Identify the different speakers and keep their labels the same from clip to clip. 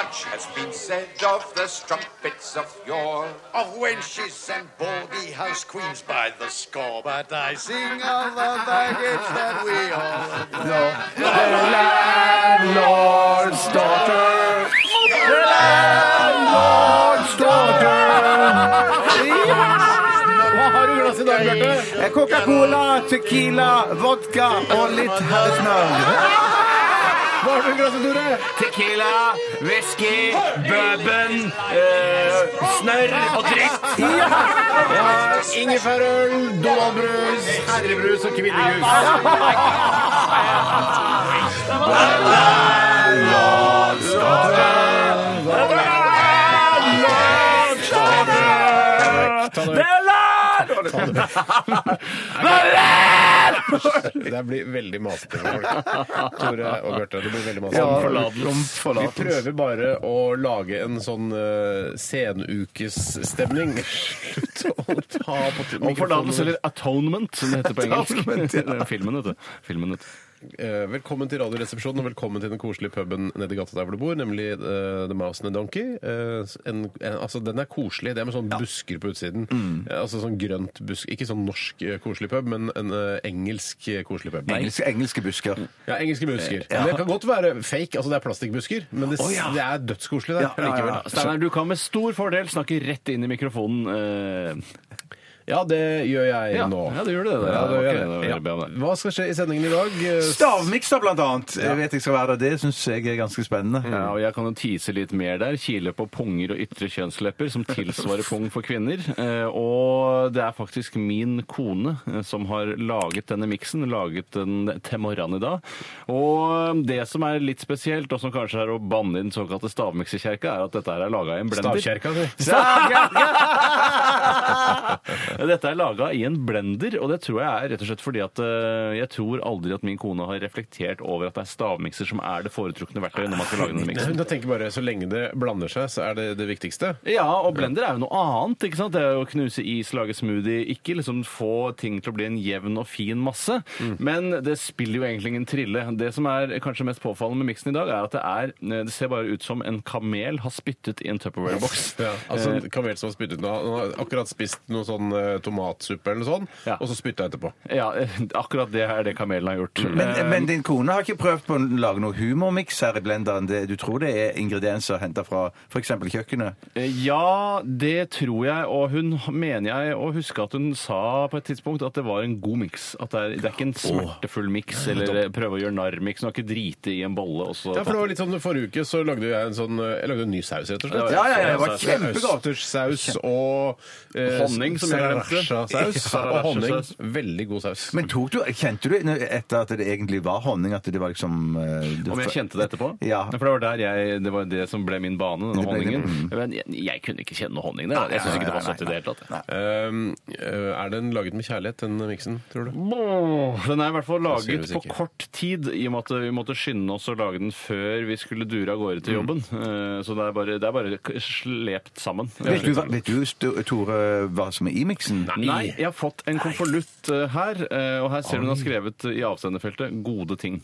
Speaker 1: Much has been said of the strumpets of yore, of wenches and baldy house queens by the score, but I sing of the baggage that we all know. The landlord's daughter. The landlord's daughter.
Speaker 2: Hva har du i glasset i dag, Bjarte?
Speaker 1: Eh, Coca-Cola, tequila, vodka og litt herresmør.
Speaker 2: Hva har du i glasset, Tore?
Speaker 1: Tequila, whisky, bourbon, eh. snørr og dritt.
Speaker 2: Ingefærøl, donaldbrus, herrebrus og kvinnebrus. Det blir veldig masete for folk. Tore og Bjarte, det blir veldig masete. Vi prøver bare å lage en sånn uh, senukesstemning. Slutt å ta på t-
Speaker 3: Om forlatelse eller atonement, som det heter på
Speaker 2: Atonement,
Speaker 3: engelsk.
Speaker 2: ja.
Speaker 3: Det er Filmen, vet du. Filmen, vet du.
Speaker 2: Eh, Velkommen til Radioresepsjonen, og velkommen til den koselige puben nedi gata der hvor du bor, nemlig eh, The Mouse and the Donkey. Eh, en, en, altså, den er koselig. Det er med sånn busker på utsiden. Eh, altså sånn grønt busk. Ikke sånn norsk eh, koselig pub, men en eh, engelsk eh, koselig pub.
Speaker 4: engelske, engelske busker.
Speaker 2: Ja, engelske
Speaker 3: Eh,
Speaker 2: busker. Det kan godt være fake, altså det er plastikkbusker, men det, det er dødskoselig der
Speaker 4: Ja, ja, ja.
Speaker 2: likevel.
Speaker 3: Steinar, du kan med stor fordel snakke rett inn i mikrofonen. eh,
Speaker 2: Ja, det gjør jeg
Speaker 3: Ja,
Speaker 2: nå.
Speaker 3: ja, det gjør det, det.
Speaker 2: Ja, det gjør
Speaker 3: Ok,
Speaker 2: jeg.
Speaker 3: det var veldig
Speaker 2: Ja.
Speaker 3: bra, det.
Speaker 2: Hva skal skje i sendingen i dag? Eh,
Speaker 4: Stavmikser, blant annet. Jeg vet jeg skal være der. Det syns jeg er ganske spennende.
Speaker 3: Ja, og jeg kan jo tease litt mer der. Kile på punger og ytre kjønnslepper, som tilsvarer pung for kvinner. Eh, Og det er faktisk min kone eh, som har laget denne miksen, laget den til morgenen i dag. Og det som er litt spesielt, og som kanskje er å banne i den såkalte stavmiksekjerka, er at dette her er laga i en blender.
Speaker 2: Stavkjerka, du.
Speaker 3: Dette er laga i en blender, og det tror jeg er rett og slett fordi at eh, jeg tror aldri at min kone har reflektert over at det er stavmikser som er det foretrukne verktøyet når man skal lage denne
Speaker 2: Nei,
Speaker 3: miksen.
Speaker 2: Hun tenker bare så lenge det blander seg, så er det det viktigste.
Speaker 3: Ja, og blender er jo noe annet. ikke sant? Det er jo Å knuse is, lage smoothie. Ikke liksom få ting til å bli en jevn og fin masse. Men det spiller jo egentlig ingen trille. Det som er kanskje mest påfallende med miksen i dag, er at det er Det ser bare ut som en kamel har spyttet i en Tupperware-boks.
Speaker 2: Ja,
Speaker 3: Eh.
Speaker 2: altså en Kamel som har spyttet noe, han har akkurat spist noe sånn eh, tomatsuppe eller noe sånn,
Speaker 3: Ja.
Speaker 2: og så spytta etterpå.
Speaker 3: Ja, eh, akkurat det er det kamelen har gjort.
Speaker 4: Men, men din kone har ikke prøvd på å lage noe humormiks her i blenderen? Det, du tror det er ingredienser henta fra f.eks. kjøkkenet?
Speaker 3: Eh, Ja, det tror jeg, og hun mener jeg å huske at hun sa på et tidspunkt at det var en god miks. At det er, det er ikke en smertefull miks eller eh, prøve å gjøre narr-miks. Hun har ikke driti i en bolle og så
Speaker 2: Ja, for det var litt sånn, Forrige uke så lagde jeg en sånn eh, Jeg lagde en ny saus, rett og slett.
Speaker 4: Ja, ja, ja, det var
Speaker 2: Så det er
Speaker 4: kjempegod.
Speaker 2: Østerssaus og eh,
Speaker 3: Honning, som jeg glemte.
Speaker 2: sriracha-saus.
Speaker 3: Ja,
Speaker 2: Og honning.
Speaker 3: sriracha-saus.
Speaker 2: Veldig god saus.
Speaker 4: Men tok du, kjente du etter at det egentlig var honning, at det var liksom eh, du-
Speaker 3: Om jeg kjente det etterpå?
Speaker 4: Ja.
Speaker 3: For det var, der jeg, det var det som ble min bane, denne
Speaker 4: Det ble din-
Speaker 3: honningen. Men jeg, jeg kunne ikke kjenne noe honning der. Jeg syns ikke det var søtt i det hele tatt.
Speaker 2: Um, eh, er den laget med kjærlighet, den miksen, tror du?
Speaker 3: Boh, Den er i hvert fall
Speaker 2: sier
Speaker 3: laget
Speaker 2: du
Speaker 3: på
Speaker 2: sikkert.
Speaker 3: kort tid, i og med at eh, vi måtte skynde oss å lage den før vi skulle dure av gårde til jobben. Eh, Så det er bare, det er bare k- slept sammen.
Speaker 4: Vet du, hva- vet du, Sto- Tore, hva som er i miksen?
Speaker 3: sånn. Nei, jeg har fått en konvolutt eh, her, eh, og her ser du hun har skrevet eh, i avsenderfeltet 'gode ting'.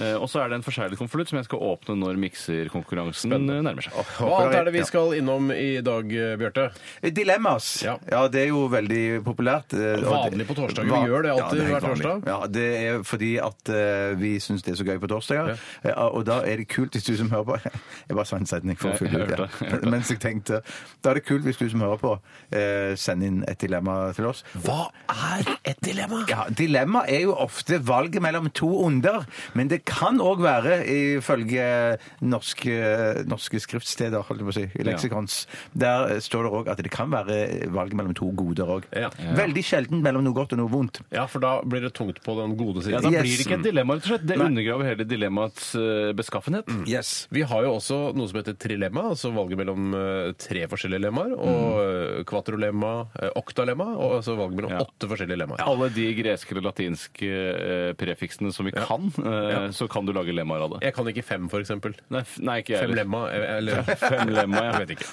Speaker 3: Eh, Og så er det en forseglet konvolutt som jeg skal åpne når mikserkonkurransen eh, nærmer seg.
Speaker 2: Hva annet er det vi skal innom i dag, eh, Bjarte?
Speaker 4: Dilemmas.
Speaker 2: Ja.
Speaker 4: Ja. det er jo veldig populært. eh, og det-
Speaker 2: Vanlig på torsdager. Vi
Speaker 4: Va-
Speaker 2: gjør det alltid
Speaker 4: Ja, er
Speaker 2: hver
Speaker 4: helt vanlig.
Speaker 2: torsdag.
Speaker 4: Ja, det er fordi at eh, vi syns det er så gøy på torsdager. Eh, og da er det kult hvis du som hører på Jeg bare sa en setning for å
Speaker 3: Jeg- jeg
Speaker 4: fylle ut
Speaker 3: hørte det, jeg hørte
Speaker 4: det. Mens jeg tenkte Da er det kult hvis du som hører på, eh, sender inn et dilemma til oss.
Speaker 2: Hva er et dilemma?
Speaker 4: Ja, Dilemma er jo ofte valget mellom to onder, men det kan òg være, ifølge norske, norske skriftsteder, holdt jeg på å si, i leksikons, der står det òg at det kan være valget mellom to goder òg.
Speaker 2: Ja.
Speaker 4: Veldig sjelden mellom noe godt og noe vondt.
Speaker 2: Ja, for da blir det tungt på den gode
Speaker 3: Ja,
Speaker 2: siden.
Speaker 3: Da
Speaker 4: Yes.
Speaker 3: blir det ikke et dilemma, rett og slett. Det undergraver hele dilemmaets eh, beskaffenhet.
Speaker 2: Mm.
Speaker 4: Yes.
Speaker 2: Vi har jo også noe som heter trilemma, altså valget mellom eh, tre forskjellige lemmaer. Og eh, kvatrolemma, eh, åtte lemma, og altså valg mellom
Speaker 3: Mm. Ja.
Speaker 2: åtte forskjellige lemmaer.
Speaker 3: Alle de greske eller latinske eh, prefiksene som vi kan, eh, så kan du lage lemmaer av det.
Speaker 2: Jeg kan ikke fem, for eksempel.
Speaker 3: Nei, f- nei ikke jeg
Speaker 2: Fem
Speaker 3: heller.
Speaker 2: lemma, eh, eller
Speaker 3: Fem lemma, jeg
Speaker 2: vet ikke.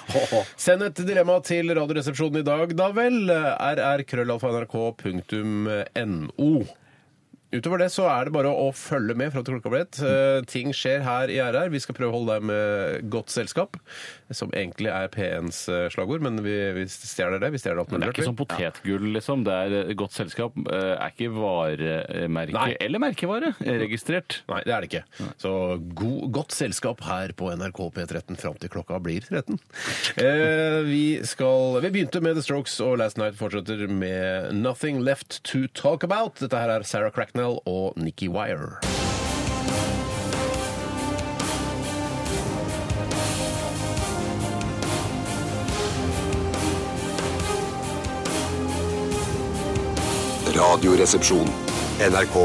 Speaker 2: Send et dilemma til Radioresepsjonen i dag, da vel. rr.krøllalfa.nrk.no. Utover det så er det bare å følge med fra til klokka blir ett. Eh, ting skjer her i RR. Vi skal prøve å holde deg med godt selskap, som egentlig er P1s eh, slagord, men vi, vi stjeler det. Vi stjeler det opp
Speaker 3: Men
Speaker 2: med
Speaker 3: det er ikke sånn potetgull, liksom. Det er eh, godt selskap. eh, Er ikke varemerke
Speaker 2: Nei.
Speaker 3: eller merkevare eh, registrert.
Speaker 2: Nei, det er det ikke. Så god, godt selskap her på NRK P13 fram til klokka blir 13. Eh, vi, skal, vi begynte med The Strokes, og Last Night fortsetter med Nothing Left To Talk About. Dette her er Sarah Cracknell og Nikki Wire.
Speaker 5: Radioresepsjon. NRK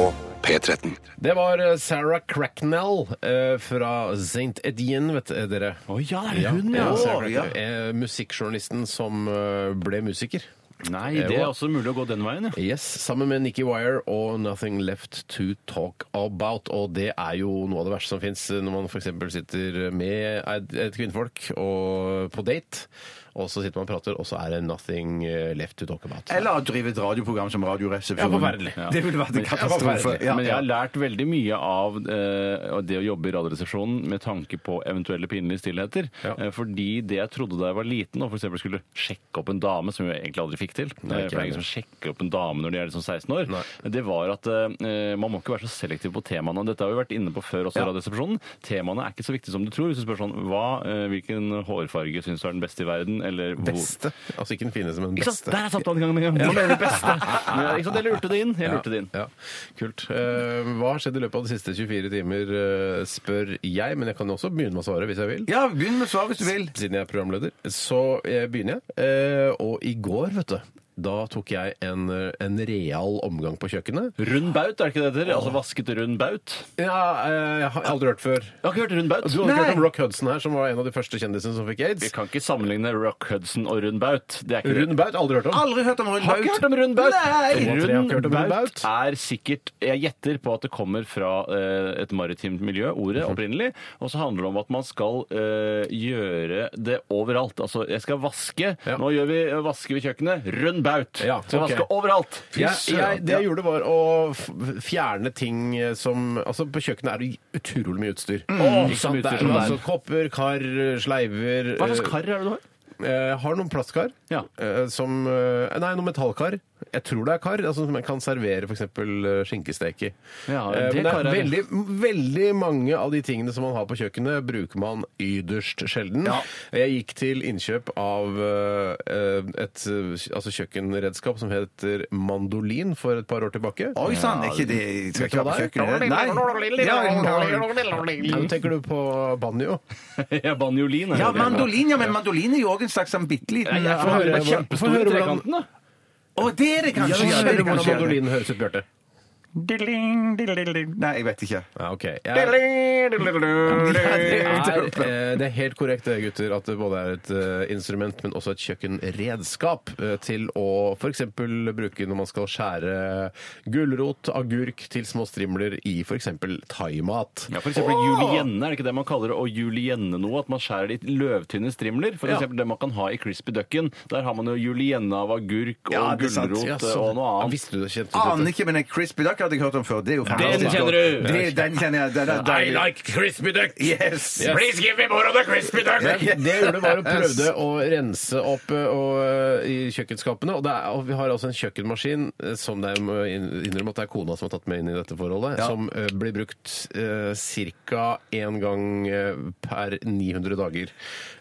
Speaker 5: P13.
Speaker 2: Det var eh, Sarah Cracknell eh, fra St. Etienne, vet dere.
Speaker 3: Å ja, det
Speaker 2: Ja,
Speaker 3: er hun, ja!
Speaker 2: ja,
Speaker 4: Å,
Speaker 2: Sarah
Speaker 4: ja.
Speaker 2: Cracknell, eh, musikkjournalisten som eh, ble musiker.
Speaker 3: Nei, det er også mulig å gå den veien, ja.
Speaker 2: Yes, Sammen med Nikki Wire og 'Nothing Left To Talk About'. Og det er jo noe av det verste som fins når man f.eks. sitter med et et kvinnfolk og på date, og så sitter man og prater, og så er det 'Nothing eh, Left To Talk About'.
Speaker 4: Eller å drive et radioprogram som Radioresepsjonen.
Speaker 2: Ja, forferdelig.
Speaker 4: Det ville vært en
Speaker 3: Men-
Speaker 4: katastrofe.
Speaker 2: Ja,
Speaker 3: Men jeg har lært veldig mye av eh, det å jobbe i Radioresepsjonen med tanke på eventuelle pinlige stillheter.
Speaker 2: Ja.
Speaker 3: Eh, fordi det jeg trodde da jeg var liten, og f.eks. skulle sjekke opp en dame, som jeg egentlig aldri fikk til eh,
Speaker 2: ikke
Speaker 3: For det er ingen som sjekker opp en dame når de er liksom 16 år. Det var at eh, man må ikke være så selektiv på temaene. Dette har vi vært inne på før også i Radioresepsjonen. Temaene er ikke så viktige som du tror. Hvis du spør sånn hva, eh, hvilken hårfarge syns du er den beste i verden, eller hvor-
Speaker 2: Beste. Altså ikke den fineste, men
Speaker 3: Ikke sant?
Speaker 2: beste.
Speaker 3: Der satt han i gang med en gang. Hva mener du beste? Men, Ikke sant? Jeg lurte det inn. Jeg lurte det inn.
Speaker 2: Ja, Kult. Eh, hva har skjedd i løpet av de siste 24 timer, eh, spør jeg, men jeg kan jo også begynne med å svare hvis jeg vil.
Speaker 4: Ja, begynn med svar hvis du vil.
Speaker 2: Siden jeg er programleder. Så eh, begynner jeg. Eh, Og i går, vet du, da tok jeg en, eh, en real omgang på kjøkkenet.
Speaker 3: Rund baut, er det ikke det det heter? Altså vasket rund baut?
Speaker 2: Ja, eh, jeg har aldri hørt før.
Speaker 3: Jeg har ikke hørt rund baut.
Speaker 2: Du hadde ikke hørt om Rock Hudson her, som var en av de første kjendisene som fikk
Speaker 3: Vi
Speaker 2: aids?
Speaker 3: kan ikke sammenligne Rock Hudson og rund baut. Det er ikke
Speaker 2: Rund baut, aldri hørt om.
Speaker 4: Aldri hørt om Rund
Speaker 3: Har ikke hørt om rund baut!
Speaker 2: Nei! Jeg har ikke hørt
Speaker 3: Rund
Speaker 2: om rund
Speaker 3: baut
Speaker 2: baut.
Speaker 3: er sikkert Jeg gjetter på at det kommer fra eh, et maritimt miljø, ordet
Speaker 2: Mhm.
Speaker 3: opprinnelig. Og så handler det om at man skal eh, gjøre det overalt. Altså, jeg skal vaske.
Speaker 2: Ja.
Speaker 3: Nå gjør vi, vasker vi kjøkkenet. Rund baut!
Speaker 2: Ja,
Speaker 3: Skal
Speaker 2: ok.
Speaker 3: vaske overalt!
Speaker 2: Jeg, jeg, det
Speaker 3: Ja.
Speaker 2: jeg gjorde, var å f- fjerne ting som Altså, på kjøkkenet er det utrolig mye utstyr.
Speaker 3: Mm. Åh,
Speaker 2: Ikke sant?
Speaker 3: mye utstyr
Speaker 2: Det er
Speaker 3: som det er. sånn
Speaker 2: altså kopper, kar, sleiver eh,
Speaker 3: Hva slags kar er det du har?
Speaker 2: Jeg Eh, har noen plastkar.
Speaker 3: Ja.
Speaker 2: eh, Som eh, Nei, noen metallkar. Jeg tror det er kar altså, som jeg kan servere f.eks. skinkestek i.
Speaker 3: Ja,
Speaker 2: Eh,
Speaker 3: det
Speaker 2: Men det
Speaker 3: kar
Speaker 2: er
Speaker 3: er
Speaker 2: veldig,
Speaker 3: det.
Speaker 2: veldig mange av de tingene som man har på kjøkkenet, bruker man yderst sjelden.
Speaker 3: Ja.
Speaker 2: Jeg gikk til innkjøp av eh, et eh, altså kjøkkenredskap som heter mandolin for et par år tilbake.
Speaker 4: Oi sann, er ikke det Skal ikke være på kjøkkenet? Nei. Ja,
Speaker 2: Ja, nå tenker du på banjo?
Speaker 3: Ja, Banjolin. er
Speaker 4: ja,
Speaker 3: det.
Speaker 4: mandolin, ja, men mandolin er jo òg en slags sånn bitte liten
Speaker 3: Jeg får
Speaker 4: Å,
Speaker 2: høre
Speaker 3: høre,
Speaker 2: hvordan-
Speaker 3: kjempestor
Speaker 2: få høre hvordan-
Speaker 3: trekanten, da.
Speaker 4: det er det kanskje! Ja,
Speaker 2: Hør
Speaker 4: det er det
Speaker 2: hvordan
Speaker 4: kanskje.
Speaker 2: mandolinen høres ut, Bjarte.
Speaker 4: Dilling, dilling. Nei, jeg vet ikke.
Speaker 2: Ja, ok. Jeg, er, eh, det er helt korrekt det, gutter, at det både er et eh, instrument, men også et kjøkkenredskap eh, til å f.eks. bruke når man skal skjære gulrot, agurk til små strimler i f.eks. thaimat.
Speaker 3: Ja, for eksempel julienne, er det ikke det man kaller det å julienne noe? At man skjærer det i løvtynne strimler? For
Speaker 2: Ja.
Speaker 3: eksempel det man kan ha i crispy ducken. Der har man jo julienne av agurk og
Speaker 2: Ja, det er sant.
Speaker 3: gulrot eh,
Speaker 2: Ja, sånn.
Speaker 3: og noe
Speaker 2: Ja,
Speaker 3: annet.
Speaker 2: Visste du det? Kjente du
Speaker 4: Aner
Speaker 2: det?
Speaker 4: ikke, men en crispy duck hadde jeg hørt om før. Det er jo fantastisk
Speaker 3: kjenner
Speaker 4: godt.
Speaker 3: du.
Speaker 4: Det, den kjenner jeg. Den er deilig.
Speaker 2: crispy duck!
Speaker 4: Yes!
Speaker 3: Please give me more of the crispy duck!
Speaker 2: Det jeg gjorde, var å prøvde å rense opp eh, og, eh, i kjøkkenskapene. Og, det er, og vi har altså en kjøkkenmaskin eh, som det er, må jeg inn- innrømme at det er kona som har tatt med inn i dette forholdet, som eh, blir brukt ca. én gang eh, per 900 dager.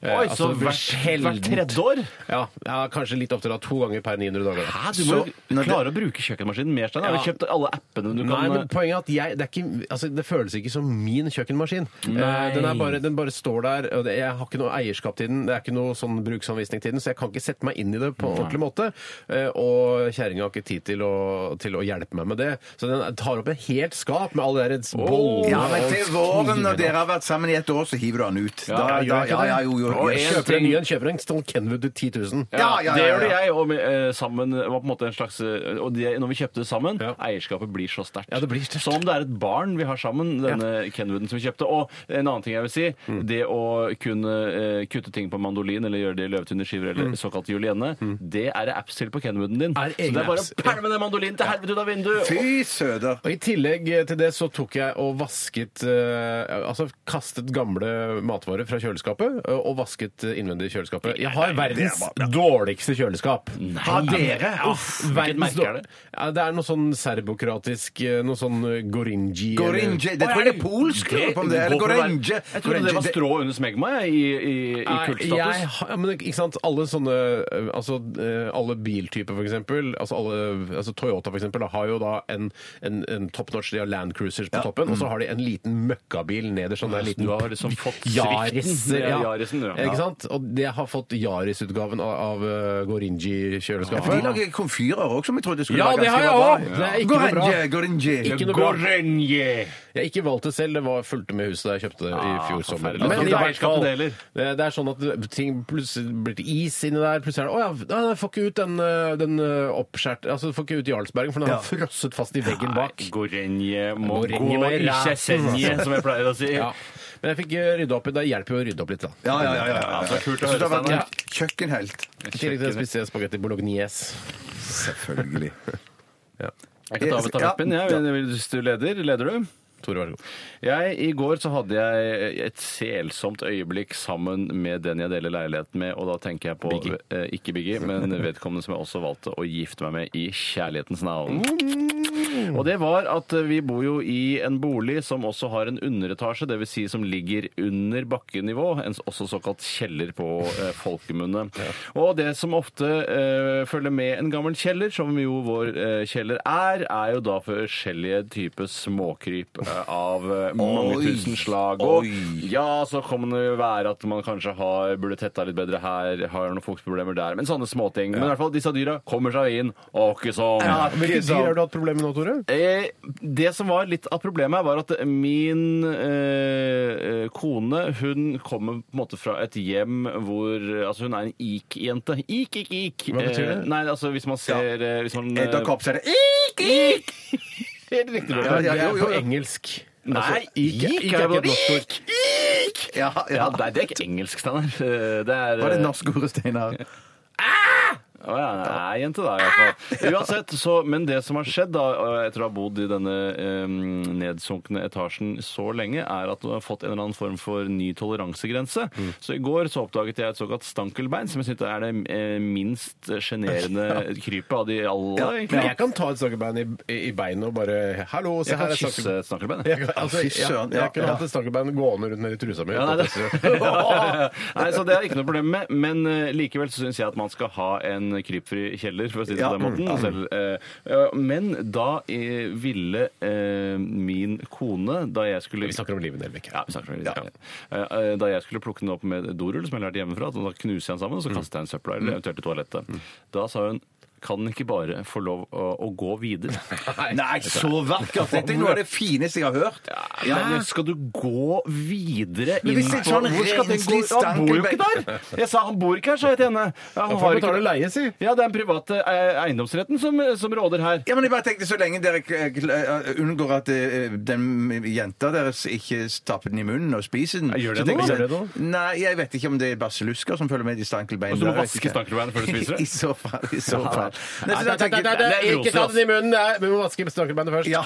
Speaker 2: Eh,
Speaker 3: Oi, så
Speaker 2: altså,
Speaker 3: hvert, hvert
Speaker 2: sjeldent.
Speaker 3: tredje år?
Speaker 2: Ja, ja, kanskje litt oftere. da, To ganger per 900 dager.
Speaker 3: Hæ, du må
Speaker 4: Så-
Speaker 3: jo klare å bruke kjøkkenmaskinen mer, Stein. Har du
Speaker 2: Ja.
Speaker 3: kjøpt alle knappene du
Speaker 2: Nei,
Speaker 3: kan eh,
Speaker 2: men poenget er at jeg, det, er ikke, altså, det føles ikke som min kjøkkenmaskin. Eh, Den, er bare, den bare står der, og det, jeg har ikke noe eierskap til den. Det er ikke noe sånn bruksanvisning til den, så jeg kan ikke sette meg inn i det på en ordentlig måte. Eh, Og kjerringa har ikke tid til å, til å hjelpe meg med det. Så den tar opp et helt skap med alle de der bollene
Speaker 4: Ja, men
Speaker 2: og
Speaker 4: til våren, når
Speaker 2: kniver.
Speaker 4: dere har vært sammen i et år, så hiver du han ut. Da,
Speaker 2: Ja,
Speaker 4: da,
Speaker 2: jeg
Speaker 4: ja,
Speaker 2: gjør ikke
Speaker 4: ja,
Speaker 2: det.
Speaker 4: jo, jo,
Speaker 2: Og
Speaker 4: jo.
Speaker 2: jeg kjøper en, jeg kjøper en Stone Kenwood til 10 000.
Speaker 4: Ja, ja, ja,
Speaker 3: Det
Speaker 4: ja.
Speaker 3: gjør det jeg, og eh, sammen var på en måte en slags eh, Og det, når vi kjøpte det sammen,
Speaker 2: Ja.
Speaker 3: eierskapet blir så sterkt.
Speaker 2: Ja, det blir sterkt.
Speaker 3: Som om det er et barn vi har sammen, denne Kenwooden som vi kjøpte. Og en annen ting jeg vil si,
Speaker 4: Mm.
Speaker 3: det å kunne eh, kutte ting på mandolin eller gjøre det i løvetunderskiver eller såkalt julienne,
Speaker 4: Mm.
Speaker 3: det er det apps til på Kenwooden din.
Speaker 2: Mm. Er
Speaker 3: Så
Speaker 2: egne
Speaker 3: det er bare
Speaker 2: apps.
Speaker 3: å pælme den mandolinen til helvete ut av vinduet!
Speaker 4: Fy søder.
Speaker 2: Og I tillegg til det så tok jeg og vasket eh, Altså kastet gamle matvarer fra kjøleskapet eh, og vasket eh, innvendig i kjøleskapet. Jeg har verdens dårligste kjøleskap. Har dere? Uff,
Speaker 3: Hvilket
Speaker 2: verdens
Speaker 3: merke er det?
Speaker 2: dår- Ja, det er noe sånn serbokratisk eh, Noe sånn eh, gorinji. eller-
Speaker 4: Gorinje. Det tror jeg det er polsk. lurer jeg på om det er.
Speaker 3: går
Speaker 4: Eller
Speaker 3: for å være-
Speaker 4: gorinje.
Speaker 3: Jeg trodde det var strå under smegma jeg, i, i, i
Speaker 2: Nei, jeg
Speaker 3: kultstatus.
Speaker 2: har- ja, men ikke sant, alle sånne eh, Altså eh, alle biltyper, for eksempel. Altså, alle, altså Toyota, for eksempel, da, har jo da en, en, en top notch. De har Land Cruisers på toppen, og så har de en liten møkkabil nederst. Sånn, det er en
Speaker 3: Mm. så
Speaker 2: liten
Speaker 3: du har liksom fått
Speaker 2: Yaris.
Speaker 3: svikten.
Speaker 2: Ja.
Speaker 3: Ja, Yarisen, ja.
Speaker 2: Ikke sant? Og det har fått Yaris-utgaven av, av eh,
Speaker 4: Ja, for de
Speaker 2: Gorinji-kjøleskapet.
Speaker 4: lager komfyrer òg, som jeg trodde skulle
Speaker 2: Ja,
Speaker 4: være
Speaker 2: det har
Speaker 4: ganske
Speaker 2: jeg
Speaker 4: bra.
Speaker 2: også. Det er ikke noe bra.
Speaker 4: Gorinje, gorinje.
Speaker 2: Ikke noe bra. Jeg har ikke valgt det selv, det var fulgte med huset da jeg kjøpte det i fjor sommer.
Speaker 3: Ah, forferdelig. Men
Speaker 2: i
Speaker 3: det er
Speaker 2: hvert fall,
Speaker 3: eierskapet det gjelder.
Speaker 2: det det er sånn at ting plutselig blir til is inni der, plutselig er det Å ja, nei, jeg får ikke ut den, eh, den eh, oppskjært Altså, jeg får ikke ut Jarlsbergen, for den har frosset fast i veggen bak.
Speaker 3: Gorenje må
Speaker 2: Gorenje
Speaker 3: gå
Speaker 2: må
Speaker 3: i
Speaker 2: ræsen.
Speaker 3: kjesenje, som jeg pleier å si.
Speaker 2: Ja. Men jeg fikk eh, rydda opp i det. Det hjelper jo å rydde opp litt, da.
Speaker 4: Ja, ja, ja. ja, ja.
Speaker 3: Ja, det er kult å
Speaker 4: Jeg synes det har
Speaker 3: høre,
Speaker 4: vært en Kjøkkenhelt.
Speaker 2: I tillegg til det spiste jeg spagetti bolognese.
Speaker 4: Selvfølgelig.
Speaker 3: Jeg kan ta over tapetten, jeg, hvis du leder. Leder du?
Speaker 2: Tore, vær så god.
Speaker 3: Jeg, I går så hadde jeg et selsomt øyeblikk sammen med den jeg deler leilighet med, og da tenker jeg på Eh, ikke Biggie, men vedkommende som jeg også valgte å gifte meg med i kjærlighetens navn.
Speaker 4: Mm.
Speaker 3: Og det var at eh, vi bor jo i en bolig som også har en underetasje, dvs. Si som ligger under bakkenivå, en, s- også såkalt kjeller på eh, folkemunne. Og det som ofte eh, følger med en gammel kjeller, som jo vår eh, kjeller er, er jo da forskjellige typer småkryp eh, av eh, mange
Speaker 4: Oi.
Speaker 3: tusen slag. Og
Speaker 4: Oi.
Speaker 3: ja, så kan det jo være at man kanskje har, burde tetta litt bedre her, har noen fuktproblemer der, men sånne småting. Men i hvert fall disse dyra kommer seg inn, og ikke sånn.
Speaker 2: Hvilke dyr har du hatt problemer med nå, Tore?
Speaker 3: Eh, det som var litt av problemet, her var at min eh, eh, kone Hun kommer på en måte fra et hjem hvor eh, Altså, hun er en ik-jente. Ik, ik, ik.
Speaker 2: Hva betyr det?
Speaker 3: Eh, nei, altså, hvis man ser eh, hvis man, eh,
Speaker 4: Edderkopp, så er det Ik, ik!
Speaker 3: Helt riktig. Altså,
Speaker 4: Ja,
Speaker 2: Det
Speaker 4: ja,
Speaker 2: er
Speaker 4: jo, jo,
Speaker 2: på
Speaker 4: jo.
Speaker 2: engelsk.
Speaker 3: Nei,
Speaker 2: ik, ik, er ikke et norsk ord.
Speaker 3: Ik!
Speaker 4: Ja,
Speaker 3: Ja,
Speaker 4: ja.
Speaker 3: nei, det er ikke engelsk, Steinar. Eh, Det er
Speaker 4: Var det
Speaker 3: eh,
Speaker 4: norsk ord, Steinar?
Speaker 3: Å ja, Ah! nei, jente da, i hvert fall. Uansett, så, men det som har skjedd da, etter å ha bodd i denne eh, nedsunkne etasjen så lenge, er at du har fått en eller annen form for ny toleransegrense. Så i går så oppdaget jeg et såkalt stankelbein, som jeg synes er det eh, minst sjenerende krypet av de alle,
Speaker 2: Men
Speaker 3: egentlig.
Speaker 2: jeg kan ta et stankelbein i, i beinet og bare Hallo, se
Speaker 3: Jeg kan
Speaker 2: her er stankelbein.
Speaker 3: kysse et stankelbein. jeg.
Speaker 2: Jeg, kan- altså,
Speaker 4: Fy
Speaker 2: jeg,
Speaker 4: søren,
Speaker 2: jeg
Speaker 4: ja,
Speaker 2: kunne
Speaker 4: ja.
Speaker 2: hatt et stankelbein gående rundt nede i trusa mi.
Speaker 3: Ja, nei, det...
Speaker 2: uten at jeg ser.
Speaker 3: nei, så det er ikke noe problem med. Men eh, likevel så syns jeg at man skal ha en krypfri kjeller, for å si det på den måten. Selv, eh, eh, men da eh, ville eh, min kone, da jeg skulle
Speaker 2: Vi snakker om livet, Nelvik.
Speaker 3: ja, vi snakker om livet, ja. Eh, eh, Da jeg skulle plukke den opp med dorull, som jeg lærte hjemmefra, at da knuser jeg den sammen, og så kaster jeg den i søpla eller eventuelt i toalettet. Da sa hun kan den ikke bare få lov å, å gå videre?
Speaker 4: Nei, så vakkert! Dette er noe av det fineste jeg har hørt. eh,
Speaker 3: Men skal du gå videre
Speaker 4: Men hvis
Speaker 3: inn
Speaker 4: det er sånn
Speaker 3: Hvor skal den gå? Han
Speaker 4: renslig
Speaker 3: bor jo
Speaker 4: stankelbein-
Speaker 3: ikke der! Jeg sa han bor ikke her, sa jeg til henne. Ja,
Speaker 2: Da
Speaker 3: han
Speaker 2: får
Speaker 3: har
Speaker 2: jeg
Speaker 3: ikke
Speaker 2: betale leie, si.
Speaker 3: Ja, det er den private eh, eiendomsretten som, som råder her.
Speaker 4: Ja, men jeg bare tenkte Så lenge dere k- k- unngår at eh, den jenta deres ikke stapper den i munnen og spiser den
Speaker 3: Gjør det
Speaker 4: så tenker
Speaker 3: noe?
Speaker 4: jeg
Speaker 3: Gjør det
Speaker 4: sånn, Nei, jeg vet ikke om det er basillusker som følger med de stankelbeina.
Speaker 3: Og så må du
Speaker 4: Jeg vet
Speaker 3: vaske
Speaker 4: ikke.
Speaker 3: stankelbeinet før du spiser det?
Speaker 4: I så fall. I så
Speaker 3: Ja.
Speaker 4: fall. Nei, så
Speaker 2: Nei, nei,
Speaker 4: da tenker
Speaker 2: nei,
Speaker 4: jeg-
Speaker 2: nei,
Speaker 3: det er
Speaker 2: Ikke ta
Speaker 3: roser,
Speaker 2: den i munnen! nei, Vi må vaske stankelbeinet først.
Speaker 4: Ja,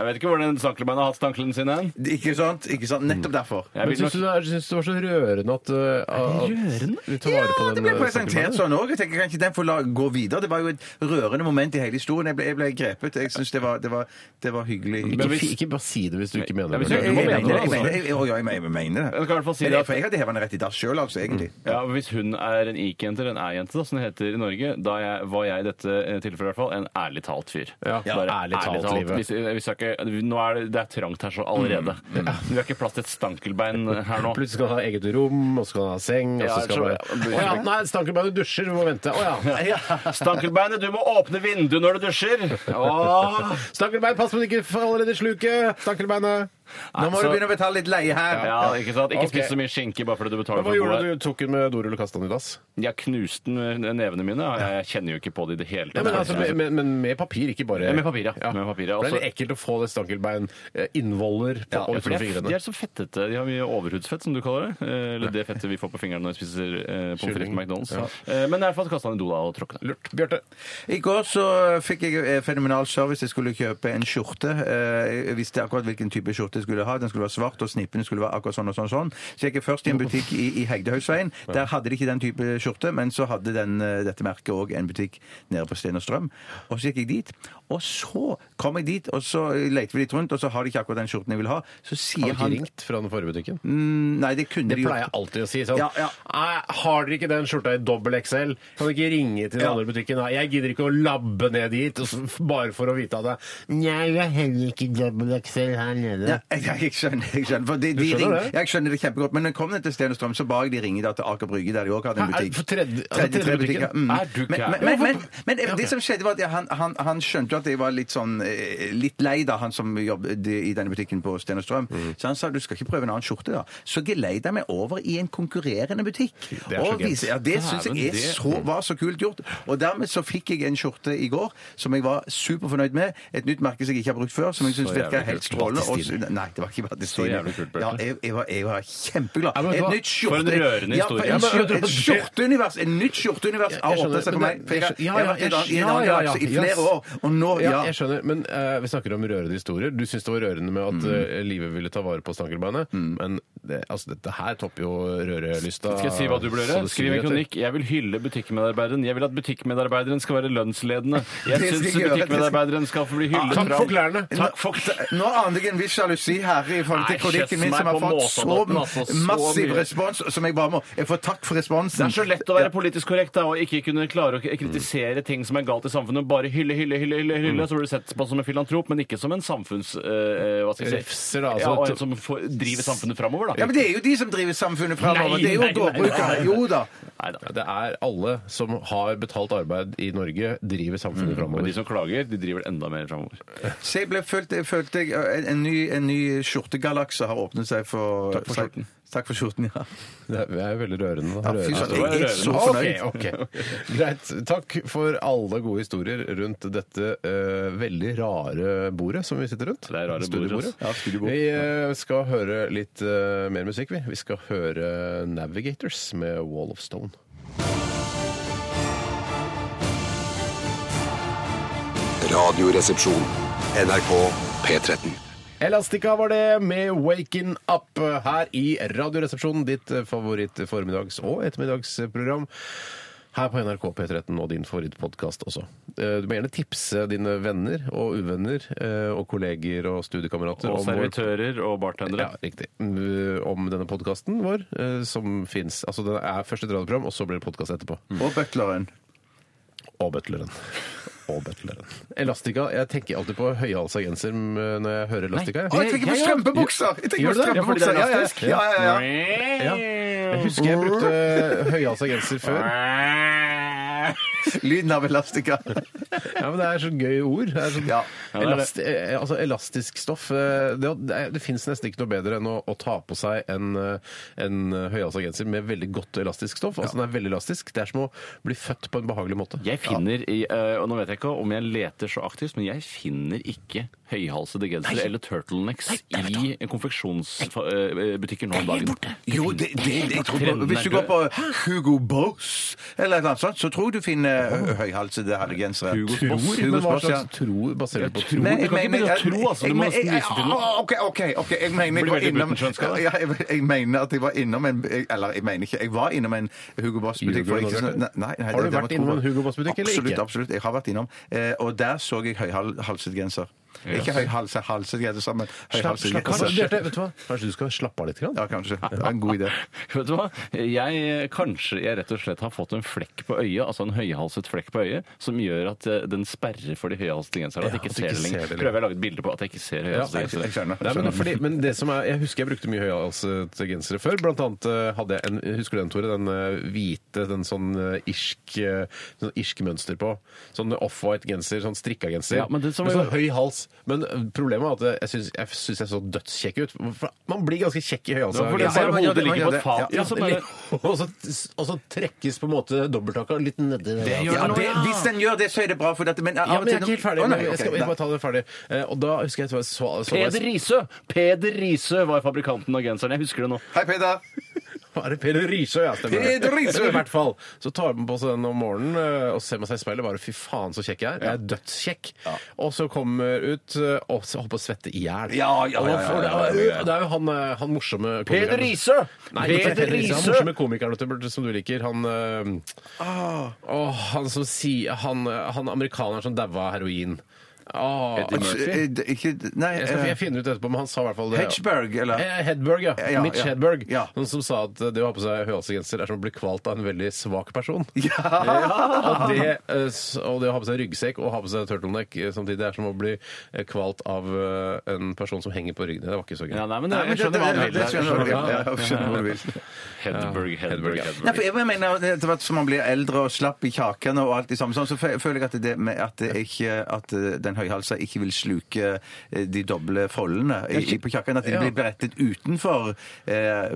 Speaker 3: Jeg vet ikke hvor den stankelbeina har hatt stanklene sine hen.
Speaker 4: ikke sant? Ikke sant? Nettopp derfor.
Speaker 3: Jeg
Speaker 2: Men
Speaker 3: vil
Speaker 2: syns
Speaker 3: nok-
Speaker 2: du, det er- syns du det var så rørende at, uh,
Speaker 3: rørende?
Speaker 2: at vi tar vare på
Speaker 4: Ja,
Speaker 2: den?
Speaker 4: det ble
Speaker 2: uh,
Speaker 3: eh,
Speaker 4: presentert
Speaker 2: stankelbeinet?
Speaker 4: sånn òg. Jeg tenker kan ikke den få la gå videre. Det var jo et rørende moment i hele historien. Jeg ble, jeg ble grepet. Jeg syns det, var- det, var- det var hyggelig.
Speaker 2: Ikke, fi- ikke bare si det hvis du ikke mener
Speaker 3: Ja,
Speaker 2: det.
Speaker 3: hvis
Speaker 4: Jeg,
Speaker 3: Du
Speaker 4: jeg,
Speaker 3: må
Speaker 4: jeg,
Speaker 3: mene
Speaker 4: mener det, jeg,
Speaker 3: altså.
Speaker 4: mener det. jeg, jeg, jeg, jeg mener det.
Speaker 3: Jeg kan i hvert fall si
Speaker 4: Eller,
Speaker 3: det Mm. at-
Speaker 4: for jeg hadde hevet den rett i dass sjøl, altså, egentlig.
Speaker 3: Ja, Hvis hun er en ik-jente, eller en æ-jente, da, som det heter i Norge Da jeg var og jeg i dette eh, tilfellet i hvert fall, en ærlig talt fyr.
Speaker 2: Ja, ærlig talt, livet.
Speaker 3: Hvis, eh, hvis jeg ikke, nå er det, det er trangt her så allerede.
Speaker 4: Mm.
Speaker 3: Vi har ikke plass til et stankelbein her nå.
Speaker 2: Plutselig skal han ha eget rom, og så skal han ha seng og
Speaker 3: Ja,
Speaker 2: så skal
Speaker 3: så-
Speaker 2: han bare... Å ja, nei, stankelbein og dusjer, vi må vente. Å ja.
Speaker 3: Stankelbeinet, du må åpne vinduet når du dusjer! Åh.
Speaker 2: Stankelbein, pass på at du ikke faller ned i sluket! Stankelbeinet.
Speaker 4: Nå må
Speaker 3: så-
Speaker 4: du begynne å betale litt leie her.
Speaker 3: Ja, ikke sant? Ikke
Speaker 2: Ok.
Speaker 3: spis så mye skinke bare fordi du betaler
Speaker 2: Men hva
Speaker 3: for
Speaker 2: gjorde
Speaker 3: bordet.
Speaker 2: du? Tok hun med dorull og kastet den i dass?
Speaker 3: Jeg knuste den med nevene mine. og Jeg kjenner jo ikke på det i det hele
Speaker 2: Ja,
Speaker 3: tatt.
Speaker 2: men, altså, med- med, men med papir, ikke bare
Speaker 3: Ja, med papir, ja. Med papir, ja.
Speaker 2: For Det er
Speaker 3: Også-
Speaker 2: litt ekkelt å få det stankelbein eh, innvoller på
Speaker 3: Ja, for
Speaker 2: og
Speaker 3: de,
Speaker 2: utenfor
Speaker 3: er, de
Speaker 2: fingrene.
Speaker 3: er så fettete. De har mye overhudsfett, som du kaller det. Eh, Eller det fettet vi får på fingrene når vi spiser eh, pommes frites på
Speaker 2: Kylling.
Speaker 3: McDonald's. Eh, Men i hvert fall kasta han i do da og tråkna.
Speaker 2: Lurt. Bjarte.
Speaker 4: I går så fikk jeg eh, fenomenal service. Jeg skulle kjøpe en skjorte. Eh, Jeg visste akkurat hvilken type skjorte jeg skulle ha. Den skulle være svart, og snippene skulle være akkurat sånn og sånn. og sånn. Så jeg gikk først i en butikk i, i Hegdehaugsveien. Der hadde de ikke den type skjorte, men så hadde den, eh, dette merket òg en butikk nede på Sten og Strøm. Og så gikk jeg dit. Og så kom jeg dit, og så leter vi litt rundt, og så har de ikke akkurat den skjorten jeg vil ha. Så sier
Speaker 2: Har du ikke
Speaker 4: han
Speaker 2: ringt fra den forrige butikken?
Speaker 4: Nei, det kunne
Speaker 2: Det
Speaker 4: de gjort.
Speaker 2: pleier jeg alltid å si. Sånn.
Speaker 4: Ja, ja.
Speaker 2: Nei, har dere ikke den skjorta i dobbel XL? Kan dere ikke ringe til den
Speaker 4: Ja.
Speaker 2: andre butikken? Nei, jeg gidder ikke å labbe ned dit og s- bare for å vite av det. Nei, jeg har heller ikke dobbel XL her nede.
Speaker 4: Ja, jeg, jeg skjønner, jeg skjønner. For de, de
Speaker 2: skjønner
Speaker 4: ring-
Speaker 2: det?
Speaker 4: Jeg skjønner det kjempegodt. Men når jeg kom ned til Sten og Strøm, så ba jeg de ringe da til Aker Brygge, der de òg hadde
Speaker 2: Hæ,
Speaker 4: en
Speaker 2: er det
Speaker 4: butikk.
Speaker 2: for tredje- altså, tredje
Speaker 4: tredje
Speaker 2: butikken?
Speaker 4: butikken, mm.
Speaker 3: Er du
Speaker 4: Men,
Speaker 3: gæren?
Speaker 4: men, men, men, men det som skjedde, var at jeg, han, han, han skjønte jo at jeg var litt sånn eh, litt lei, da, han som jobbet i denne butikken på Sten og Strøm.
Speaker 2: Mm.
Speaker 4: Så han sa du skal ikke prøve en annen skjorte, da. Så geleida jeg meg over i en konkurrerende butikk.
Speaker 2: Det er så
Speaker 4: og
Speaker 2: gøy.
Speaker 4: viste- ja, det syns jeg
Speaker 3: Dæven,
Speaker 4: er
Speaker 3: det-
Speaker 4: så, var så kult gjort. Og dermed så fikk jeg en skjorte i går som jeg var superfornøyd med. Et nytt merke som jeg ikke har brukt før, som jeg syns
Speaker 3: Så
Speaker 4: virker
Speaker 3: jævlig
Speaker 4: helt
Speaker 3: kult.
Speaker 4: strålende. Og, s- nei, det var ikke Battistini.
Speaker 3: Så jævlig kult, Bjarte.
Speaker 4: ja, jeg, jeg, var, jeg var kjempeglad.
Speaker 2: Ja, men vet du
Speaker 4: et
Speaker 2: hva?
Speaker 3: For en
Speaker 4: nytt skjorte...
Speaker 3: rørende historie.
Speaker 4: Ja,
Speaker 2: Ja,
Speaker 4: for
Speaker 2: men-
Speaker 4: et skjort- et skjorteunivers! Et nytt skjorteunivers
Speaker 2: Jeg
Speaker 4: har
Speaker 2: skjønner,
Speaker 4: åpnet seg
Speaker 2: men
Speaker 4: for meg.
Speaker 2: det-
Speaker 4: For jeg,
Speaker 2: jeg skjønner- ja,
Speaker 4: jeg har
Speaker 2: ja,
Speaker 4: vært i en
Speaker 2: jeg
Speaker 4: annen- i en annen
Speaker 2: skjønner- ja, ja,
Speaker 4: galakse i
Speaker 2: ja,
Speaker 4: flere
Speaker 2: yes.
Speaker 4: år, og nå
Speaker 2: Ja,
Speaker 4: Ja.
Speaker 2: jeg skjønner, men eh, vi snakker om rørende historier. Du syns det var rørende med
Speaker 3: Mm.
Speaker 2: at eh, livet ville ta vare på stankelbeinet, men det, altså, dette her topper jo rørelysta.
Speaker 3: Skal jeg si hva du bør gjøre?
Speaker 2: så det
Speaker 3: Skriv en
Speaker 2: suger etter.
Speaker 3: kronikk. Jeg vil hylle butikkmedarbeideren. Jeg vil at butikkmedarbeideren skal være lønnsledende. Jeg
Speaker 4: Det skal
Speaker 3: syns
Speaker 4: jeg gjøre.
Speaker 3: butikkmedarbeideren skal få bli hyllet
Speaker 2: Takk for klærne!
Speaker 3: Takk for
Speaker 4: Nå aner jeg en viss sjalusi her i forhold til
Speaker 3: Nei,
Speaker 4: kronikken min,
Speaker 3: kjøss
Speaker 4: som
Speaker 3: meg
Speaker 4: har
Speaker 3: på
Speaker 4: fått
Speaker 3: måsedotten, altså,
Speaker 4: så
Speaker 3: så
Speaker 4: massiv
Speaker 3: mye.
Speaker 4: respons, som jeg bare må Jeg får takk for responsen.
Speaker 3: Det er så lett å være politisk korrekt da, og ikke kunne klare å k- kritisere ting som er galt i samfunnet. Bare hylle, hylle, hylle, hylle, hylle så blir du sett på som en filantrop, men ikke som en samfunns... eh, hva skal jeg si?
Speaker 2: Refser, da, altså.
Speaker 3: Ja, og en som får, driver samfunnet framover, da.
Speaker 4: Ja, men det er jo de som driver
Speaker 3: Nei,
Speaker 4: samfunnet framover. Det er jo
Speaker 3: nei, nei, nei,
Speaker 4: gårdbrukere.
Speaker 3: nei.
Speaker 4: Jo da.
Speaker 3: Neida.
Speaker 2: Ja, det er alle som har betalt arbeid i Norge, driver samfunnet
Speaker 3: Men
Speaker 2: framover.
Speaker 3: de som klager, de driver enda mer framover.
Speaker 4: Så jeg ble følte, jeg følte jeg, en, en, ny, en ny skjortegalakse har åpnet seg for
Speaker 3: Takk for skjorten.
Speaker 4: Takk for skjorten, ja.
Speaker 2: Det er- det er veldig rørende. da.
Speaker 4: Ja, fy
Speaker 2: Rørende.
Speaker 4: søren,
Speaker 3: var
Speaker 4: jeg er så
Speaker 3: rørende.
Speaker 4: fornøyd.
Speaker 2: Ok, ok. Greit. Takk for alle gode historier rundt dette eh, veldig rare bordet som vi sitter rundt.
Speaker 3: Det er rare bordet, ass.
Speaker 2: Ja, studiebord. Vi eh, skal høre litt eh, mer musikk, vi. Vi skal høre Navigators med Wall of Stone.
Speaker 5: Radioresepsjon. NRK P13.
Speaker 2: Elastica var det med Waking Up her i Radioresepsjonen, ditt favoritt formiddags- og ettermiddagsprogram. Her på NRK P13 og din favorittpodkast også. Eh, Du må gjerne tipse dine venner og uvenner eh, og kolleger og studiekamerater
Speaker 3: Og
Speaker 2: om vår-
Speaker 3: servitører og bartendere.
Speaker 2: Ja, riktig. Mm, Om denne podkasten vår, eh, som fins. Altså, det er først et radioprogram, og så blir det podkast etterpå.
Speaker 4: Og butleren.
Speaker 2: Og butleren. Og butleren. Elastica. Jeg tenker alltid på høyhalsa genser mm, når jeg hører Elastica. jeg.
Speaker 4: Å, jeg tenker på strømpebukser! Jeg tenker på
Speaker 2: Gjør du det? Ja, fordi det er
Speaker 4: strømpebukser. Ja, ja,
Speaker 2: elastisk.
Speaker 4: ja. ja, ja, ja.
Speaker 2: Ja. Jeg husker jeg brukte eh, høyhalsa genser før.
Speaker 4: Lyden av elastika.
Speaker 2: Ja, men Det er så gøy ord. Det er så
Speaker 4: Ja.
Speaker 3: det er det.
Speaker 2: elast, eh, altså Elastisk stoff. eh, Det, det, er- det fins nesten ikke noe bedre enn å, å ta på seg en, eh, en høyhalsa genser med veldig godt elastisk stoff. Altså Den er veldig elastisk. Det er som å bli født på en behagelig måte.
Speaker 3: Jeg finner i, eh, og Nå vet jeg ikke om jeg leter så aktivt, men jeg finner ikke høyhalsede gensere eller turtlenecks i konfeksjonsbutikker nå om dagen.
Speaker 4: Jo, det, det, jeg tror
Speaker 3: Trenden er
Speaker 4: Hvis du går
Speaker 3: død.
Speaker 4: på Hugo Boss eller noe sånt, så tror jeg du finner ø, høyhalsede herregensere.
Speaker 3: Hugo
Speaker 2: Tror,
Speaker 3: Boss,
Speaker 2: men
Speaker 4: Hugo
Speaker 2: hva
Speaker 4: Boss, ja.
Speaker 2: slags tro baserer du på tro?
Speaker 4: Men-
Speaker 3: Du kan ikke
Speaker 4: men-
Speaker 3: begynne å
Speaker 4: jeg-
Speaker 3: tro, altså. Du må
Speaker 4: jeg- jeg-
Speaker 3: nesten vise til noe.
Speaker 4: ah, OK, OK. ok, Jeg mener jeg
Speaker 3: Blir
Speaker 4: var
Speaker 3: veldig
Speaker 4: innom
Speaker 3: Blutenschønska, da.
Speaker 4: ja, jeg, jeg mener at jeg var innom en jeg- Eller jeg mener ikke, jeg var innom en Hugo Boss-butikk. for
Speaker 2: Ljuger du nå,
Speaker 4: ikke så-
Speaker 2: Bjarte?
Speaker 4: nei, nei, nei,
Speaker 2: Har du
Speaker 4: det- det
Speaker 2: vært
Speaker 4: var
Speaker 2: innom en
Speaker 4: tro-
Speaker 2: Hugo Boss-butikk, eller
Speaker 4: Absolutt,
Speaker 2: ikke?
Speaker 4: absolutt. Jeg har vært innom. Eh, Og der så jeg høyhalset genser. Ikke høyhalsa, halsegedde sammen.
Speaker 2: Slapp
Speaker 4: Høyhalsegedde
Speaker 2: av,
Speaker 4: sammen.
Speaker 2: altså, Bjarte. Vet du hva? Kanskje du skal slappe av litt? Grann?
Speaker 4: Ja, kanskje. Det er en god idé.
Speaker 3: Vet du hva? Jeg kanskje jeg rett og slett har fått en flekk på øyet, altså en høyhalset flekk på øyet, som gjør at eh, den sperrer for de høyhalsede genserne. At
Speaker 2: Ja,
Speaker 3: jeg ikke
Speaker 2: at du
Speaker 3: ser
Speaker 2: ikke
Speaker 3: det
Speaker 2: ser det
Speaker 3: lenger.
Speaker 2: lenger.
Speaker 3: Prøver jeg å lage et bilde på at jeg ikke ser høyhalsede
Speaker 2: jeg
Speaker 3: gensere.
Speaker 4: skjønner.
Speaker 2: Nei, men, fordi, men det som er, Jeg husker jeg brukte mye høyhalset gensere før. Blant annet eh, hadde jeg en Husker du den, Tore? Den eh, hvite, den sånn eh, irsk eh, sånn irsk mønster på. Sånn offwhite genser, sånn strikka genser.
Speaker 3: Ja, men det som
Speaker 2: med
Speaker 3: er-
Speaker 2: sånn høy hals. Men eh, problemet er at eh, jeg syns jeg, syns jeg så dødskjekk ut. For Man blir ganske kjekk i høyhalsa
Speaker 3: Ja, for det er
Speaker 2: genser.
Speaker 3: bare
Speaker 4: man gjør
Speaker 3: hodet
Speaker 4: det, man
Speaker 3: ligger på
Speaker 4: gjør
Speaker 3: et fat.
Speaker 2: Ja,
Speaker 3: og så bare-
Speaker 2: og, så, og så trekkes på en måte dobbelttaka litt nedi
Speaker 3: gjør
Speaker 2: det.
Speaker 4: Ja,
Speaker 3: det nå,
Speaker 4: det,
Speaker 3: ja.
Speaker 4: hvis den gjør det, så er det bra. For dette, men,
Speaker 2: Ja, men jeg er ikke helt ferdig.
Speaker 4: Å, nei,
Speaker 2: jeg skal
Speaker 4: ok,
Speaker 2: jeg
Speaker 4: da.
Speaker 2: bare ta det ferdig. Eh, Og da husker jeg at jeg så, så,
Speaker 3: Peder Risø! Peder Risø var fabrikanten av genseren. Jeg husker det nå.
Speaker 4: Hei, Peder.
Speaker 2: Hva er det Peder Risø, ja, stemmer det.
Speaker 4: Peder Risø!
Speaker 2: Men I hvert fall. Så tar man på seg den om morgenen eh, og ser man seg i speilet. Bare fy faen, så kjekk jeg er. Jeg er dødskjekk. Og så kommer ut eh, og så holder på å svette i hjel.
Speaker 4: Ja, ja, ja, ja, ja, ja, ja, ja.
Speaker 2: Det er jo han, eh, han morsomme
Speaker 3: Peder
Speaker 2: komikeren.
Speaker 3: Risø!
Speaker 2: Nei, ikke
Speaker 3: Peder
Speaker 2: Peder Risø. Han
Speaker 3: Risø!
Speaker 2: morsomme komikeren vet du, Bjarte, som du liker. Han, eh,
Speaker 4: Ah.
Speaker 2: Åh, han som sier Han, eh, han amerikaneren som daua av heroin. Åh,
Speaker 3: Eddie Murphy.
Speaker 4: Eh, det- Ikke Nei.
Speaker 2: jeg, skal, jeg finner ut etterpå, men han sa i hvert fall det.
Speaker 4: Hedgeberg, eller?
Speaker 2: Eh, Hedberg, ja.
Speaker 4: Ja,
Speaker 2: Mitch
Speaker 4: ja.
Speaker 2: Hedberg.
Speaker 4: Ja.
Speaker 2: Noen som sa at eh, det å ha på seg høyhalsgenser er som å bli kvalt av en veldig svak person.
Speaker 4: Ja.
Speaker 2: Og, det, eh, s- og det å ha på seg ryggsekk og ha på seg turtleneck eh, samtidig er som å bli eh, kvalt av eh, en person som henger på ryggen. Det var ikke så gøy.
Speaker 3: Ja, nei, men
Speaker 4: Nei, men
Speaker 3: jeg
Speaker 4: det- det-
Speaker 3: skjønner hva han
Speaker 4: det- det skjønner
Speaker 3: mener.
Speaker 4: jeg. Ja, jeg skjønner hva du vil.
Speaker 3: Hedberg, Hedberg,
Speaker 4: Nei,
Speaker 3: Hedberg.
Speaker 4: for jeg mener at Etter hvert som man blir eldre og slapp i kjaken og alt det samme, sånn, så fø- føler jeg at, det med at, det ikke, at eh, den høyhalsa ikke vil sluke eh, de doble foldene i, i- på kjaken. At de
Speaker 2: Ja.
Speaker 4: blir berettet utenfor eh,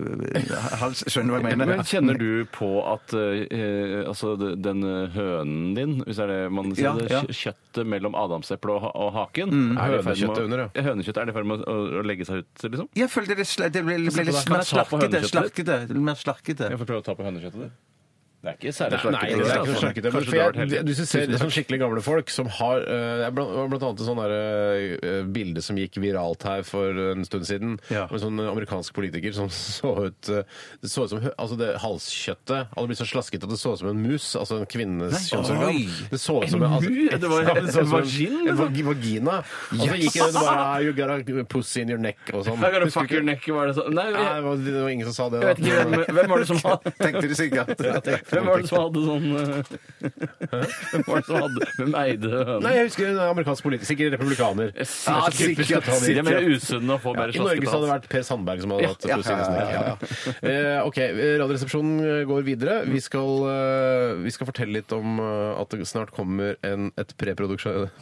Speaker 4: hals. Skjønner du hva jeg mener?
Speaker 3: Men kjenner du på at eh, altså de- den eh, hønen din, hvis det er det man sier,
Speaker 4: Ja,
Speaker 3: det
Speaker 4: ja. Mm.
Speaker 3: kjø- kjøttet mellom adamseplet og, ha- og haken er det i ferd med å-
Speaker 2: Hønekjøttet under, ja.
Speaker 3: Hønekjøttet, er det i ferd med å, å legge seg ut, liksom?
Speaker 4: Jeg følte det, sl det ble,
Speaker 2: Altså,
Speaker 4: ble,
Speaker 3: på
Speaker 4: litt
Speaker 3: deg.
Speaker 4: mer
Speaker 3: Ta på
Speaker 4: slarkete.
Speaker 3: hønekjøttet.
Speaker 4: slarkete det ble mer slarkete.
Speaker 3: Jeg får prøve å ta på hønekjøttet ditt. Det er ikke særlig
Speaker 2: Nei, nei, det er ikke noe
Speaker 3: altså.
Speaker 2: slakkete.
Speaker 3: Kanskje
Speaker 2: For
Speaker 3: du har vært
Speaker 2: jeg,
Speaker 3: heldig.
Speaker 2: du ser
Speaker 3: Tusen takk.
Speaker 2: sånn skikkelig gamle folk som har eh, det er Blant, det var blant annet et sånn der, eh, bilde som gikk viralt her for en stund siden.
Speaker 4: Ja.
Speaker 2: Med en sånn amerikansk politiker som så ut eh, Det så ut som hø- altså det halskjøttet hadde blitt så slasket at det så ut som en mus. Altså en kvinnes
Speaker 4: Nei,
Speaker 2: kjønnsorgan.
Speaker 4: oi.
Speaker 2: Det så ut som
Speaker 3: En
Speaker 2: en, altså,
Speaker 3: mu? Det var-
Speaker 2: Ja, men det så ut som
Speaker 3: en vagin,
Speaker 2: En
Speaker 3: liksom?
Speaker 2: vagi- vagina. Og så gikk det bare ah, You got a pussy in your neck og sånn.
Speaker 3: I gotta
Speaker 2: Husker
Speaker 3: fuck your
Speaker 2: ikke-
Speaker 3: neck, var det sånn? Nei,
Speaker 2: Nei, det
Speaker 3: jeg,
Speaker 2: var, det var ingen som sa det.
Speaker 3: jeg vet ikke hvem, hvem var det som hadde
Speaker 4: Tenkte de sikkert.
Speaker 3: Hvem var det som hadde sånn eh, Hvem var det som hadde Hvem eide hønen?
Speaker 2: Nei, jeg husker en amerikansk politiker, sikkert republikaner.
Speaker 3: Ja,
Speaker 2: Typisk å ta det
Speaker 3: De er mer
Speaker 2: riktig.
Speaker 3: usunne og får
Speaker 2: Ja,
Speaker 3: mer
Speaker 2: I Norge så hadde det vært Per Sandberg som hadde hatt
Speaker 4: Ja,
Speaker 2: Pussy in his neck. Eh, OK, Radioresepsjonen eh, går videre. Vi skal, eh, vi skal fortelle litt om eh, at det snart kommer en, et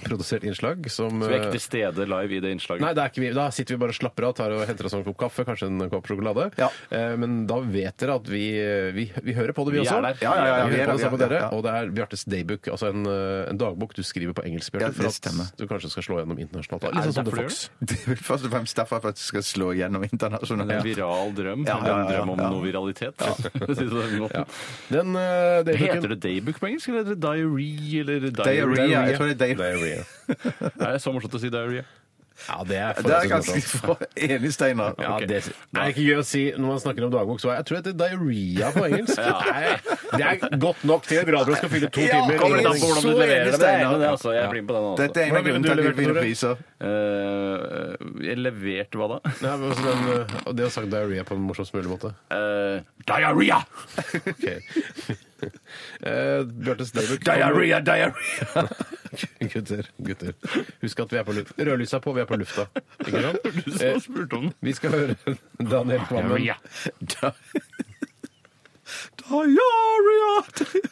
Speaker 2: preprodusert innslag som
Speaker 3: Vi er
Speaker 2: eh,
Speaker 3: ikke til stede live i det innslaget.
Speaker 2: Nei, det er ikke vi. Da sitter vi bare og slapper av, tar og henter oss en kopp kaffe, kanskje en kopp sjokolade.
Speaker 4: Ja.
Speaker 2: Eh, men da vet dere at vi, eh, vi, vi hører på det, vi,
Speaker 3: Vi er
Speaker 2: også.
Speaker 3: der.
Speaker 4: Ja, ja, ja,
Speaker 2: vi
Speaker 4: vi er
Speaker 2: hører på det
Speaker 4: der,
Speaker 2: sammen
Speaker 4: ja,
Speaker 2: med dere.
Speaker 4: ja.
Speaker 2: Og det er Bjartes Daybook, altså en, eh, en dagbok du skriver på engelsk, Bjarte,
Speaker 4: Ja, det
Speaker 2: for
Speaker 4: stemmer.
Speaker 2: at du kanskje skal slå gjennom internasjonalt.
Speaker 3: Er
Speaker 2: Litt
Speaker 3: det
Speaker 2: sånn som
Speaker 3: derfor du
Speaker 2: The Fox.
Speaker 4: Det er vel først og fremst derfor at jeg skal slå gjennom internasjonalt.
Speaker 3: En viral drøm.
Speaker 4: Ja, ja, ja,
Speaker 3: En drøm om
Speaker 4: ja.
Speaker 3: noe viralitet. for å si det på den måten.
Speaker 2: Den eh,
Speaker 3: Heter
Speaker 2: daybooken
Speaker 3: det daybook på engelsk, eller er det diary? Eller diary?
Speaker 4: Diarrhea. Jeg tror det er diarrhea.
Speaker 2: Diarrhea.
Speaker 3: Er det så morsomt å si diary?
Speaker 2: Ja, det er
Speaker 4: Det er
Speaker 2: forholdsvis
Speaker 4: ganske
Speaker 2: morsomt.
Speaker 4: få enig, Steinar.
Speaker 2: Ja,
Speaker 3: Ok.
Speaker 2: det det er ikke gøy å si når man snakker om dagbok. Så jeg tror det heter diarrhea på engelsk. Nei, det er godt nok til at Radio skal fylle to
Speaker 4: Ja,
Speaker 2: timer.
Speaker 3: Hvordan
Speaker 4: kommer litt an på
Speaker 3: du
Speaker 4: Så
Speaker 3: leverer det, det er
Speaker 4: enig,
Speaker 3: ene det, altså. Jeg blir med på den. Altså.
Speaker 4: Dette er en av
Speaker 2: Hvordan ville du
Speaker 4: grunnene til at
Speaker 2: levert
Speaker 4: vi
Speaker 2: det,
Speaker 4: vinner
Speaker 2: Tore?
Speaker 4: priser.
Speaker 3: Eh, jeg leverte hva da?
Speaker 2: Nei, men også den, eh, og det å sagt diaré på en morsomst mulig måte.
Speaker 3: Eh, diarrhea!
Speaker 2: Okay. Eh, Bjartes Daybook
Speaker 4: Diarrhea, diarrhea.
Speaker 2: Gutter, gutter. Husk at vi er på luft. Rødlyset er på, vi er på lufta. Ikke sant?
Speaker 3: Du som
Speaker 2: Eh,
Speaker 3: spurte om den.
Speaker 2: vi skal høre Daniel Kvammen.
Speaker 3: Diarrhea.
Speaker 4: Diarrhea.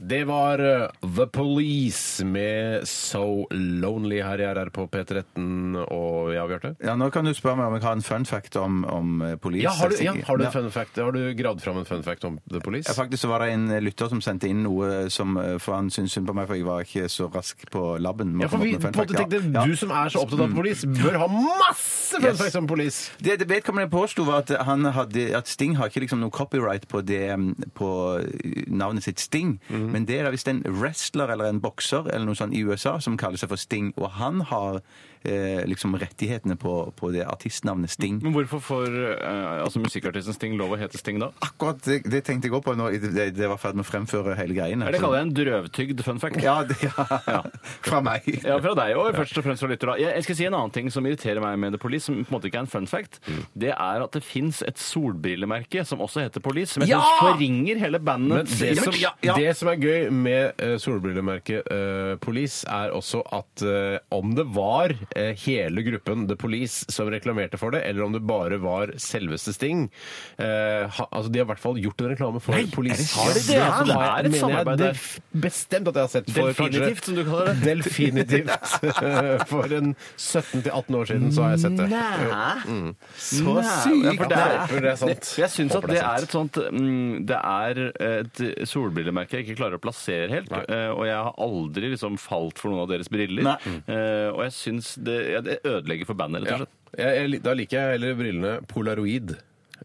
Speaker 2: Det var eh, The Police med So Lonely her jeg er på P13 og ja, Bjarte?
Speaker 4: Ja, nå kan du spørre meg om jeg har en fun fact om, om eh, police.
Speaker 2: Ja, har du, ja, har du en fun fact? Har du gravd fram en fun fact om The Police?
Speaker 4: Ja, faktisk så var det en lytter som sendte inn noe som, eh, for han syntes synd på meg, for jeg var ikke så rask på labben. med å
Speaker 2: Ja, for
Speaker 4: komme
Speaker 2: vi
Speaker 4: opp
Speaker 2: på
Speaker 4: med
Speaker 2: en
Speaker 4: fun
Speaker 2: måte
Speaker 4: fact,
Speaker 2: tenkte
Speaker 4: ja.
Speaker 2: Du som er så opptatt av
Speaker 3: Mm.
Speaker 2: police, bør ha masse fun
Speaker 4: Yes.
Speaker 2: facts om police!
Speaker 4: Det det vedkommende påsto, var at, han hadde, at Sting har ikke liksom noe copyright på, det, mm, på eh, navnet sitt Sting.
Speaker 3: Mhm.
Speaker 4: Men det er da visst en wrestler eller en bokser eller noe sånt i USA som kaller seg for Sting. Og han har eh, liksom rettighetene på, på det artistnavnet Sting.
Speaker 3: Men hvorfor får eh, altså musikkartisten Sting lov å hete Sting da?
Speaker 4: Akkurat det, det tenkte jeg òg på nå. i- Det, det var i ferd med å fremføre hele greien.
Speaker 3: Er det kaller jeg en drøvtygd fun fact.
Speaker 4: Ja, det, ja.
Speaker 3: Ja.
Speaker 4: Fra meg.
Speaker 3: Ja, fra deg og først og fremst fra lytter. da. Jeg jeg skal si en annen ting som irriterer meg med The Police, som på en måte ikke er en fun fact. Det er at det fins et solbrillemerke som også heter Police, som jeg
Speaker 6: Ja!
Speaker 3: synes forringer hele
Speaker 2: Men
Speaker 3: bandet.
Speaker 2: det som, det som er gøy med eh, solbrillemerket eh, Police, er også at eh, om det var eh, hele gruppen The Police som reklamerte for det, eller om det bare var selveste Sting eh, ha, altså De har i hvert fall gjort en reklame for Police.
Speaker 3: sant? Er det det? Altså, det
Speaker 2: har jeg-
Speaker 3: er et
Speaker 2: mener jeg
Speaker 3: samarbeid der.
Speaker 2: def- Bestemt at jeg har sett for
Speaker 3: Definitivt, som du kaller det.
Speaker 2: Delfinitivt. For en 17-18 år siden så har jeg sett det.
Speaker 3: Så
Speaker 2: sykt!
Speaker 3: Ja, for det er,
Speaker 2: Jeg håper det er sånn sant.
Speaker 3: det- Jeg syns at
Speaker 2: Håper det
Speaker 3: det
Speaker 2: er sant.
Speaker 3: er et sånt mm, Det er et solbrillemerke jeg ikke klarer å plassere helt. eh, Og jeg har aldri liksom falt for noen av deres briller.
Speaker 4: Nei.
Speaker 3: Eh, Og jeg syns det, ja, det ødelegger for bandet, rett og
Speaker 2: Ja.
Speaker 3: slett.
Speaker 2: Jeg, jeg, da liker jeg heller brillene Polaroid.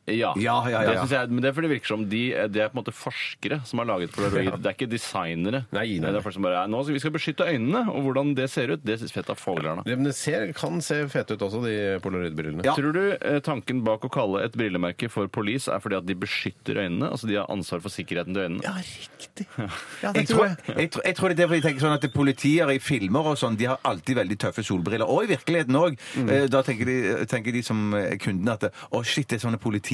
Speaker 3: Ja.
Speaker 4: Ja, ja, ja,
Speaker 3: Det
Speaker 4: ja.
Speaker 3: synes jeg, men det er fordi det virker som de, det er på en måte forskere som har laget Polaroid. Det er ikke designere.
Speaker 2: Nei, nei, nei.
Speaker 3: Det er folk som bare er, nå skal vi skal beskytte øynene, og hvordan det ser ut, det syns fett av foglerne.
Speaker 2: Ja, men det ser, kan se fete ut også, de Polaroid-brillene.
Speaker 3: Tror du eh, tanken bak å kalle et brillemerke for police er fordi at de beskytter øynene? Altså de har ansvar for sikkerheten til øynene?
Speaker 2: riktig.
Speaker 4: Jeg tror, jeg, tror, jeg tror det er derfor jeg tenker sånn at Politier i filmer og sånn, de har alltid veldig tøffe solbriller. Og i virkeligheten òg.
Speaker 2: Mm.
Speaker 4: Da tenker de, tenker de som eh, kundene at å shit, det er sånne politisolbriller.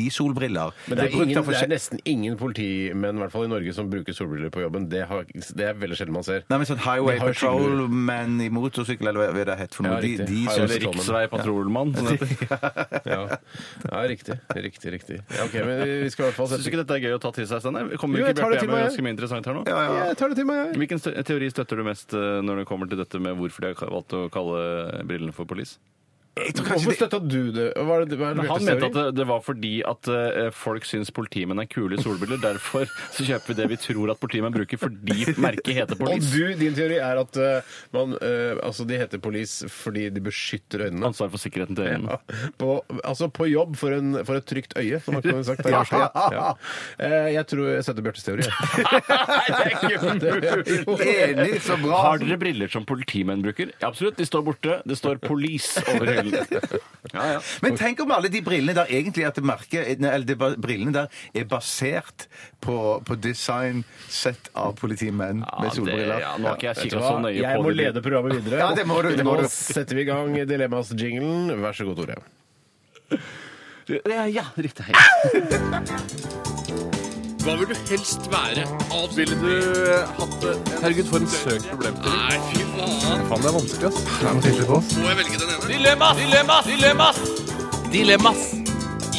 Speaker 2: Men det er,
Speaker 4: brukt
Speaker 2: ingen, det
Speaker 4: av
Speaker 2: er
Speaker 4: forskjell-
Speaker 2: nesten ingen politimenn, i hvert fall i Norge, som bruker solbriller på jobben. Det, har, det er veldig sjelden man ser.
Speaker 4: Nei, men sånn Highway
Speaker 2: De har jo skyggeluer.
Speaker 4: Patrol-menn i motorsykkel, eller hva det het for noe,
Speaker 2: Ja,
Speaker 4: de,
Speaker 2: riktig.
Speaker 4: de
Speaker 2: Highway
Speaker 4: syns
Speaker 3: Eller riksveipatrollemann. som det heter.
Speaker 2: Ja. ja, riktig. Riktig, riktig. Ja, ok, men vi vi skal i hvert fall
Speaker 3: Syns du
Speaker 2: sette
Speaker 3: ikke dette er gøy å ta til seg, Steinar? Kommer
Speaker 2: Jo,
Speaker 3: ikke
Speaker 2: jeg tar
Speaker 3: Bjarte
Speaker 2: det til
Speaker 3: Hjemme
Speaker 2: meg, jeg.
Speaker 3: ganske mye interessant her nå?
Speaker 2: Ja, jeg tar det til meg, jeg.
Speaker 3: Hvilken ste- teori støtter du mest eh, når det kommer til dette med hvorfor de har valgt å kalle brillene for police?
Speaker 4: Jeg tror kanskje
Speaker 2: Hvorfor
Speaker 4: det-
Speaker 2: støtta du det? Hva er det, hva er det
Speaker 3: Men han
Speaker 2: Bjørtes
Speaker 3: mente
Speaker 2: teori?
Speaker 3: at det, det var fordi at eh, folk syns politimenn er kule i solbriller. Derfor så kjøper vi det vi tror at politimenn bruker fordi merket heter
Speaker 2: Og
Speaker 3: Police.
Speaker 2: du, din teori er at eh, man, eh, altså de heter police fordi de beskytter øynene.
Speaker 3: Ansvar for sikkerheten til
Speaker 2: Ja.
Speaker 3: øynene.
Speaker 2: På, altså på jobb for, en, for et trygt øye, som man kunne sagt. der i Oslo, Ja. Eh, Jeg tror jeg støtter Bjørtes teori.
Speaker 4: Enig, så bra!
Speaker 3: Har dere briller som politimenn bruker? Ja, absolutt. De står borte. Det står Police over hyllen. Ja, ja.
Speaker 4: Men tenk om alle de brillene der egentlig at det merket, eller det, ba- brillene der er basert på, på design sett av politimenn med
Speaker 3: det,
Speaker 4: solbriller.
Speaker 3: ja, nå har ikke jeg
Speaker 2: Vet du
Speaker 3: kikka
Speaker 2: hva?
Speaker 3: så nøye
Speaker 2: Jeg
Speaker 3: på
Speaker 2: må
Speaker 3: det.
Speaker 2: lede programmet videre.
Speaker 4: Ja, det må du, det må
Speaker 2: Nå
Speaker 4: du.
Speaker 2: setter vi i gang Dilemmas-jinglen. Vær så god, Tore.
Speaker 3: Ja, ja, riktig.
Speaker 7: Hva vil du helst være? Ville du
Speaker 3: eh,
Speaker 7: hatt det? Herregud, for en søk problemstilling. Nei, fy faen. Faen, det er vanskelig, ass. Det er noe tydelig på oss. Må jeg velge den ene? Dilemmas! Dilemmas! Dilemmas!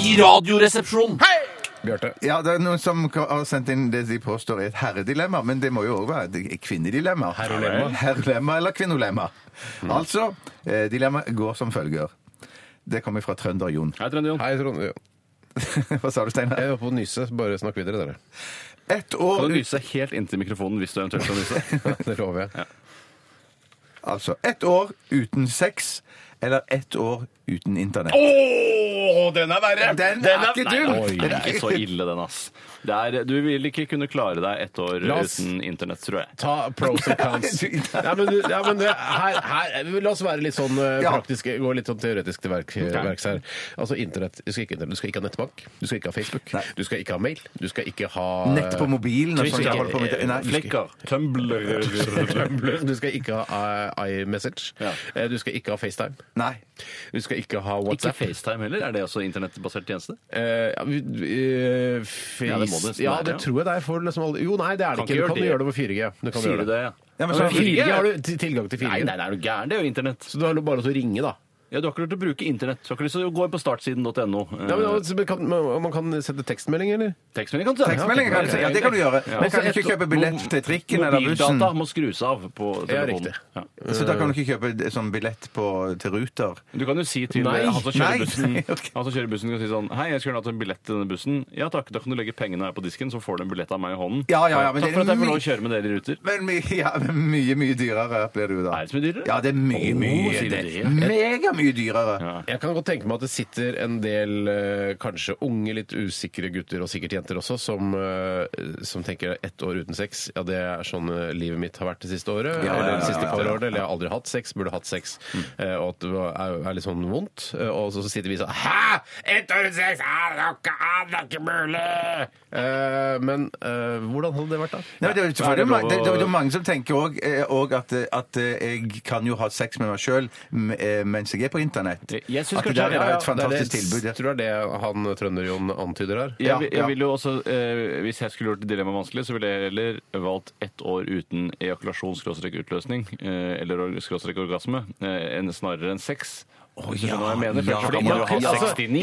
Speaker 7: I radioresepsjonen.
Speaker 2: Bjarte.
Speaker 4: Ja, det er noen som har sendt inn det de påstår er et herredilemma, men det må jo òg være et kvinnedilemma.
Speaker 2: Herrelemma.
Speaker 4: Herrelemma eller kvinnolemma. Altså, eh, dilemmaet går som følger. Det kommer fra Trønder-Jon.
Speaker 3: Hei, Trønder Jon.
Speaker 2: Hei, Trond. Jo.
Speaker 4: Hva sa du, Steinar?
Speaker 2: Jeg var på å nyse. Bare snakk videre, dere.
Speaker 4: Ett år
Speaker 3: Kan du
Speaker 4: ut-
Speaker 3: nyse helt inntil mikrofonen hvis du eventuelt skal nyse?
Speaker 2: Det lover jeg.
Speaker 4: Altså, ett år uten sex eller ett år uten internett.
Speaker 3: Åh, den er verre!
Speaker 4: Den er ikke
Speaker 3: Nei,
Speaker 4: dum.
Speaker 3: oi,
Speaker 4: Den
Speaker 3: den
Speaker 4: er
Speaker 3: er ikke så ille, den, ass. Det er, du vil ikke kunne klare deg ett år
Speaker 2: La oss-
Speaker 3: uten internett, tror jeg.
Speaker 2: Ta pros and cons. Ja, men, du- ja, men det, her, her, la oss være litt sånn eh,
Speaker 4: Ja.
Speaker 2: praktisk, gå litt sånn teoretisk til verk, verks her. Altså internett. Du skal, ikke, du skal ikke ha nettbank. Du skal ikke ha Facebook.
Speaker 4: Nei.
Speaker 2: Du skal ikke ha mail. Du skal ikke ha
Speaker 4: Nett på mobilen og
Speaker 2: Twitter.
Speaker 4: sånt. jeg holder på med- Nei, husker-
Speaker 3: Flikker, Tumblr
Speaker 2: Tumblr. Du skal ikke ha eh, iMessage.
Speaker 3: Ja.
Speaker 2: Eh, Du skal ikke ha FaceTime.
Speaker 4: Nei.
Speaker 2: Du skal ikke ha
Speaker 3: Ikke
Speaker 2: WhatsApp.
Speaker 3: FaceTime heller? Er det også internettbasert tjeneste?
Speaker 2: Eh, ja, vi- eh, face...
Speaker 3: Ja,
Speaker 2: ja,
Speaker 3: det
Speaker 2: det,
Speaker 3: må det nesten være, ja.
Speaker 2: tror jeg det er for liksom alle Jo, nei, det er det
Speaker 3: Kan
Speaker 2: ikke.
Speaker 3: ikke
Speaker 2: Du kan
Speaker 3: gjøre
Speaker 2: gjøre det på 4G. Du kan
Speaker 3: Sier
Speaker 2: gjøre
Speaker 3: du det? ja?
Speaker 4: Ja, men så-
Speaker 3: Ja,
Speaker 2: 4G
Speaker 3: 4G
Speaker 2: har du til- tilgang til 4G.
Speaker 3: Nei, nei, nei, er du gæren? Det er jo internett.
Speaker 2: Så du har bare til å ringe, da.
Speaker 3: Ja, du har ikke lurt til å bruke internett. Du har ikke lyst til å gå inn på startsiden.no.
Speaker 2: Ja, men,
Speaker 3: Eh,
Speaker 2: altså, men kan, man, man kan sende tekstmelding, eller?
Speaker 3: Tekstmelding kan du ta.
Speaker 4: Tekstmeldinger kan du si. Ja, det kan du gjøre. Men kan du ikke kjøpe billett til trikken eller bussen?
Speaker 3: Mobildata må skrus av på
Speaker 2: Ja,
Speaker 3: telefonen.
Speaker 2: riktig.
Speaker 3: Ja.
Speaker 4: Så da kan du ikke kjøpe eh, sånn billett på, til Ruter?
Speaker 3: Du kan jo si til eh,
Speaker 2: Nei,
Speaker 3: han som
Speaker 4: nei,
Speaker 3: kjører bussen,
Speaker 4: nei, ok.
Speaker 3: han som kjører bussen kan si sånn Hei, jeg skulle gjerne hatt en billett til denne bussen. Ja takk, da kan du legge pengene her på disken, så får du en billett av meg i hånden.
Speaker 4: Ja, ja, ja, men
Speaker 3: takk
Speaker 4: det
Speaker 3: for
Speaker 4: er
Speaker 3: at jeg får
Speaker 4: mye-
Speaker 3: lov å kjøre med dere i ruter.
Speaker 4: Men mye, ja, men mye, mye dyrere blir det jo da.
Speaker 3: Er det så mye dyrere?
Speaker 4: Ja, det er mye,
Speaker 3: Åh,
Speaker 4: mye.
Speaker 3: sier du
Speaker 4: det
Speaker 3: det?
Speaker 4: er mega mye dyrere.
Speaker 3: Ja.
Speaker 2: Jeg kan godt tenke meg at det sitter en del eh, kanskje unge, litt usikre gutter, og sikkert jenter også, som, eh, som tenker ett år uten sex. Ja, det er sånn eh, livet mitt har vært det siste året.
Speaker 4: Ja,
Speaker 2: eller
Speaker 4: ja, ja,
Speaker 2: det siste
Speaker 4: ja,
Speaker 2: par
Speaker 4: ja.
Speaker 2: årene. Eller jeg har aldri hatt sex, burde hatt sex. Eh, og at det var- er, er litt sånn vondt. Eh, og så sitter vi sånn Hæ! Ett år uten sex! Ah, det er ikke- ah, det er ikke mulig! Eh, men eh, hvordan hadde det vært, da?
Speaker 4: Nei, det, er jo
Speaker 3: Er det
Speaker 4: selvfølgelig ma-
Speaker 3: lov å-
Speaker 4: det, det, er jo mange som tenker òg at, eh, at eh, jeg kan jo ha sex med meg sjøl mens jeg er på internett.
Speaker 3: Jeg synes
Speaker 4: at
Speaker 3: kanskje-
Speaker 4: det der
Speaker 3: ja,
Speaker 4: er
Speaker 3: ja,
Speaker 4: et fantastisk
Speaker 2: det er det,
Speaker 4: tilbud. ja.
Speaker 2: Tror det er det han Trønder-Jon antyder her?
Speaker 3: Jeg,
Speaker 4: Ja,
Speaker 3: vil-
Speaker 4: ja.
Speaker 3: jeg vil jo også, eh, Hvis jeg skulle gjort dilemmaet vanskelig, så ville jeg heller valgt ett år uten ejakulasjon-utløsning eh, eller or- skråstrek orgasme eh, enn snarere enn sex. Oh, ja, hva jeg mener, for
Speaker 4: ja,
Speaker 3: ellers kan man jo ha
Speaker 2: ja, altså,
Speaker 3: 69,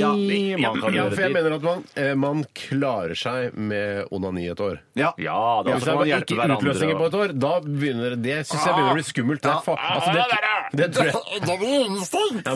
Speaker 3: man kan
Speaker 2: Ja,
Speaker 3: gjøre
Speaker 2: for jeg
Speaker 3: det.
Speaker 2: mener at man, eh, man klarer seg med onani et år.
Speaker 4: Ja.
Speaker 3: Ja, da
Speaker 2: Hvis det
Speaker 3: kan man
Speaker 2: er
Speaker 3: hjelpe
Speaker 2: ikke utløsninger på
Speaker 3: hverandre.
Speaker 2: et år, da begynner det Det syns jeg begynner å bli skummelt. Det, er fa altså, det, det, tror jeg, ja, men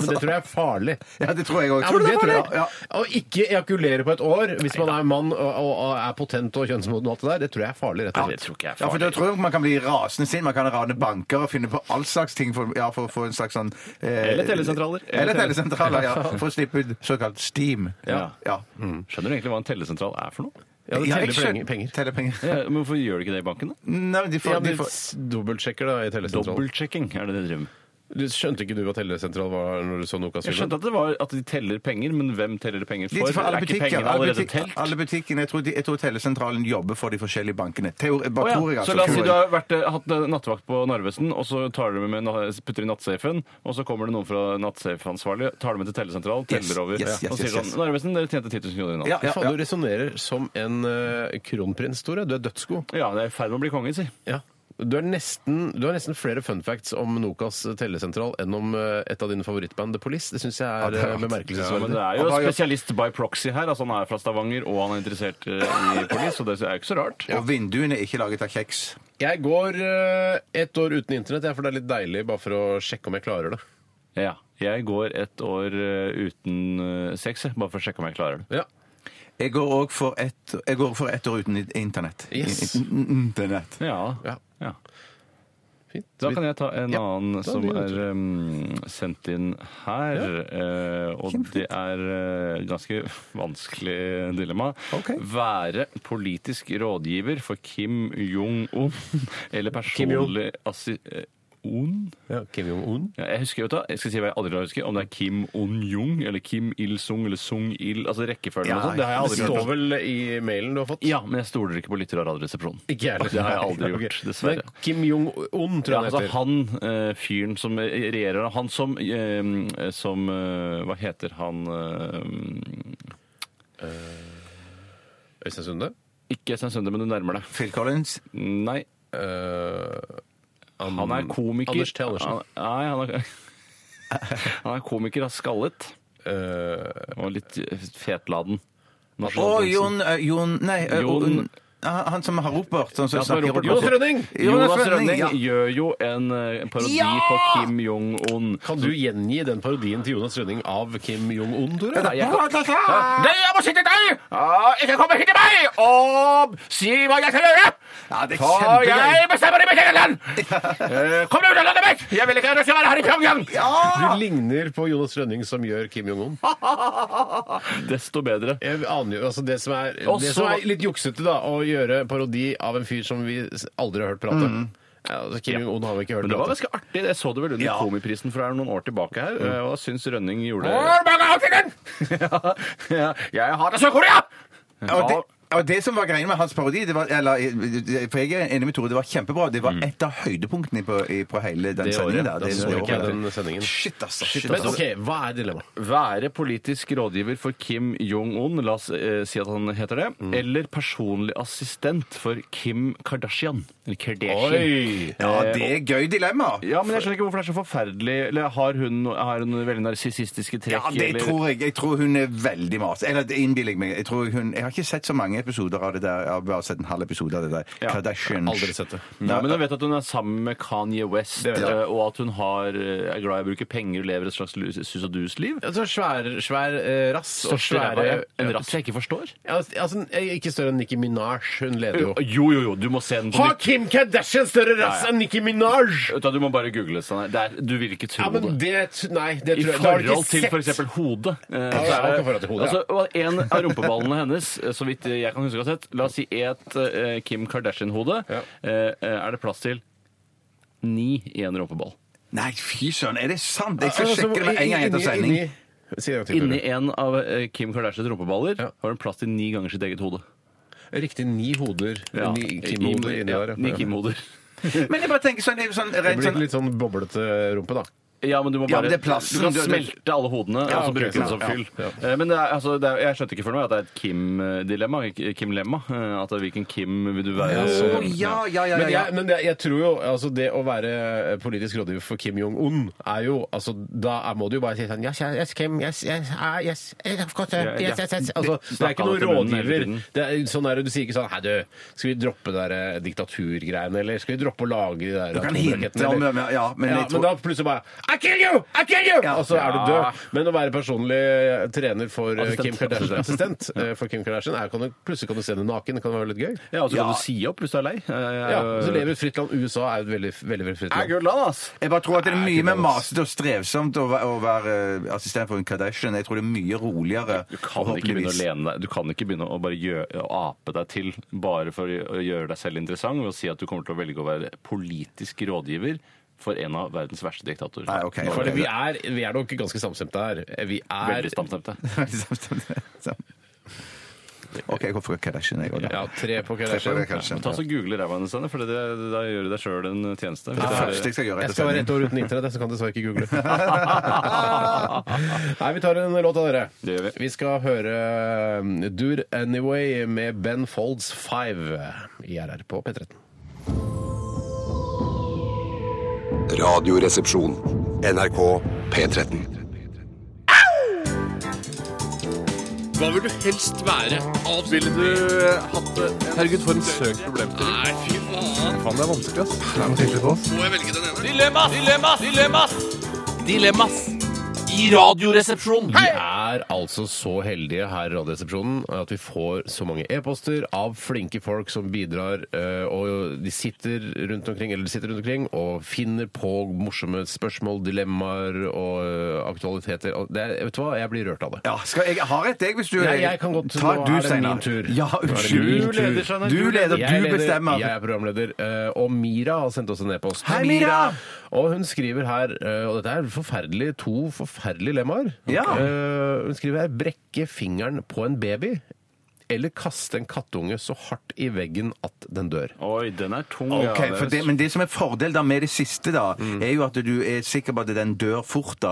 Speaker 2: det tror jeg er farlig.
Speaker 4: ja, det tror jeg òg.
Speaker 2: Ja, men det tror
Speaker 4: Ja,
Speaker 2: jeg.
Speaker 4: ja.
Speaker 2: Å ikke ejakulere på et år hvis man er mann og, og, og er potent og kjønnsmoden og alt det der, det tror jeg er farlig, rett
Speaker 3: Ja,
Speaker 2: og
Speaker 3: det
Speaker 2: slett.
Speaker 3: tror ikke jeg er
Speaker 4: Ja, for da
Speaker 3: farlig.
Speaker 4: tror jeg man kan bli rasende sint. Man kan rane banker og finne på all slags ting for, ja, for å få en slags sånn eh,
Speaker 3: Eller telesentraler.
Speaker 4: Eller telesentraler, ja. For å slippe ut såkalt steam.
Speaker 3: Ja.
Speaker 4: ja.
Speaker 3: Skjønner du egentlig hva en tellesentral er for noe?
Speaker 2: Ja, det
Speaker 4: Ja, jeg
Speaker 2: teller
Speaker 4: skjønner-
Speaker 2: penger. penger.
Speaker 4: Teller penger.
Speaker 3: Ja, men Hvorfor gjør du ikke det i banken? da?
Speaker 4: Nei, men de får,
Speaker 2: Ja,
Speaker 4: de
Speaker 2: men
Speaker 4: får
Speaker 2: s- Dobbeltsjekker da i telesentralen.
Speaker 3: Dobbeltsjekking er det de driver med.
Speaker 2: Du skjønte ikke du hva telesentral var når du så
Speaker 3: Jeg skjønte
Speaker 2: Nokas-filmen?
Speaker 3: at det var at de teller penger, men hvem teller de penger
Speaker 4: Litt
Speaker 3: for?
Speaker 4: for alle
Speaker 3: Er ikke
Speaker 4: butikker.
Speaker 3: pengene
Speaker 4: Alle,
Speaker 3: allerede
Speaker 4: butikk,
Speaker 3: telt?
Speaker 4: alle butikkene, jeg, tror de, jeg tror telesentralen jobber for de forskjellige bankene. Teori,
Speaker 3: Å
Speaker 4: bare
Speaker 3: ja.
Speaker 4: tror jeg, altså.
Speaker 3: Så la oss si
Speaker 4: tror
Speaker 3: du
Speaker 4: jeg.
Speaker 3: har vært, eh, hatt eh, nattevakt på Narvesen, og så tar du med, na- putter i nattsafen, og så kommer det noen fra nattsafeansvarlig, tar det med til tellesentralen,
Speaker 4: Yes,
Speaker 3: teller over,
Speaker 4: yes, yes,
Speaker 3: og sier
Speaker 4: yes, yes.
Speaker 3: sånn Narvesen, dere tjente 10 000 kroner i natt.
Speaker 4: Ja, ja,
Speaker 2: Faen, du resonnerer som en eh, kronprins, Tore. Du er dødsgod.
Speaker 3: Ja, det er i ferd med å bli konge, si.
Speaker 2: Ja. Du har, nesten, du har nesten flere fun facts om Nokas tellesentral enn om eh, et av dine favorittband, The Police. Det syns jeg er
Speaker 4: det er
Speaker 2: eh,
Speaker 4: rart.
Speaker 3: Men
Speaker 2: bemerkelsesverdig.
Speaker 3: det er jo
Speaker 4: Og da-
Speaker 3: spesialist by proxy her. altså Han er fra Stavanger, og han er interessert eh, i polis, så det er jo ikke så rart.
Speaker 4: Og vinduene er ikke laget av kjeks.
Speaker 2: Jeg går eh, ett år uten internett, jeg, for det er litt deilig bare for å sjekke om jeg klarer det.
Speaker 3: Ja. Jeg går et år eh, uten eh, sex, jeg, bare for å sjekke om jeg klarer det.
Speaker 2: Ja.
Speaker 4: Jeg går òg for ett jeg går for ett år uten i- internett.
Speaker 2: Yes.
Speaker 4: I- i- Internett.
Speaker 3: Ja.
Speaker 2: Ja.
Speaker 3: ja.
Speaker 2: Fint.
Speaker 3: Da kan jeg ta en annen
Speaker 2: da
Speaker 3: som
Speaker 2: blir
Speaker 3: er
Speaker 2: det
Speaker 3: um, sendt inn her. eh, og det er eh, ganske vanskelig dilemma.
Speaker 4: Ok.
Speaker 3: Være politisk rådgiver for Kim Jong-un eller personlig assi... eh, Un?
Speaker 2: Ja, Kim Jong-un.
Speaker 3: Ja, jeg husker, vet du, hva, jeg skal si hva jeg aldri klarer å huske, om det er Kim Un-jung eller Kim Il-sung eller Sung-il, altså rekkefølgen og
Speaker 4: Ja,
Speaker 3: sånn. Det har jeg
Speaker 2: Det
Speaker 3: aldri
Speaker 2: står
Speaker 3: hørt. om.
Speaker 2: vel i mailen du har fått?
Speaker 3: Ja, men jeg stoler ikke på lytter av Radioresepsjonen.
Speaker 2: Ikke jeg heller.
Speaker 3: Det har jeg aldri
Speaker 2: Ok.
Speaker 3: gjort, dessverre.
Speaker 2: Men Kim Jong-un, tror
Speaker 3: Ja,
Speaker 2: jeg
Speaker 3: altså
Speaker 2: han heter.
Speaker 3: han eh, fyren som regjerer Han som, eh, som eh, Hva heter han eh,
Speaker 2: Øystein Sunde?
Speaker 3: Ikke Øystein Sunde, men du nærmer deg.
Speaker 4: Phil Collins.
Speaker 3: Nei. Han er komiker.
Speaker 2: Mm. Anders T. Andersen.
Speaker 3: Han, nei, han er, han er komiker, er skallet
Speaker 2: Eh,
Speaker 3: og litt fetladen.
Speaker 4: Og Jon, eh, Jon Nei, eh,
Speaker 3: Jon-
Speaker 4: han han som har ropert. Sånn, som
Speaker 3: Ja,
Speaker 4: snakker-
Speaker 3: Robert-
Speaker 2: Jonas Rønning!
Speaker 3: Jonas
Speaker 4: Jonas Rønning,
Speaker 3: Rønning
Speaker 4: ja.
Speaker 3: gjør jo en eh, parodi på Kim Jong-un.
Speaker 2: Kan du gjengi den parodien til Jonas Rønning av Kim Jong-un, Tore?
Speaker 3: Nei, jeg kan- Ja, Nei, jeg må sitte der! Ja, Ikke komme hit til meg! Og si hva jeg skal gjøre!
Speaker 4: Ja, det er
Speaker 3: For jeg
Speaker 4: kjempegøy.
Speaker 3: bestemmer i mitt eget land! Eh, Kom deg ut av landet mitt! Jeg vil ikke at du skal være her i Pyongyang!
Speaker 2: Du ligner på Jonas Rønning som gjør Kim Jong-un.
Speaker 3: Desto bedre.
Speaker 2: Jeg aner jo, altså Det som er,
Speaker 3: Og
Speaker 2: det
Speaker 3: så-
Speaker 2: som er litt juksete, da, å gjøre parodi av en fyr som vi aldri har hørt prate. Ja, altså Kim Jong-un har vi ikke hørt
Speaker 3: Men det var
Speaker 2: prate.
Speaker 3: ganske artig. Jeg så det vel under
Speaker 4: Ja. Mm.
Speaker 3: Komiprisen fra noen år tilbake her. eh, Og jeg syns Rønning gjorde ja, ja, Jeg hater Sør-Korea!
Speaker 4: Og det, og det som var greia med hans parodi det var, eller, eh, For jeg er enig med Tore, det var kjempebra. Det var et av høydepunktene på, i- på hele den
Speaker 3: Mm. Det
Speaker 4: sendingen.
Speaker 3: året.
Speaker 4: der.
Speaker 2: Da
Speaker 4: Det-
Speaker 2: så
Speaker 4: det
Speaker 2: ikke jeg
Speaker 4: året.
Speaker 2: den sendingen.
Speaker 4: Shit, altså. Shit,
Speaker 2: Men
Speaker 4: altså.
Speaker 2: OK, hva er dilemmaet?
Speaker 3: Være politisk rådgiver for Kim Jong-un, la oss eh, si at han heter det,
Speaker 4: Mm.
Speaker 3: eller personlig assistent for Kim Kardashian. Eller Kardashian.
Speaker 2: Oi!
Speaker 4: Ja, det er gøy dilemma.
Speaker 3: Ja, men jeg skjønner ikke hvorfor det er så forferdelig. Eller har hun, har hun veldig narsissistiske
Speaker 4: Ja,
Speaker 3: trekk?
Speaker 4: det
Speaker 3: eller-
Speaker 4: tror jeg. Jeg tror hun er veldig mas. Eller det innbiller jeg meg. Jeg, tror hun, jeg har ikke sett så mange episoder av det der. Jeg har bare sett en halv episode av det der.
Speaker 3: Ja,
Speaker 4: Kardashians.
Speaker 2: Aldri sett det.
Speaker 3: Ja, men jeg vet at hun er sammen med Kanye West,
Speaker 2: Det vet jeg.
Speaker 3: eh, og at hun har, eh, er glad i å bruke penger og lever et slags lus- sus-og-dus-liv.
Speaker 2: Altså, svær, svær eh, rass og
Speaker 3: Største ræva
Speaker 2: svære
Speaker 3: jeg- En rass jeg ikke forstår.
Speaker 2: Ja, altså, Ikke større enn Nicki Minaj. Hun leder jo.
Speaker 3: Jo, jo, jo, du må se den på
Speaker 2: Har
Speaker 3: nytt.
Speaker 2: Kim Kardashian større rass
Speaker 3: Ja, ja.
Speaker 2: enn Nicki Minaj?
Speaker 3: Vet Du hva, du må bare google det. Steinar. Det er- Du vil ikke tro
Speaker 2: Ja,
Speaker 3: det.
Speaker 2: men det Nei, det
Speaker 3: I
Speaker 2: tror jeg da har du ikke
Speaker 3: forhold til
Speaker 2: sett.
Speaker 3: f.eks. hodet. eh,
Speaker 2: ja,
Speaker 3: så er det-
Speaker 2: ikke forhold til hodet, ja.
Speaker 3: altså, og en av rumpeballene hennes, eh, så vidt jeg kan huske å ha sett, la oss si et eh, Kim Kardashian-hode,
Speaker 2: Ja.
Speaker 3: eh, eh, er det plass til ni i en rumpeball.
Speaker 4: Nei, fy søren, er det sant? Jeg skal
Speaker 2: Altså,
Speaker 4: sjekke det med en gang etter
Speaker 2: inni-
Speaker 4: sending.
Speaker 2: inni- Si det en gang til, Tore.
Speaker 3: Inni en av eh, Kim Kardashians rumpeballer
Speaker 2: Ja.
Speaker 3: har hun plass til ni ganger sitt eget hode.
Speaker 2: Riktig ni hoder.
Speaker 3: Ja,
Speaker 2: Ni Kim-hoder
Speaker 3: i-
Speaker 2: inni
Speaker 3: ja,
Speaker 2: der. ja.
Speaker 3: Ni Kim-hoder.
Speaker 4: Men jeg bare tenker sånn, det er jo sånn
Speaker 2: Det
Speaker 4: rent
Speaker 2: blir
Speaker 4: sånn
Speaker 2: litt sånn boblete rumpe, da.
Speaker 3: Ja, men du må bare
Speaker 4: Ja, men det er plassen.
Speaker 3: Du kan
Speaker 4: Du- du-
Speaker 3: smelte alle hodene
Speaker 2: Ja,
Speaker 3: og så
Speaker 2: ok,
Speaker 3: bruke den som
Speaker 2: ja,
Speaker 3: fyll.
Speaker 2: ja.
Speaker 3: Eh, Men det er, altså, det er, jeg skjønte ikke før nå at det er et Kim-dilemma. ikke- Kim-lemma. eh, At det er hvilken Kim vil du være?
Speaker 4: Å,
Speaker 3: så-
Speaker 4: ja, ja, ja,
Speaker 2: Men,
Speaker 4: ja.
Speaker 2: jeg, men det, jeg tror jo altså det å være eh, politisk rådgiver for Kim Jong-un er jo altså, Da er, må du jo bare si sånn Yes, yes, Kim. Yes, yes, ah, yes, yes, of course,
Speaker 3: Ja, ja.
Speaker 2: yes, yes, yes. Altså, det er
Speaker 3: Snakke
Speaker 2: ikke noen
Speaker 3: det til munnen hele
Speaker 2: rådgiver.
Speaker 3: tiden.
Speaker 2: Det er, sånn er, det- du sier ikke sånn Hei, du, skal vi droppe de der eh, diktaturgreiene, eller skal vi droppe å lage de der
Speaker 4: Du kan
Speaker 2: atomrakettene,
Speaker 4: hinte om
Speaker 2: eller?»
Speaker 4: ja, ja, men
Speaker 2: ja,
Speaker 4: jeg tror-
Speaker 2: men da plutselig bare I kill you! I kill you!
Speaker 4: Ja.
Speaker 2: Og så er du
Speaker 3: Ja.
Speaker 2: død. Men å være personlig trener for eh,
Speaker 3: Assistent.
Speaker 2: Kim Kardashian, assistent eh, for Kim Kardashian, er, kan du, plutselig kan du se henne naken. Det kan være litt gøy.
Speaker 3: Ja, og så kan
Speaker 4: Ja.
Speaker 3: du si opp hvis du er lei. Eh,
Speaker 2: Ja, og så lever i et fritt land. USA er jo et veldig, veldig, veldig fritt land.
Speaker 3: land, ass!
Speaker 4: Jeg bare tror at det er
Speaker 2: Nei,
Speaker 4: mye
Speaker 2: ikke
Speaker 4: mer
Speaker 2: det, altså.
Speaker 4: masete og strevsomt å være, å være eh, assistent for en Kardashian. Jeg tror det er mye roligere.
Speaker 3: Du kan ikke begynne å
Speaker 4: forhåpentligvis.
Speaker 3: lene deg Du kan ikke begynne å bare gjø- å ape deg til bare for å gjøre deg selv interessant ved å si at du kommer til å velge å være politisk rådgiver for en av verdens verste diktatorer.
Speaker 4: Nei, ok.
Speaker 3: Nå
Speaker 2: For
Speaker 3: er
Speaker 2: vi
Speaker 3: det
Speaker 2: er, vi er nok ganske samstemte her. Eh, Vi er
Speaker 3: Veldig stamstemte.
Speaker 4: OK, jeg går for Kardashian, jeg òg.
Speaker 2: ja, tre på
Speaker 4: Kardashian.
Speaker 2: Kardashian.
Speaker 3: Ta så Google ræva hennes, Anne, for det, det, da gjør du deg sjøl en tjeneste.
Speaker 4: Det er det
Speaker 3: Hvis
Speaker 4: første jeg skal gjøre
Speaker 2: Jeg
Speaker 4: etter
Speaker 2: skal være ett
Speaker 4: sending.
Speaker 2: år uten internett, jeg, så kan dessverre ikke google. Nei, vi tar en låt av dere.
Speaker 3: Det gjør vi.
Speaker 2: Vi skal høre um, Dude Anyway med Ben Folds Five i RR på P13.
Speaker 5: Radioresepsjon. NRK P13.
Speaker 7: Hva vil du helst være? Ville du
Speaker 2: eh,
Speaker 7: hatt det? Herregud, for en søk problem til. Nei, fy faen. Faen, det er vanskelig, ass. Det er noe for oss. Må jeg velge den ene? Dilemmas! Dilemmas! Dilemmas! Dilemmas! I radioresepsjonen.
Speaker 2: Vi er altså så heldige her i Radioresepsjonen at vi får så mange e-poster av flinke folk som bidrar, eh, og de sitter rundt omkring, eller de sitter rundt omkring og finner på morsomme spørsmål, dilemmaer og eh, aktualiteter. Og det, er- vet du hva, jeg blir rørt av det.
Speaker 4: Ja, skal jeg, jeg har et, jeg, hvis du
Speaker 2: Nei, jeg kan godt-
Speaker 4: Ta
Speaker 2: nå
Speaker 4: du,
Speaker 2: er det min
Speaker 4: Steinar.
Speaker 2: tur.
Speaker 4: Ja,
Speaker 2: Nå er det
Speaker 4: unnskyld.
Speaker 2: min tur.
Speaker 4: Du leder, du, leder,
Speaker 2: Jeg
Speaker 4: du bestemmer.
Speaker 2: Jeg er programleder. eh, Og Mira har sendt oss en e-post.
Speaker 4: Hei, Mira!
Speaker 2: Og hun skriver her, eh, og dette er forferdelig, to forferdelige lemmaer.
Speaker 4: Ja.
Speaker 2: Eh, Hun skriver her 'brekke fingeren på en baby'. eller kaste en kattunge så hardt i veggen at den dør.
Speaker 3: Oi, den er tung.
Speaker 4: Ok,
Speaker 3: ja, det er-
Speaker 4: for det, men det som er fordel da med det siste, da,
Speaker 2: Mm.
Speaker 4: er jo at du er sikker på at den dør fort, da.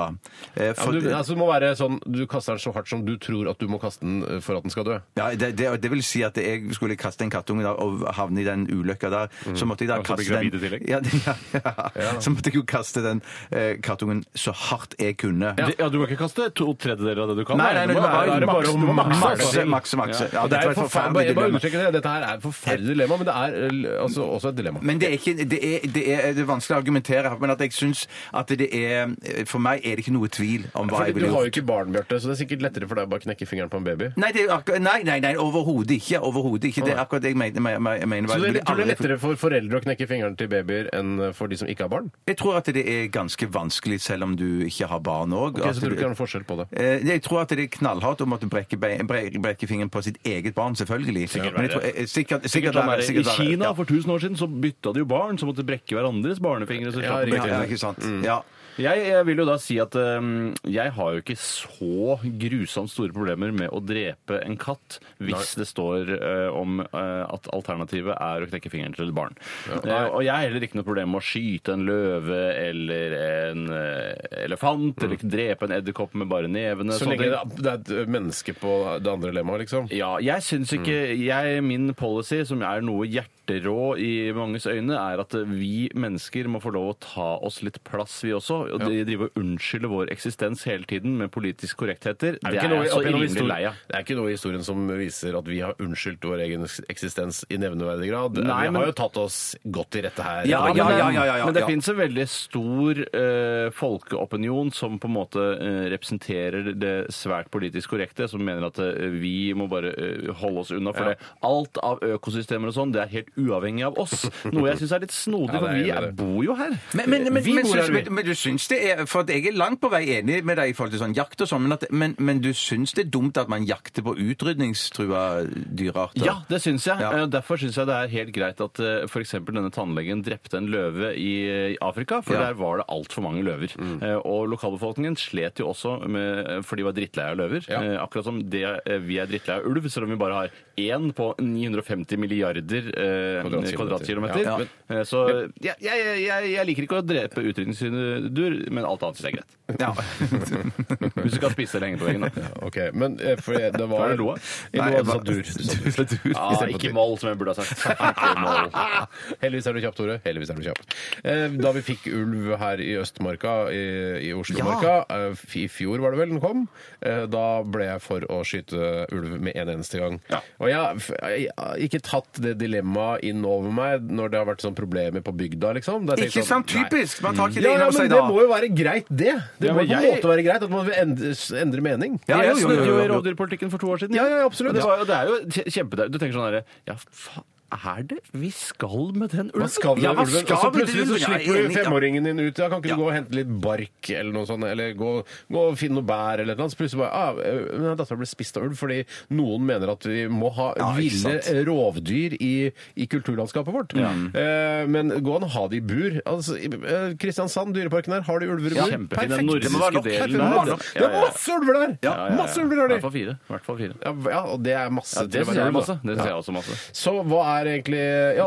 Speaker 4: Eh,
Speaker 2: Ja,
Speaker 4: For,
Speaker 2: men du,
Speaker 4: ja,
Speaker 2: altså, det må være sånn, du kaster den så hardt som du tror at du må kaste den eh, for at den skal dø.
Speaker 4: det, det, det vil si at jeg skulle kaste en kattunge da, og havne i den ulykka der.
Speaker 2: Mm.
Speaker 4: Så måtte jeg da
Speaker 3: Og så bli
Speaker 4: kaste den
Speaker 3: gravid i tillegg.
Speaker 4: ja, det- ja, ja. Så måtte jeg jo kaste den eh, kattungen så hardt jeg kunne.
Speaker 3: Ja. Det- ja, du må ikke kaste to tredjedeler av det du kan.
Speaker 4: Nei,
Speaker 3: da.
Speaker 4: nei,
Speaker 3: Du
Speaker 4: nei,
Speaker 3: må-
Speaker 4: nei,
Speaker 3: da er det
Speaker 4: maks-
Speaker 3: bare å
Speaker 4: du må
Speaker 3: makse,
Speaker 4: makse,
Speaker 3: altså.
Speaker 4: makse, makse.
Speaker 3: Ja.
Speaker 4: Ja,
Speaker 2: det
Speaker 4: dette
Speaker 2: er
Speaker 4: var
Speaker 2: et
Speaker 4: et
Speaker 2: forferdelig, jeg bare
Speaker 4: dilemma.
Speaker 2: understreker det. Dette her er et forferdelig dilemma, men det er eh, altså, også et dilemma.
Speaker 4: Men det er, ikke, det, er, det, er, det er vanskelig å argumentere, men at jeg syns at det er For meg er det ikke noe tvil om hva
Speaker 2: Fordi
Speaker 4: jeg
Speaker 2: du
Speaker 4: ville
Speaker 2: har jo
Speaker 4: gjort.
Speaker 2: ikke barn, Bjarte, så det er sikkert lettere for deg å bare knekke fingeren på en baby.
Speaker 4: Nei, det er jo akkurat, nei, nei, nei overhodet ikke. Overhodet ikke. Det er akkurat det jeg mener. Jeg, jeg, mener,
Speaker 2: Så
Speaker 4: jeg,
Speaker 2: det, tror
Speaker 4: blir
Speaker 2: du det er
Speaker 4: aldri-
Speaker 2: lettere for foreldre å knekke fingeren til babyer enn for de som ikke har barn?
Speaker 4: jeg tror at det er ganske vanskelig selv om du ikke har barn òg.
Speaker 2: Ok, så tror du ikke det er noen forskjell på det.
Speaker 4: Eh, jeg tror at det er knallhardt å måtte brekke, bein- brekke, brekke fingeren på sitt eget barn, selvfølgelig.
Speaker 3: Sikkert
Speaker 4: Men
Speaker 3: verre.
Speaker 4: jeg tror- eh, sikkert, sikkert
Speaker 3: Sikkert han
Speaker 4: verre,
Speaker 3: er, Sånn I
Speaker 4: sikkert verre,
Speaker 3: Kina
Speaker 4: ja.
Speaker 3: for 1000 år siden så bytta de jo barn, så måtte de brekke hverandres barnefingre. Så slapp de
Speaker 4: Ja,
Speaker 3: brekke
Speaker 4: ja,
Speaker 3: sine.
Speaker 4: ikke sant.
Speaker 2: Mm.
Speaker 4: Ja.
Speaker 3: Jeg, jeg vil jo da si at øhm, jeg har jo ikke så grusomt store problemer med å drepe en katt hvis det står øh, om øh, at alternativet er å knekke fingeren til et barn. Eh, og jeg har heller ikke noe problem med å skyte en løve eller en øh, elefant, eller ikke drepe en edderkopp med bare nevene.
Speaker 2: Mm. Så
Speaker 3: sånne
Speaker 2: lenge
Speaker 3: ting.
Speaker 2: det er- det er et eh, menneske på det andre lemmaet, liksom.
Speaker 3: Ja, jeg syns ikke
Speaker 2: Mm.
Speaker 3: jeg, Min policy, som er noe hjerterå i manges øyne, er at vi mennesker må få lov å ta oss litt plass, vi også. Og de driver og unnskylder vår eksistens hele tiden med politisk korrektheter. Det,
Speaker 2: ikke
Speaker 3: er
Speaker 2: noe i-
Speaker 3: jeg så
Speaker 2: opp gjennom
Speaker 3: rimelig
Speaker 2: historien-
Speaker 3: lei av.
Speaker 2: det er ikke noe i historien som viser at vi har unnskyldt vår egen eksistens i nevneverdig grad.
Speaker 3: Nei,
Speaker 2: vi
Speaker 3: men-
Speaker 2: har jo tatt oss godt til rette her.
Speaker 4: Ja,
Speaker 2: i Norge.
Speaker 4: ja,
Speaker 3: men,
Speaker 4: ja, ja, ja, ja.
Speaker 3: men det finnes en veldig stor eh, folkeopinion som på en måte eh, representerer det svært politisk korrekte, som mener at eh, vi må bare eh, holde oss unna. For det. alt av økosystemer og sånn, det er helt uavhengig av oss. Noe jeg syns er litt snodig,
Speaker 2: Ja, det er
Speaker 3: for vi
Speaker 2: enig i
Speaker 3: er,
Speaker 2: det.
Speaker 3: bor jo her.
Speaker 4: Men, men, men,
Speaker 3: vi
Speaker 4: men,
Speaker 3: bor
Speaker 4: syns,
Speaker 3: her, vi.
Speaker 4: men, men du syns det er For at jeg er langt på vei enig med deg i forhold til sånn jakt og sånn, men, at, men, men du syns det er dumt at man jakter på utrydningstrua dyrearter?
Speaker 3: Ja, det syns jeg.
Speaker 4: Ja.
Speaker 3: Eh, Derfor syns jeg det er helt greit at f.eks. denne tannlegen drepte en løve i i Afrika, for
Speaker 4: Ja.
Speaker 3: der var det altfor mange løver. Eh, Og lokalbefolkningen slet jo også med, eh, for de var drittleie av løver.
Speaker 2: Ja.
Speaker 3: Eh, Akkurat som det, eh, vi er drittleie av ulv, selv om vi bare har én på 950 milliarder eh,
Speaker 2: Kvadratkilometer.
Speaker 3: kvadratkilometer.
Speaker 2: Ja.
Speaker 3: Eh, Så ja, jeg, jeg, jeg liker ikke å drepe utrydningsdyr, men alt annet syns jeg er greit.
Speaker 4: Ja.
Speaker 3: Hvis du kan spise det lenge på veggen, da.
Speaker 2: Ok, men eh, for det
Speaker 3: Hva
Speaker 2: var
Speaker 3: er det du lo av?
Speaker 2: Jeg
Speaker 4: Nei,
Speaker 2: lo
Speaker 4: jeg
Speaker 2: av
Speaker 4: bare-
Speaker 2: Sadur.
Speaker 4: Du sa dur.
Speaker 3: Ja, ikke moll, som jeg burde ha sagt. Ikke moll.
Speaker 2: Heldigvis er du kjapp, Tore. Heldigvis er du kjapp. Eh, Da vi fikk ulv her i Østmarka, i, i Oslomarka, eh, f- i fjor var det vel den kom, eh, da ble jeg for å skyte ulv med en eneste gang.
Speaker 3: Ja.
Speaker 2: Og jeg, f- jeg har ikke tatt det dilemmaet inn over meg når det har vært sånn problemer på bygda, liksom. Da har jeg tenkt
Speaker 4: Ikke sant?
Speaker 2: sånn, nei.
Speaker 4: Typisk! Man tar ikke det
Speaker 2: Ja,
Speaker 4: inn
Speaker 2: ja,
Speaker 4: over
Speaker 2: men
Speaker 4: seg
Speaker 2: det
Speaker 4: da.
Speaker 2: må jo være greit, det. Det
Speaker 3: Ja, men
Speaker 2: må på en
Speaker 3: jeg-
Speaker 2: måte være greit at man vil endre, endre mening.
Speaker 4: Ja,
Speaker 3: jeg
Speaker 4: jo, jo, jo,
Speaker 3: snudde jo i
Speaker 4: jo, jo.
Speaker 3: rovdyrpolitikken for to år siden.
Speaker 2: Ja, ja, absolutt.
Speaker 3: Det, var, jo- det er jo kje- kjempe... Du tenker sånn herre Ja, faen. Er det vi skal med den ulven?
Speaker 2: Hva skal vi
Speaker 3: ja, hva
Speaker 2: med ulven?
Speaker 3: skal
Speaker 2: Og så
Speaker 3: vi med
Speaker 2: plutselig så
Speaker 3: ulven? Ja, jeg er
Speaker 2: slipper du
Speaker 3: enig, ja.
Speaker 2: femåringen din ut. Ja, kan ikke du
Speaker 3: Ja.
Speaker 2: gå og hente litt bark eller noe sånt? Eller gå, gå og finne noe bær eller noe? Så plutselig bare ah, øh, men Dattera ble spist av ulv fordi noen mener at vi må ha
Speaker 4: Ja, ikke
Speaker 2: ville
Speaker 4: sant.
Speaker 2: rovdyr i, i kulturlandskapet vårt. Eh, men gå an å ha det i bur. Altså, i- eh, Kristiansand, dyreparken her, har de ulver i
Speaker 3: Ja,
Speaker 2: bur?
Speaker 3: kjempefin. Den
Speaker 2: Perfekt.
Speaker 3: nordiske
Speaker 2: Det må være nok.
Speaker 3: delen
Speaker 2: Perfekt.
Speaker 3: der.
Speaker 2: Masse-
Speaker 3: Ja, ja, ja.
Speaker 2: Det er masse ulver der!
Speaker 3: Ja, ja, ja.
Speaker 2: Masse ulver har
Speaker 3: I hvert
Speaker 2: de!
Speaker 3: fall fire. I hvert fall fire.
Speaker 2: Ja, ja, og det er
Speaker 3: Ja,
Speaker 2: masse.
Speaker 3: det
Speaker 2: til å
Speaker 3: syns
Speaker 2: være
Speaker 3: jeg er
Speaker 2: ulv, da.
Speaker 3: masse. Det
Speaker 2: Ja.
Speaker 3: syns jeg også masse.
Speaker 2: Så hva er egentlig ja,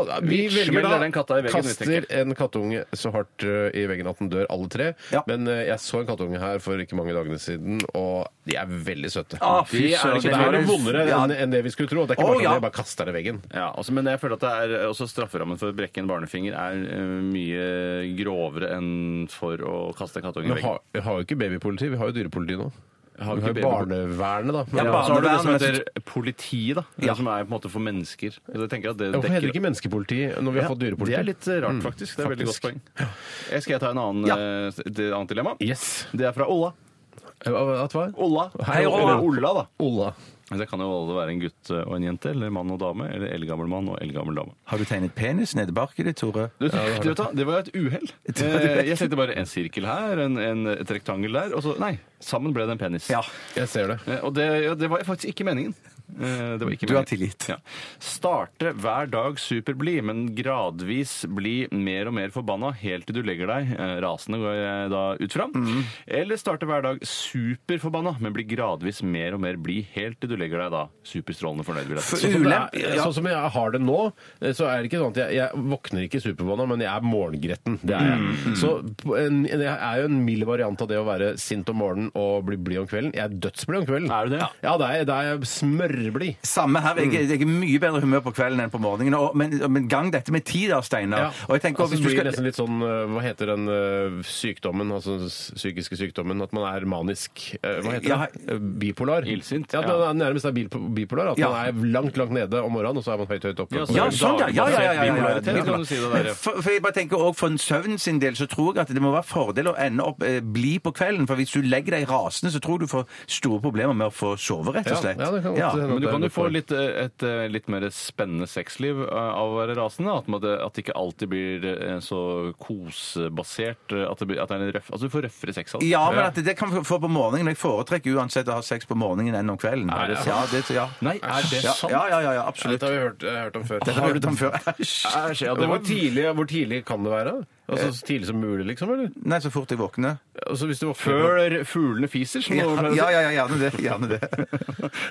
Speaker 3: Vi
Speaker 2: Vi, velger
Speaker 3: smeller
Speaker 2: da
Speaker 3: den katta i veggen, vi
Speaker 2: kaster en kattunge så hardt ø, i veggen at den dør, alle tre.
Speaker 4: Ja.
Speaker 2: Men ø, jeg så en kattunge her for ikke mange dagene siden, og de er veldig søte.
Speaker 4: Ah,
Speaker 2: de
Speaker 4: fy
Speaker 2: er,
Speaker 4: søren,
Speaker 2: ikke,
Speaker 4: det
Speaker 2: det er noe
Speaker 4: høres-
Speaker 2: vondere
Speaker 4: Ja.
Speaker 2: enn, enn det vi skulle tro. Det er ikke bare
Speaker 4: Å,
Speaker 2: sånn
Speaker 4: ja.
Speaker 2: at jeg bare kaster den i veggen.
Speaker 3: Ja, altså, men jeg føler at det er også strafferammen for å brekke en barnefinger er eh, mye grovere enn for å kaste en kattunge i
Speaker 2: Men
Speaker 3: veggen.
Speaker 2: har, vi har jo ikke babypoliti, vi har jo dyrepoliti nå. Vi har
Speaker 3: ikke
Speaker 2: jo barnevernet, da.
Speaker 4: Ja,
Speaker 3: Ja, så har du det som
Speaker 4: barnevernet,
Speaker 3: heter
Speaker 4: men
Speaker 3: politiet, da.
Speaker 4: Ja.
Speaker 3: Som er på en måte for mennesker. Så jeg tenker at det
Speaker 2: Hvorfor heter
Speaker 3: dekker
Speaker 2: det ikke menneskepoliti når vi har fått dyrepoliti?
Speaker 3: Det er litt eh, rart, faktisk. Det er veldig
Speaker 2: faktisk.
Speaker 3: godt poeng. Eh, Skal jeg ta en annen,
Speaker 4: Ja.
Speaker 3: eh, et annet dilemma?
Speaker 2: Yes.
Speaker 3: Det er fra Olla.
Speaker 2: Hva- Hva?
Speaker 3: Olla.
Speaker 2: Hei, Olla.
Speaker 3: Eller Olla, da.
Speaker 2: Olla.
Speaker 3: Men Det kan jo alle være en gutt eh, og en jente, eller mann og dame, eller eldgammel mann og eldgammel dame.
Speaker 4: Har du tegnet penis nede bak i det, Tore?
Speaker 3: Du, du vet da, Det var jo et uhell. Eh, Jeg tenkte bare en sirkel her, en, en, et rektangel der, og så Nei, sammen ble det en penis.
Speaker 4: Ja.
Speaker 2: Jeg ser det.
Speaker 3: Eh, Og det, ja, det var faktisk ikke meningen. Eh, Det var ikke
Speaker 6: Du har
Speaker 3: meningen.
Speaker 6: tilgitt.
Speaker 3: Ja. Starte hver dag superblid, men gradvis bli mer og mer forbanna helt til du legger deg. Eh, Rasende går jeg da ut fra. Eller starte hver dag superforbanna, men bli gradvis mer og mer blid helt til du legger deg da superstrålende fornøyd. Vil jeg si.
Speaker 2: Sånn som, det
Speaker 6: Ulemp-
Speaker 2: er,
Speaker 6: ja.
Speaker 2: sånn som jeg har det nå, så er det ikke sånn at jeg, jeg våkner ikke superbånda, men jeg er morgengretten. Det er jeg.
Speaker 4: Mm,
Speaker 2: Så på en, det er jo en mild variant av det å være sint om morgenen og bli blid om kvelden. Jeg er dødsblid om kvelden.
Speaker 3: Er du det?
Speaker 2: Ja, ja da er jeg- da er jeg smørblid.
Speaker 4: Samme her.
Speaker 2: Mm.
Speaker 4: Jeg, er- jeg er i mye bedre humør på kvelden enn på morgenen. Og, men, men gang dette med tid, da, Steinar. Og jeg tenker,
Speaker 2: altså, det
Speaker 4: hvis du
Speaker 2: blir
Speaker 4: skal...
Speaker 2: nesten litt sånn øh, Hva heter den øh, sykdommen, altså den s- psykiske sykdommen, at man er manisk øh, Hva heter
Speaker 4: Ja,
Speaker 2: det? Øh, Bipolar?
Speaker 3: Illsint,
Speaker 2: Ja, at
Speaker 3: ja.
Speaker 2: man er nærmest er bil- bipolar. At
Speaker 4: Ja.
Speaker 2: man er langt, langt nede om morgenen, og så er man høyt, høyt oppe.
Speaker 3: Ja,
Speaker 2: på
Speaker 4: Ja,
Speaker 2: kvelden.
Speaker 4: sånn, ja. ja, ja, ja, ja, ja,
Speaker 3: Dagbasert bipolaritet, kan du si det der, ja.
Speaker 4: Men For, for jeg bare tenker også for en søvn sin del så tror jeg at det må være fordel å ende opp eh, bli på kvelden. For hvis du legger deg rasende, så tror jeg du får store problemer med å få sove, rett
Speaker 2: Ja,
Speaker 4: og slett.
Speaker 2: ja, det kan godt hende.
Speaker 3: Men du
Speaker 2: det er
Speaker 3: kan jo
Speaker 2: godt
Speaker 3: få
Speaker 2: for-
Speaker 3: litt, eh, et eh, litt mer spennende sexliv eh, av å være rasende. At, man, det- at det ikke alltid blir eh, så kosebasert. eh, At det, blir, at det er en røff, altså du får røffere sex av det.
Speaker 4: Ja, men at det kan jeg få på morgenen. Jeg foretrekker uansett å ha sex på morgenen enn om kvelden.
Speaker 3: Er det sant?
Speaker 4: Ja, det, ja.
Speaker 3: Nei, er det
Speaker 4: Ja,
Speaker 3: sant?
Speaker 4: ja, ja, ja,
Speaker 2: Ja,
Speaker 4: absolutt.
Speaker 2: Dette har vi hørt, jeg har hørt om før.
Speaker 4: Dette har du hørt om før. Æsj.
Speaker 3: Æsj, ja, Eh. det
Speaker 2: hvor,
Speaker 3: var
Speaker 2: tidlig, hvor tidlig kan det være? Altså, så tidlig som mulig, liksom? eller?
Speaker 4: Nei, så fort jeg våkner.
Speaker 2: Altså, hvis du var
Speaker 3: Før fuglene fiser, som
Speaker 4: Ja,
Speaker 3: noen pleier å si.
Speaker 4: ja, ja, gjerne det. Gjerne det.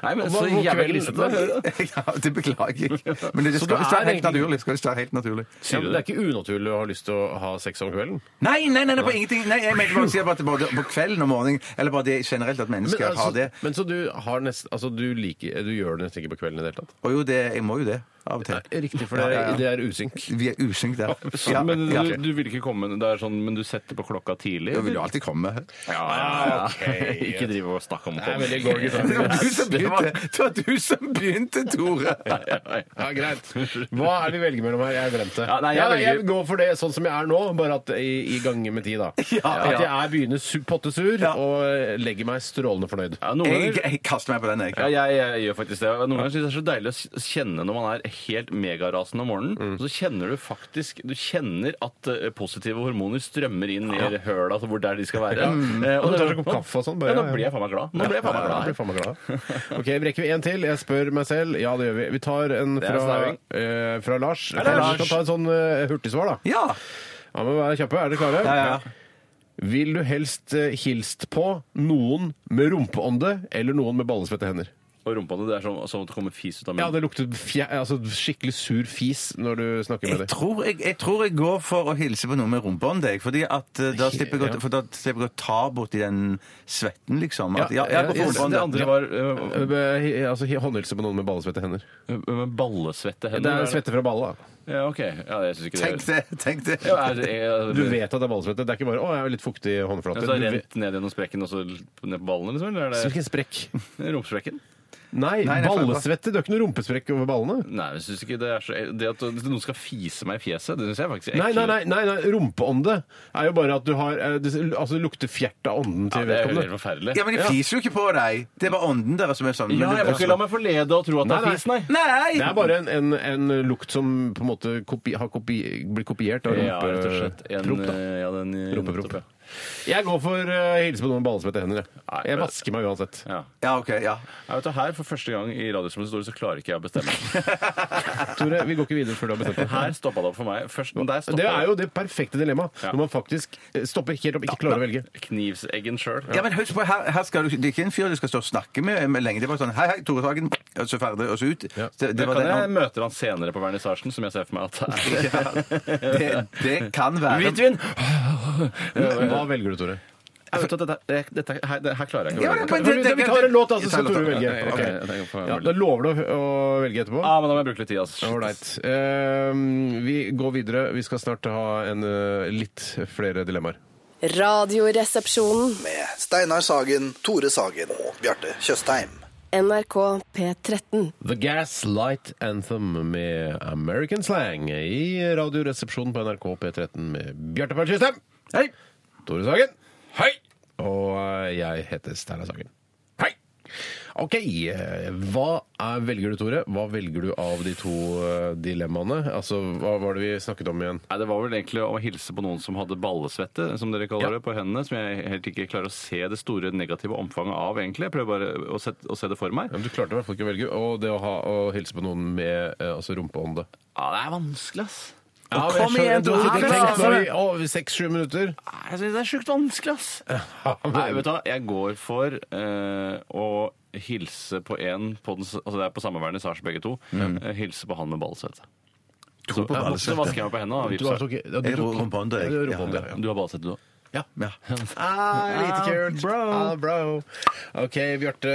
Speaker 3: Nei, men
Speaker 2: Og
Speaker 3: så
Speaker 2: hva- hvor
Speaker 3: jævla
Speaker 2: kvelden-
Speaker 3: grisete.
Speaker 4: Ja, det beklager jeg. Men det
Speaker 2: Så
Speaker 4: skal
Speaker 2: du
Speaker 4: visst
Speaker 2: er
Speaker 4: være helt
Speaker 2: egentlig-
Speaker 4: naturlig. Skal visst være helt naturlig.
Speaker 2: Ja, men det er ikke unaturlig å ha lyst til å ha sex om kvelden.
Speaker 4: Nei, nei, nei, nei, på ingenting. Nei, jeg mente bare å si at både på kvelden og morgenen, eller bare det generelt at
Speaker 2: Men,
Speaker 4: mennesker
Speaker 2: altså,
Speaker 4: har det.
Speaker 2: men så du har nesten Altså, du, liker, du gjør det nesten ikke på kvelden i det hele tatt?
Speaker 4: Og jo, det, jeg må jo det av og til.
Speaker 2: Riktig, for det,
Speaker 4: Ja, ja, ja.
Speaker 2: det er usynk.
Speaker 4: Vi er usynk der.
Speaker 3: Så,
Speaker 4: Ja,
Speaker 3: men
Speaker 4: ja.
Speaker 3: du, du vil ikke komme Det er sånn, men du setter på klokka tidlig?
Speaker 4: Jeg vil jo
Speaker 3: eller?
Speaker 4: alltid komme.
Speaker 3: Ja, ja, ja. ikke drive og snakke om å
Speaker 2: Ah, Det er
Speaker 3: komme.
Speaker 2: veldig gorg i
Speaker 4: Det var
Speaker 2: tanken.
Speaker 4: du som begynte, det var du som begynte Tore!
Speaker 2: Ja, greit. Hva er det vi velger mellom her? Jeg har glemt det.
Speaker 3: Ja, nei, jeg velger-
Speaker 2: går for det sånn som jeg er nå, bare at i, i gange med tid, da. At jeg er begynner su- pottesur
Speaker 4: Ja.
Speaker 2: og legger meg strålende fornøyd.
Speaker 3: Ja, noen
Speaker 4: Jeg,
Speaker 3: ganger-
Speaker 4: jeg kaster meg på den, jeg.
Speaker 3: Ja, jeg, jeg gjør faktisk det. Og Noen ganger synes jeg det er så deilig å s- kjenne når man er helt megarasende om morgenen,
Speaker 2: Mm.
Speaker 3: så kjenner du faktisk Du kjenner at eh, positive hormoner strømmer inn i høla altså hvor der de skal være. Eh,
Speaker 2: Og Mm. du tar
Speaker 3: det-
Speaker 2: en kopp kaffe og sånn, bare,
Speaker 3: ja, nå
Speaker 2: ja, ja.
Speaker 3: blir jeg faen meg glad. Nå blir jeg faen meg
Speaker 2: Ja,
Speaker 3: glad.
Speaker 2: jeg blir faen meg glad. Ok, vi rekker en til. Jeg spør meg selv. Ja, det gjør vi. Vi tar en
Speaker 3: er
Speaker 2: fra,
Speaker 3: snauing.
Speaker 2: eh, fra Lars.
Speaker 3: Hei,
Speaker 2: Kanskje
Speaker 3: Lars.
Speaker 2: vi kan ta en sånn eh, hurtigsvar, da.
Speaker 4: Ja!
Speaker 2: Ja, men Vær kjappe. Er dere klare?
Speaker 4: Ja, ja.
Speaker 2: Vil du helst eh, hilst på noen med rumpeånde eller noen med ballespette hender?
Speaker 3: Og rumpa di, det er som, som at det kommer fis ut av
Speaker 2: Ja,
Speaker 3: munnen.
Speaker 2: det lukter fje, altså, skikkelig sur fis når du snakker med
Speaker 4: Jeg
Speaker 2: dem.
Speaker 4: tror jeg, jeg tror jeg går for å hilse på noe med rumpehånd, jeg. Fordi at eh, da slipper jeg,
Speaker 2: Ja.
Speaker 4: å- for da slipper jeg å ta borti den svetten, liksom. At,
Speaker 2: Ja,
Speaker 4: ja, jeg
Speaker 2: ja,
Speaker 4: går for
Speaker 3: det,
Speaker 4: rumpehånd.
Speaker 3: det
Speaker 4: ja.
Speaker 3: andre var eh,
Speaker 2: Altså, hi- håndhilse på noen med ballespette hender.
Speaker 3: med ballesvette
Speaker 2: Det
Speaker 3: hender.
Speaker 2: er svette fra balle, da.
Speaker 3: Ja, OK. Ja, jeg syns ikke
Speaker 4: Tenk det! Tenk det!
Speaker 3: Ja, er, er,
Speaker 2: Du vet at det er ballesvette. Det er ikke bare 'å, jeg har litt fuktig håndflate'.
Speaker 3: Altså,
Speaker 2: Du vet-
Speaker 3: rent ned gjennom sprekken og så ned på ballen, liksom? Eller er
Speaker 2: Hvilken sprekk?
Speaker 3: det romsprekken?
Speaker 2: Nei,
Speaker 4: Nei, nei,
Speaker 2: ballesvette. Du har ikke noe rumpesprekk over ballene.
Speaker 3: Nei, jeg synes ikke det er så Det at noen skal fise meg i fjeset, det syns jeg faktisk er
Speaker 2: Nei, nei, nei, nei, nei. rumpeånde er jo bare at du har eh, det, Altså, det lukter fjert av ånden
Speaker 3: Ja,
Speaker 2: til
Speaker 3: det er helt
Speaker 2: vedkommende.
Speaker 3: forferdelig.
Speaker 4: Ja, men de fiser jo ikke på deg. Det er bare ånden deres som er
Speaker 3: Ja,
Speaker 4: sånn. Men
Speaker 3: jeg må ikke
Speaker 4: det-
Speaker 3: la meg forlede og tro at det
Speaker 2: Nei, nei.
Speaker 3: er fis, nei.
Speaker 4: Nei!
Speaker 2: Det er bare en, en, en lukt som på en måte kopi, har kopi, blitt kopiert av
Speaker 3: Ja, rett og slett. En, eh,
Speaker 2: rumpepromp. da.
Speaker 3: ja, den,
Speaker 2: Rumpepromp.
Speaker 3: nettopp,
Speaker 2: Jeg går for uh, hilse på noen ballespette hender. jeg.
Speaker 3: Nei,
Speaker 2: Jeg
Speaker 3: men-
Speaker 2: vasker meg uansett.
Speaker 3: Ja.
Speaker 4: Ja, ok, ja.
Speaker 3: Jeg vet, du, her For første gang i Radiosportens historie så klarer ikke jeg å bestemme.
Speaker 2: Tore, vi går ikke videre før du har bestemt deg.
Speaker 3: Her stoppa det opp for meg. Først, men der
Speaker 2: Det
Speaker 3: stoppa
Speaker 2: er jo det perfekte dilemmaet.
Speaker 3: Ja.
Speaker 2: Når man faktisk eh, stopper helt opp, ikke klarer å velge.
Speaker 3: knivseggen sjøl.
Speaker 4: Ja, men husk på, her, her skal du, Det er ikke en fyr du skal stå og snakke med, med lenge. Det er bare sånn Hei, hei, Tore Sagen. Og så ferdig, og så ut.
Speaker 2: Ja.
Speaker 4: Det, det, var
Speaker 3: kan jeg
Speaker 4: den,
Speaker 3: møter han senere på vernissasjen, som jeg ser for meg at det er.
Speaker 4: det, det kan være
Speaker 3: Hvitvin!
Speaker 2: Hva velger du, Tore?
Speaker 3: Jeg vet at dette, dette her, det, her klarer jeg ikke
Speaker 4: Ja,
Speaker 3: å
Speaker 4: men-
Speaker 3: velge.
Speaker 4: men-
Speaker 2: Vi vi tar en låt, da, så skal Tore velge.
Speaker 3: Ja, ok, jeg tenker på-
Speaker 2: Ok. Ja, da lover du å, å velge etterpå?
Speaker 3: Ja, men da må jeg bruke litt tid, altså. Shit.
Speaker 2: Ålreit. Eh, vi går videre. Vi skal snart ha en, eh, litt flere dilemmaer.
Speaker 8: Radioresepsjonen.
Speaker 9: Med Steinar Sagen, Tore Sagen og Bjarte Tjøstheim.
Speaker 8: NRK P13.
Speaker 2: The Gaslight Anthem med American Slang i Radioresepsjonen på NRK P13 med Bjarte Paul Tjøstheim. Hei! Tore Sagen. Hei! Og eh, jeg heter Steinar Sagen. Hei! OK. eh, Hva er, velger du, Tore? Hva velger du av de to eh, dilemmaene? Altså, hva var det vi snakket om igjen?
Speaker 3: Nei, Det var vel egentlig å hilse på noen som hadde ballesvette, som dere kaller det, på hendene. Som jeg helt ikke klarer å se det store negative omfanget av, egentlig. Jeg prøver bare å, sette, å se det for meg.
Speaker 2: Ja, men Du klarte i hvert fall ikke å velge. Og det å, ha, å hilse på noen med eh, altså, rumpehånde.
Speaker 3: Ja, det er vanskelig, ass.
Speaker 2: Ja, men jeg
Speaker 3: kom
Speaker 2: skjønner-
Speaker 3: igjen,
Speaker 2: du har
Speaker 3: Tore,
Speaker 2: ikke
Speaker 3: kom
Speaker 2: tenkt
Speaker 3: igjen.
Speaker 2: på det i seks-sju minutter.
Speaker 3: Jeg synes det er sjukt vanskelig, ass. Nei, vet du hva? Jeg går for eh, å hilse på en på den, s- Altså det er på samme vernissasje, begge to. Eh, Hilse på han med ballsvette.
Speaker 4: To på
Speaker 3: Ja, Så vasker jeg meg på hendene og
Speaker 2: Du
Speaker 3: vipser.
Speaker 2: har tok- ja, du
Speaker 4: Jeg
Speaker 2: tok-
Speaker 4: tok rumpehånde, jeg.
Speaker 2: Ja, du har rumpehånde, ja.
Speaker 3: Du har ballsvette, du òg?
Speaker 4: Ja.
Speaker 2: Ah, lite kult.
Speaker 4: bro.
Speaker 2: Ah, bro. OK, Bjarte.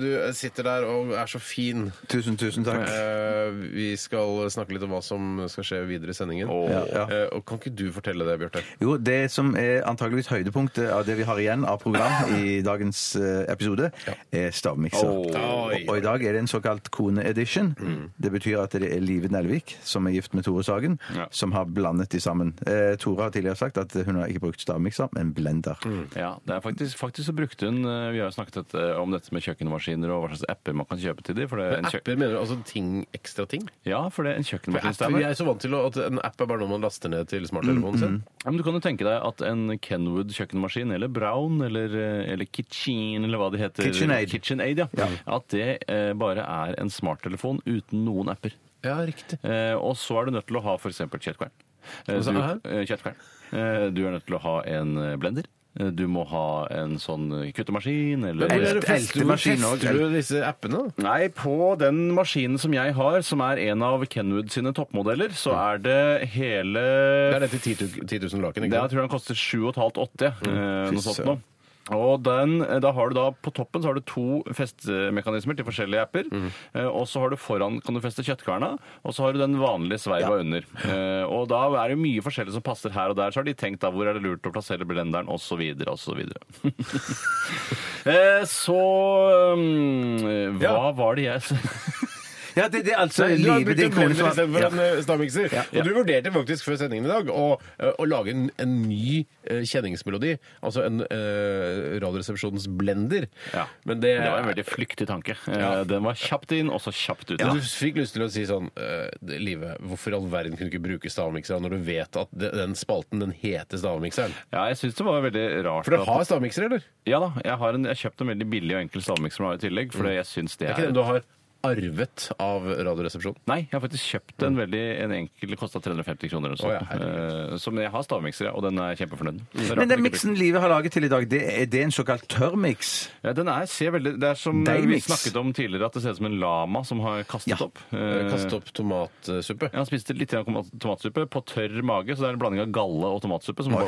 Speaker 2: Du sitter der og er så fin.
Speaker 4: Tusen, tusen takk.
Speaker 2: Eh, vi skal snakke litt om hva som skal skje videre i sendingen.
Speaker 4: Ja.
Speaker 2: Eh, og kan ikke du fortelle det, Bjarte?
Speaker 4: Jo, det som er antageligvis høydepunktet av det vi har igjen av program i dagens eh, episode, er stavmikser.
Speaker 2: Oi.
Speaker 4: Og i dag er det en såkalt kone-edition. Det betyr at det er Live Nelvik, som er gift med Tore Sagen,
Speaker 3: Ja.
Speaker 4: som har blandet de sammen. Eh, Tore har tidligere sagt at hun har ikke brukt stavmikser, men blender.
Speaker 3: Ja, det er faktisk, faktisk så brukte hun eh, Vi har jo snakket et, eh, om dette med kjøkkenmaskiner og hva slags apper man kan kjøpe til dem. For det er en, kjøk
Speaker 2: Apper mener du altså ting, ekstra ting?
Speaker 3: ja, for det er en
Speaker 2: For
Speaker 3: kjøkkenmaskin
Speaker 2: apper,
Speaker 3: stemmer.
Speaker 2: jeg er så vant til å- at en app er bare noe man laster ned til smarttelefonen sin.
Speaker 3: Ja, men du kan jo tenke deg at en Kenwood kjøkkenmaskin, eller Brown, eller, eh, eller Kitchen, eller hva det heter
Speaker 4: KitchenAid.
Speaker 3: KitchenAid, ja.
Speaker 4: Ja.
Speaker 3: At det eh, bare er en smarttelefon uten noen apper.
Speaker 2: Ja, riktig.
Speaker 3: Eh, og så er du nødt til å ha f.eks. kjøttkvern. Eh,
Speaker 2: Hva sa
Speaker 3: du,
Speaker 2: jeg
Speaker 3: eh, kjøttkvern. Eh, du er nødt til å ha en eh, blender. Eh, Du må ha en sånn eh, kuttemaskin eller
Speaker 4: Eller-
Speaker 2: Hvor tester hvor
Speaker 4: eltemaskinen også,
Speaker 2: tester du disse appene? da?
Speaker 3: Nei, på den maskinen som jeg har, som er en av Kenwood sine toppmodeller, så er det hele
Speaker 2: Det er det til 10 000 10 000 laken,
Speaker 3: Eh, det jeg
Speaker 2: ikke sant?
Speaker 3: tror den koster 7,5-8. Eh,
Speaker 4: Mm.
Speaker 2: Fy
Speaker 3: noe sånt
Speaker 2: søren.
Speaker 3: noe. Og den, eh, da har du da, På toppen så har du to festemekanismer til forskjellige apper.
Speaker 4: Mm.
Speaker 3: Eh, og så har du foran kan du feste kjøttkverna, og så har du den vanlige sveiva under. Eh, og Da er det mye forskjellig som passer her og der. Så har de tenkt da, hvor er det lurt å plassere blenderen osv. osv. eh, så um, Hva
Speaker 2: Ja.
Speaker 3: var det jeg
Speaker 4: Ja, det, det er altså
Speaker 2: Nei, du har
Speaker 4: Live,
Speaker 2: brukt
Speaker 4: din
Speaker 2: en
Speaker 4: kone
Speaker 2: blender
Speaker 4: som
Speaker 2: istedenfor en eh, stavmikser.
Speaker 3: Ja.
Speaker 2: Og du vurderte faktisk før sendingen i dag å, eh, å lage en, en ny eh, kjenningsmelodi. Altså en eh, Radioresepsjonens blender.
Speaker 3: Ja.
Speaker 2: Men det,
Speaker 3: Det var en veldig flyktig tanke. Eh,
Speaker 2: Ja.
Speaker 3: Den var kjapt inn, og så kjapt ut.
Speaker 2: Men Du fikk lyst til å si sånn eh, Live, hvorfor i all verden kunne du ikke bruke stavmikseren når du vet at de- den spalten den heter stavmikseren?
Speaker 3: Ja, jeg syns det var veldig rart.
Speaker 2: For dere
Speaker 3: at-
Speaker 2: har stavmikser, eller?
Speaker 3: Ja da, jeg har, en, jeg har kjøpt en veldig billig og enkel stavmikser nå i tillegg, for jeg syns det
Speaker 2: Det Mm. er ikke
Speaker 3: er
Speaker 2: den du har arvet av Radioresepsjonen?
Speaker 3: Nei, jeg har faktisk kjøpt en veldig en enkel, kosta 350 kroner eller
Speaker 2: Mm. Å, ja, Mm.
Speaker 3: noe sånt. Eh, Så men jeg har stavmikser, ja, og den er jeg kjempefornøyd med. Det er rart
Speaker 4: Men den
Speaker 3: den ikke
Speaker 4: miksen Live har laget til i dag, det er det en såkalt tørrmiks?
Speaker 3: blir- Ja, den er, ser veldig, det er som vi
Speaker 4: Deigmix.
Speaker 3: snakket om tidligere, at det ser ut som en lama som har kastet
Speaker 4: Ja.
Speaker 3: opp. Eh,
Speaker 2: Kaste opp tomatsuppe?
Speaker 3: Ja, han spiste litt grann tomat- tomatsuppe på tørr mage, så det er en blanding av galle og tomatsuppe som bare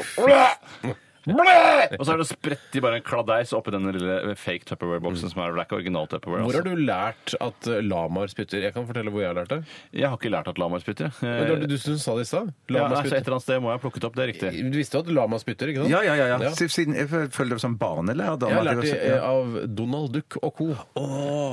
Speaker 3: Og så er det spredt i bare en kladeis oppi den lille fake Tupperware-boksen som er det er ikke original Tupperware.
Speaker 2: Hvor
Speaker 3: altså.
Speaker 2: har du lært at eh, lamaer spytter? Jeg kan fortelle hvor jeg har lært det.
Speaker 3: Jeg har ikke lært at lamaer spytter. jeg.
Speaker 2: Men det var det Du som sa det i stad?
Speaker 3: Eh, Ja,
Speaker 2: Lama
Speaker 3: altså et
Speaker 2: spytter.
Speaker 3: eller annet sted må jeg ha plukket opp, det er riktig.
Speaker 2: Du visste jo at lama spytter, ikke sant?
Speaker 4: Ja, ja, ja. ja. Siden jeg føler det som barnelærdom.
Speaker 2: Jeg har
Speaker 4: at
Speaker 2: lært det eh,
Speaker 4: var-
Speaker 2: av Donald Duck og co.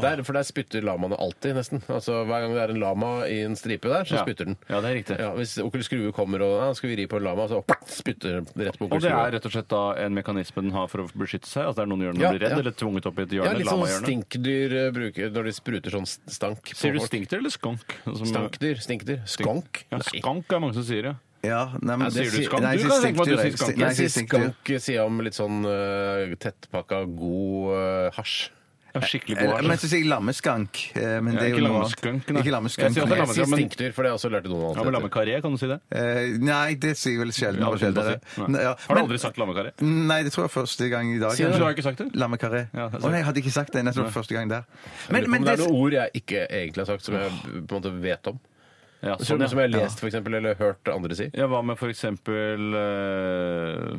Speaker 2: Der, for der spytter lamaene alltid, nesten. Altså, Hver gang det er en lama i en stripe der, så
Speaker 3: Ja.
Speaker 2: spytter den.
Speaker 3: Ja, det er riktig.
Speaker 2: Ja, hvis onkel Skrue kommer og ja, skal vi ri på en lama, så spytter den rett på
Speaker 3: Og
Speaker 2: onkel
Speaker 3: det er
Speaker 2: Skrue.
Speaker 3: rett og slett da en mekanisme den har for å beskytte seg? Altså det er noen hjørne
Speaker 2: Ja,
Speaker 3: blir redd
Speaker 2: ja.
Speaker 3: eller tvunget opp i et
Speaker 2: Ja,
Speaker 3: hjørne?
Speaker 2: litt sånn
Speaker 3: lamahjørne.
Speaker 2: stinkdyr eh, bruker når de spruter sånn st- stank. på
Speaker 3: Sier du
Speaker 2: folk.
Speaker 3: stinkdyr eller skank? Som-
Speaker 2: Stankdyr. Stinkdyr. Skank?
Speaker 3: Ja,
Speaker 2: Nei.
Speaker 3: skank er mange som sier, ja.
Speaker 4: Ja, nei,
Speaker 3: Ja,
Speaker 4: men,
Speaker 3: sier du
Speaker 4: sier-
Speaker 3: skank?
Speaker 4: Nei,
Speaker 3: Du kan
Speaker 4: jeg
Speaker 3: tenke
Speaker 4: sier
Speaker 3: meg at du
Speaker 4: stinkdyr,
Speaker 3: sier
Speaker 4: jeg.
Speaker 3: skank.
Speaker 4: Nei,
Speaker 2: Jeg sier
Speaker 4: jeg sier stinkdyr.
Speaker 2: skank sier jeg om litt sånn eh, tettpakka god eh, hasj.
Speaker 3: ja skikkelig god
Speaker 4: Eller- Men
Speaker 3: hasj.
Speaker 4: så sier jeg lammeskank. eh, Men
Speaker 3: Ja,
Speaker 4: det er jo
Speaker 3: ikke
Speaker 4: noe annet.
Speaker 3: lammeskank, nei.
Speaker 4: Ikke
Speaker 3: Jeg sier også
Speaker 4: lammeskank.
Speaker 2: Jeg
Speaker 3: lammes-
Speaker 2: sier
Speaker 3: ja, men-
Speaker 2: stinkdyr, for det har jeg også lært i Donald.
Speaker 3: Ja, men
Speaker 2: etter.
Speaker 3: Lammekaré, kan du si det?
Speaker 4: Eh, Nei, det sier jeg vel sjelden.
Speaker 3: Jeg har
Speaker 4: og
Speaker 3: aldri
Speaker 4: sjelden.
Speaker 3: tenkt å si.
Speaker 4: Nei.
Speaker 3: Nei.
Speaker 4: Ja,
Speaker 3: Har du
Speaker 4: men-
Speaker 3: aldri sagt lammekaré?
Speaker 4: Nei, det tror jeg første gang i dag.
Speaker 3: Sier du, du har ikke sagt det?
Speaker 4: Lammekaré.
Speaker 3: Ja, det er
Speaker 4: Å nei, jeg hadde ikke sagt det. Nettopp første gang der. Men,
Speaker 2: Men,
Speaker 4: men
Speaker 2: det er
Speaker 4: det,
Speaker 2: noen ord jeg ikke egentlig har sagt, som jeg på en måte vet om.
Speaker 3: Ja,
Speaker 2: Som,
Speaker 3: sånn,
Speaker 2: som jeg har
Speaker 3: ja.
Speaker 2: lest, for eksempel, eller hørt andre si.
Speaker 3: ja, hva med for eksempel eh,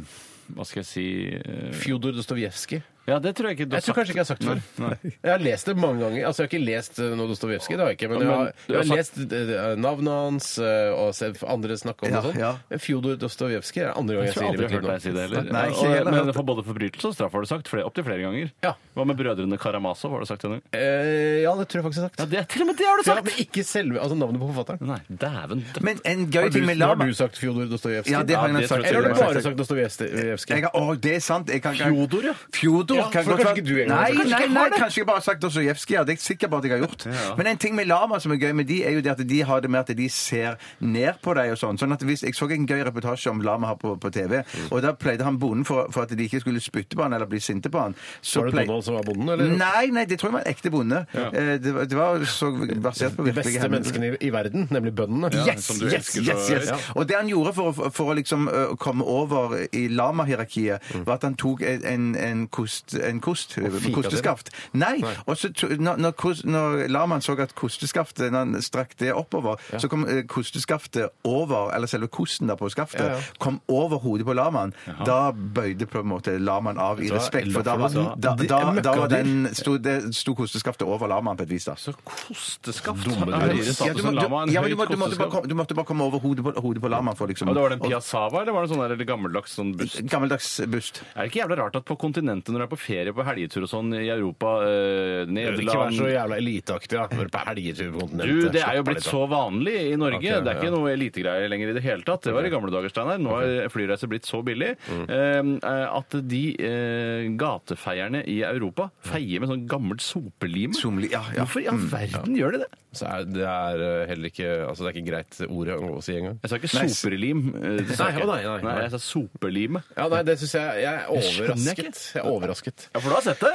Speaker 3: Hva skal jeg si eh,
Speaker 2: Fjodor Dostojevskij.
Speaker 3: Ja, det tror jeg ikke du har
Speaker 2: Jeg tror kanskje ikke jeg har sagt det
Speaker 3: Nei,
Speaker 2: før. Jeg har lest det mange ganger. Altså, Jeg har ikke lest eh, noe Dostojevskij, det har jeg ikke.
Speaker 3: Ja,
Speaker 2: Men jeg
Speaker 3: men
Speaker 2: har,
Speaker 3: du
Speaker 2: jeg
Speaker 3: har
Speaker 2: har lest eh, navnet hans eh, og sett andre snakke om
Speaker 4: Ja,
Speaker 2: det og
Speaker 4: ja.
Speaker 2: sånn. Men Fjodor Dostojevskij er det andre gang
Speaker 3: Jeg
Speaker 2: jeg,
Speaker 3: tror
Speaker 2: sier
Speaker 3: aldri
Speaker 2: det.
Speaker 3: jeg har hørt deg si det heller.
Speaker 4: Nei, ikke
Speaker 3: Og-
Speaker 4: heller.
Speaker 3: Men for både forbrytelse og straff har du sagt opptil flere ganger.
Speaker 2: Ja.
Speaker 3: Hva med brødrene Karamazov? Har du sagt det noen gang?
Speaker 2: Eh, ja, det tror jeg faktisk jeg har sagt.
Speaker 3: Ja, det, til og med det har du
Speaker 2: Ja,
Speaker 3: sagt!
Speaker 2: men ikke selve altså navnet på forfatteren.
Speaker 3: Nei, dæven dø-
Speaker 4: men en
Speaker 2: Har
Speaker 4: gøy
Speaker 2: du,
Speaker 4: ting med
Speaker 2: nå har
Speaker 4: lama
Speaker 2: du sagt Fjodor Dostojevskij?
Speaker 4: Ja, det har
Speaker 3: Ja, det
Speaker 4: jeg nok sagt.
Speaker 3: tror
Speaker 2: Eller har
Speaker 3: jeg
Speaker 2: du bare sagt Dostojevskij?
Speaker 4: Jeg har- Å, det er sant. Jeg kan,
Speaker 2: Fjodor, ja.
Speaker 4: Fjodor, gjort. Kan
Speaker 2: for
Speaker 4: godt
Speaker 2: kanskje
Speaker 4: være-
Speaker 2: ikke du engang har
Speaker 4: Nei,
Speaker 2: sagt det.
Speaker 4: nei, nei, kanskje jeg bare har sagt Dostojevskij. Ja, det er jeg sikker på at jeg har gjort. Men en ting med lama som er gøy med de, er jo det at de har det med at de ser ned på deg og sånn. Sånn at hvis Jeg så en gøy reportasje om lama her på, på TV,
Speaker 2: Mm.
Speaker 4: og da pleide han bonden for, for at de ikke skulle spytte på han eller bli sinte på han. Så
Speaker 2: Var det
Speaker 4: plei-
Speaker 2: Donald som var bonden, eller?
Speaker 4: Nei, nei, det tror jeg var en ekte bonde.
Speaker 2: Ja.
Speaker 4: Eh, Det, var- det var så basert på
Speaker 2: De beste
Speaker 4: hendelser.
Speaker 2: menneskene i, i verden, nemlig bøndene.
Speaker 4: Yes,
Speaker 2: som du
Speaker 4: yes,
Speaker 2: elsker så-
Speaker 4: yes, yes.
Speaker 2: Ja.
Speaker 4: Og det han gjorde for, å- for å liksom ø, komme over i lama-hierarkiet,
Speaker 2: Mm.
Speaker 4: var at han tok en, en, en, kost, en kost,
Speaker 2: fika
Speaker 4: kosteskaft. Nei!
Speaker 2: Nei.
Speaker 4: Og så to- når, når, kos- når lamaen så at kosteskaftet når han strakk det oppover, så kom ø, kosteskaftet over, eller selve kosten der på skaftet,
Speaker 2: Ja, ja.
Speaker 4: kom over hodet på lamaen. Da bøyde på en måte lamaen av i
Speaker 2: Da-
Speaker 4: respekt, for
Speaker 2: da-
Speaker 4: da var, da,
Speaker 2: det er
Speaker 4: da, da
Speaker 2: møkkadyr.
Speaker 4: var den, sto, det, sto kosteskaftet over lamaen på et vis, da.
Speaker 3: Så kosteskaft.
Speaker 2: Dumme
Speaker 3: Ja,
Speaker 2: dyr.
Speaker 3: høyere
Speaker 4: Ja, du,
Speaker 3: status
Speaker 4: må-
Speaker 3: enn
Speaker 4: du,
Speaker 3: lama, en
Speaker 4: ja, men du,
Speaker 3: høyt
Speaker 4: må, du, måtte bare
Speaker 3: kosteskaft.
Speaker 4: komme, du måtte bare komme over hodet på, hodet på lamaen for liksom
Speaker 3: Ja, det var det en piassava, eller var det sånn der, eller gammeldags sånn bust?
Speaker 4: og- Gammeldags bust.
Speaker 3: Er det ikke jævla rart at på kontinentet, når du er på ferie på helgetur og sånn i Europa, eh,
Speaker 2: Ikke vær så
Speaker 3: Nederland
Speaker 2: jævla eliteaktig, da. Bare på helgetur på kontinentet.
Speaker 3: du, Det er jo
Speaker 2: Slapp av
Speaker 3: blitt
Speaker 2: litt, da.
Speaker 3: så vanlig i Norge.
Speaker 2: Ok, ja,
Speaker 3: Det er ikke
Speaker 2: ja.
Speaker 3: noe elitegreier lenger i det hele tatt. Det var i gamle dager, Steinar. Nå er flyreiser blitt så billig
Speaker 2: Mm.
Speaker 3: eh, at de eh, gatefeierne i Europa feier med sånn gammelt sopelim.
Speaker 4: Somli- ja, ja.
Speaker 3: Hvorfor i
Speaker 2: Mm.
Speaker 3: all verden gjør de det?
Speaker 2: Så er, det er eh, heller ikke Altså, det er ikke greit ordet å si engang.
Speaker 3: Jeg sa ikke soperlim. eh, det sa
Speaker 2: Nei,
Speaker 3: jeg ikke.
Speaker 2: å nei, nei, nei.
Speaker 3: jeg sa soperlim.
Speaker 2: Ja, nei, det syns jeg Jeg er
Speaker 3: skjønner jeg
Speaker 2: overrasket.
Speaker 3: ikke.
Speaker 2: Jeg er overrasket.
Speaker 3: Ja, for du har sett det?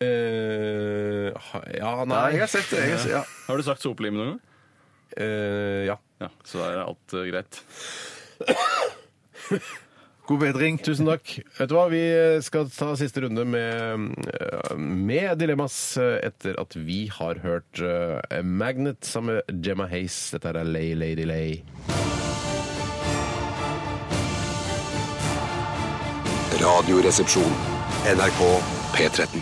Speaker 2: Eh, ha- ja, nei
Speaker 4: Nei, jeg har sett det. Jeg har, sett- ja.
Speaker 3: Har du sagt sopelim noen gang?
Speaker 2: Eh, ja.
Speaker 3: Ja, så da er alt eh, greit.
Speaker 4: God bedring.
Speaker 2: Tusen takk. Vet du hva, Vi skal ta siste runde med, eh, med Dilemmas eh, etter at vi har hørt eh, Magnet sammen med Gemma Hayes. Dette her er Lay Lady Lay.
Speaker 5: Radioresepsjon. NRK P13.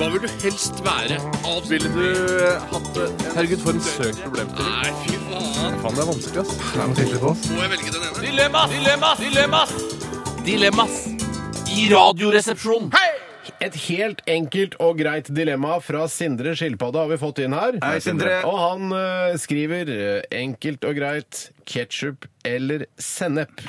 Speaker 7: Hva vil du helst være? Ville du eh, hatt det? Herregud, for en søkt problemstilling. Nei, fy faen. Faen, det er vanskelig, ass. Må jeg velge den ene? Dilemmas! Dilemmas! Dilemmas! Dilemmas i Radioresepsjonen.
Speaker 2: Et helt enkelt og greit dilemma fra Sindre Skilpadde har vi fått inn her.
Speaker 4: Hei, Sindre.
Speaker 2: Og han eh, skriver eh, enkelt og greit ketsjup eller sennep.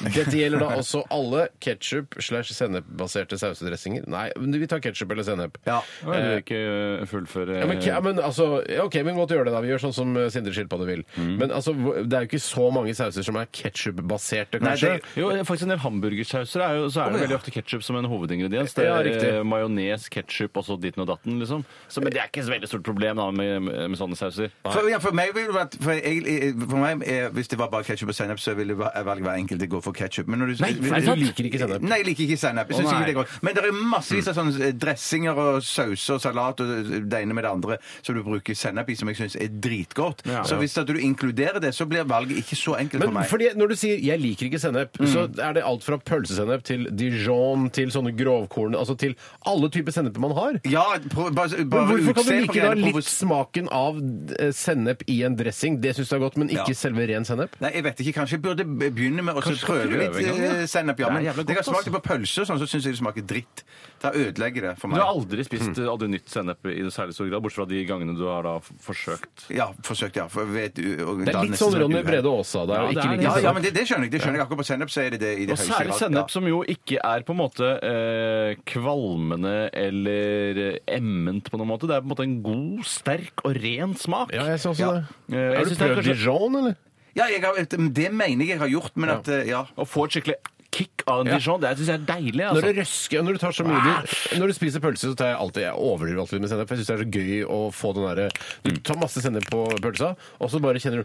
Speaker 2: Dette gjelder da også alle ketsjup slash sennepbaserte sausedressinger. Nei, men vi tar ketsjup eller sennep.
Speaker 4: Ja.
Speaker 3: Nei, du vil ikke eh, fullføre
Speaker 2: Ja, men, ja, men altså, ja, ok, vi kan godt gjøre det da. Vi gjør sånn som eh, Sindre Skilpadde vil.
Speaker 4: Mm.
Speaker 2: Men altså, hvor- det er jo ikke så mange sauser som er ketsjupbaserte,
Speaker 4: Nei,
Speaker 2: kanskje.
Speaker 4: det-
Speaker 3: Jo, faktisk en del hamburgersauser er jo, så er det veldig ofte ketsjup som en hovedingrediens. Det
Speaker 2: Ja,
Speaker 3: er
Speaker 2: riktig.
Speaker 3: eh, majones, ketsjup og så ditten og datten, liksom. Så, men det er ikke så veldig stort problem da, med, med sånne sauser.
Speaker 4: For, ja, for meg ville det vært for, jeg, for meg, eh, Hvis det var bare ketsjup og sennep, så ville jeg va- valge hver enkelt å gå for ketsjup. Nei,
Speaker 2: for du liker ikke sennep.
Speaker 4: Nei, jeg liker ikke sennep. Jeg synes
Speaker 3: Å, nei. Mm.
Speaker 4: ikke det er godt. Men det er massevis av sånne eh, dressinger og sauser og salat og eh, det ene med det andre som du bruker sennep i, som jeg syns er dritgodt.
Speaker 3: Ja.
Speaker 4: Så hvis at du inkluderer det, så blir valget ikke så enkelt for
Speaker 2: Men
Speaker 4: meg. Mm.
Speaker 2: fordi når du sier 'jeg liker ikke sennep', så er det alt fra pølsesennep til dijon til sånne grovkorn Altså til alle typer senneper man har.
Speaker 4: Ja, pro- bare,
Speaker 2: Men
Speaker 4: bare
Speaker 2: hvorfor kan du
Speaker 4: se på
Speaker 2: like da litt
Speaker 4: greiene, provos-
Speaker 2: smaken av eh, sennep i en dressing? Det syns du er godt, men ikke
Speaker 4: Ja.
Speaker 2: selve ren sennep?
Speaker 4: Nei, jeg vet ikke. Kanskje jeg burde be- begynne med å så
Speaker 3: Kanskje
Speaker 4: prøve
Speaker 3: prøve
Speaker 4: litt
Speaker 3: en gang, ja.
Speaker 4: eh, sennep.
Speaker 3: Det
Speaker 4: Ja,
Speaker 3: er
Speaker 4: men
Speaker 3: jævla godt,
Speaker 4: jeg har smakt
Speaker 3: altså.
Speaker 4: det på pølse og sånn, så syns jeg det smaker dritt. Da ødelegger det for
Speaker 3: Du
Speaker 4: meg.
Speaker 3: har aldri spist eh, aldri nytt sennep i særlig stor grad, bortsett fra de gangene du har da f- forsøkt.
Speaker 4: Ja, forsøkt, ja. For vet, u- og
Speaker 2: Det
Speaker 4: da
Speaker 2: er litt
Speaker 4: nesten
Speaker 2: sånn Ronny
Speaker 4: uhell.
Speaker 2: Brede Aasa. Det er
Speaker 3: Ja,
Speaker 2: å
Speaker 3: det
Speaker 2: ikke
Speaker 3: er
Speaker 2: like
Speaker 3: det.
Speaker 4: Ja,
Speaker 2: sennep.
Speaker 4: ja, men det, det skjønner jeg. Det skjønner jeg. Akkurat på sennep så er det det i det
Speaker 3: altså. Og
Speaker 4: høyeste
Speaker 3: særlig
Speaker 4: grad.
Speaker 3: sennep som jo ikke er på en måte eh, kvalmende eller eh, emment på noen måte. Det er på en måte en god, sterk og ren smak.
Speaker 2: Ja, jeg så også
Speaker 4: Ja.
Speaker 2: det.
Speaker 3: Eh, jeg
Speaker 2: Har du
Speaker 3: synes det er
Speaker 2: prøvd
Speaker 3: kanskje-
Speaker 2: dijon, eller?
Speaker 4: Ja, jeg har, det mener jeg jeg har gjort, men at eh, Ja.
Speaker 3: Og få et skikkelig kick av en
Speaker 2: Ja.
Speaker 3: dijon. Det syns jeg er deilig.
Speaker 2: Når
Speaker 3: altså.
Speaker 2: det røsker, når du tar så mye Når du spiser pølse, så tar jeg alltid Jeg overdriver alltid med sennep. for Jeg syns det er så gøy å få den derre Du tar masse sennep på pølsa, og så bare kjenner du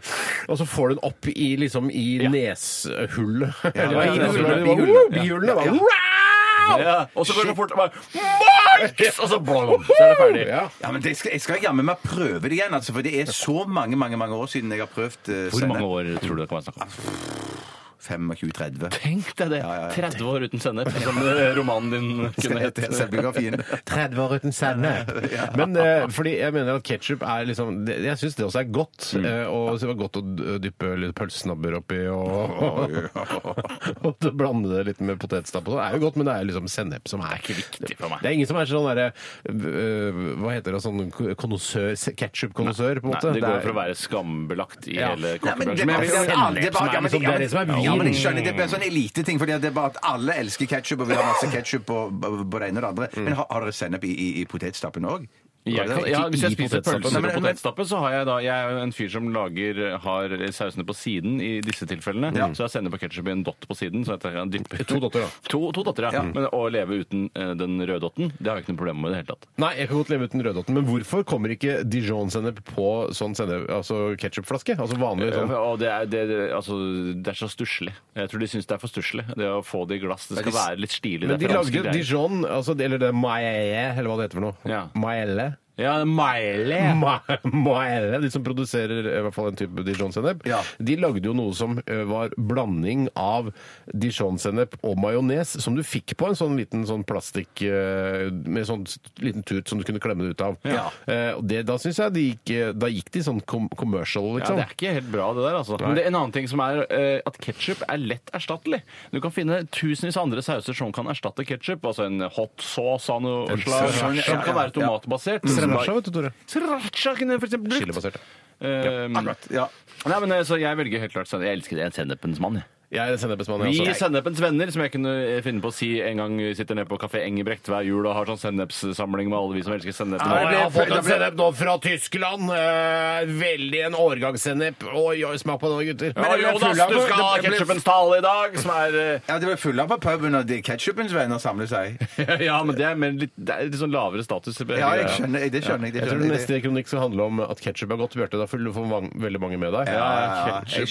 Speaker 2: Og så får du den opp i liksom i neshullet. Eller hva
Speaker 4: ja,
Speaker 2: heter det?
Speaker 4: ja,
Speaker 2: Så
Speaker 4: ja,
Speaker 2: bare-
Speaker 4: ja,
Speaker 2: bare,
Speaker 4: bihulene.
Speaker 2: «Wow, Bihulene. bare,
Speaker 4: Ja.
Speaker 2: «Wow!»
Speaker 3: Ja, og så går det så fort bare, Marks! Og så, blom, så er det ferdig.
Speaker 2: Ja.
Speaker 4: Ja, men det skal, Jeg skal jammen meg prøve det igjen, altså, for det er så mange mange, mange år siden jeg har prøvd eh,
Speaker 3: Hvor mange år
Speaker 4: sennep.
Speaker 3: tror du det kan være snakk om?
Speaker 4: 25-30.
Speaker 3: Tenk deg det! 30 år uten sennep, som eh, romanen din kunne hett.
Speaker 4: Selvbiografien.
Speaker 2: 30 år uten sennep. Men eh, fordi jeg mener at ketsjup er liksom det, Jeg syns det også er godt. Eh, og så det var godt å d- dyppe litt pølsesnabber oppi og, og så blande det litt med potetstapp og sånn. Det er jo godt, men det er liksom sennep som er ikke viktig
Speaker 3: for meg.
Speaker 2: Det er ingen som er sånn derre øh, Hva heter det, sånn konnoissør Ketsjup-konnoissør, på en
Speaker 3: Nei,
Speaker 2: måte.
Speaker 3: det går
Speaker 2: er-
Speaker 3: for å være skambelagt i
Speaker 2: Ja.
Speaker 3: hele
Speaker 4: Nei, men det-
Speaker 3: kokkebransjen. Men jeg
Speaker 4: det-
Speaker 3: vil-
Speaker 4: det- det-
Speaker 2: Sennep som er liksom- det er det som er
Speaker 4: Ja, men jeg skjønner, Det blir sånn eliteting, fordi det er bare at alle elsker ketsjup og vil ha masse ketsjup på, på det ene og det andre. Men har, har dere sennep i, i, i potetstappen òg?
Speaker 3: Jeg kan, ja, hvis jeg spiser pølser og
Speaker 4: potetstappen
Speaker 3: potetstappe, så har jeg da Jeg er jo en fyr som lager har sausene på siden i disse tilfellene. Så jeg sender på ketsjup i en dott på siden. Så jeg tar- jeg dypper
Speaker 2: To dotter, ja.
Speaker 3: To, to dotter, ja. Men å leve uten eh, den røde dotten, det har jeg ikke noe problem med i det hele tatt.
Speaker 2: Nei, jeg kan godt leve uten røddotten, men hvorfor kommer ikke Dijon-sennep på sånn sennep, altså ketchupflaske? Altså vanlig sånn.
Speaker 3: Og det er, det, det- altså, det er så stusslig. Jeg tror de syns det er for stusslig. Det å få det i glass. Det skal være litt stilig.
Speaker 2: Men
Speaker 3: det er
Speaker 2: de
Speaker 3: franske greier.
Speaker 2: lagde Dijon, altså, eller det er Maille, eller hva det heter for noe.
Speaker 3: Ja.
Speaker 2: Maille.
Speaker 3: Ja, Maile.
Speaker 2: Ma- Maille, de som produserer i hvert fall en type Dijon-sennep,
Speaker 4: Ja.
Speaker 2: de lagde jo noe som ø, var blanding av Dijon-sennep og majones, som du fikk på en sånn liten sånn plastikk ø, med sånn s- liten tut som du kunne klemme det ut av.
Speaker 3: Ja.
Speaker 2: Eh, og det, da syns jeg de gikk, ø, da gikk de sånn kom commercial,
Speaker 3: Ja,
Speaker 2: liksom.
Speaker 3: det er ikke helt bra, det der. altså. Men det er en annen ting som er eh, at ketsjup er lett erstattelig. Du kan finne tusenvis av andre sauser som kan erstatte ketsjup. Altså en hot sauce av noe slag som
Speaker 2: sriracha.
Speaker 3: kan være tomatbasert.
Speaker 2: Sriracha, vet du, Tore.
Speaker 3: Sriracha kunne jeg for eksempel brukt.
Speaker 2: Chilibasert, ja.
Speaker 3: Eh, Nei, men eh, så jeg velger helt klart sennep. Jeg elsker det. Jeg er sennepens mann, jeg.
Speaker 2: Jeg er en sennepsmann, jeg
Speaker 3: Vi
Speaker 2: også.
Speaker 3: Sennepens venner, som altså, jeg kunne eh, finne på å si en gang vi sitter nede på Kafé Engebrekt hver jul og har sånn sennepssamling med alle vi som elsker sennep.
Speaker 2: Nå har jeg fått en sennep nå fra Tyskland. eh, veldig en årgangssennep. Oi, oi, smak på den, gutter.
Speaker 3: Ja, Jonas, du skal ha ketsjupens tale i dag, som er eh,
Speaker 4: Ja, det var fulle på puben, og de ketsjupens venner samler seg.
Speaker 3: Ja, men det er, mer litt, det er litt sånn lavere status.
Speaker 4: Ja, jeg skjønner, det skjønner jeg. Det
Speaker 2: Jeg tror den
Speaker 4: skjønner jeg.
Speaker 2: neste kronikk skal handle om at ketsjup er godt. Bjarte, da får du få mang- veldig mange med deg.
Speaker 4: Ja, jeg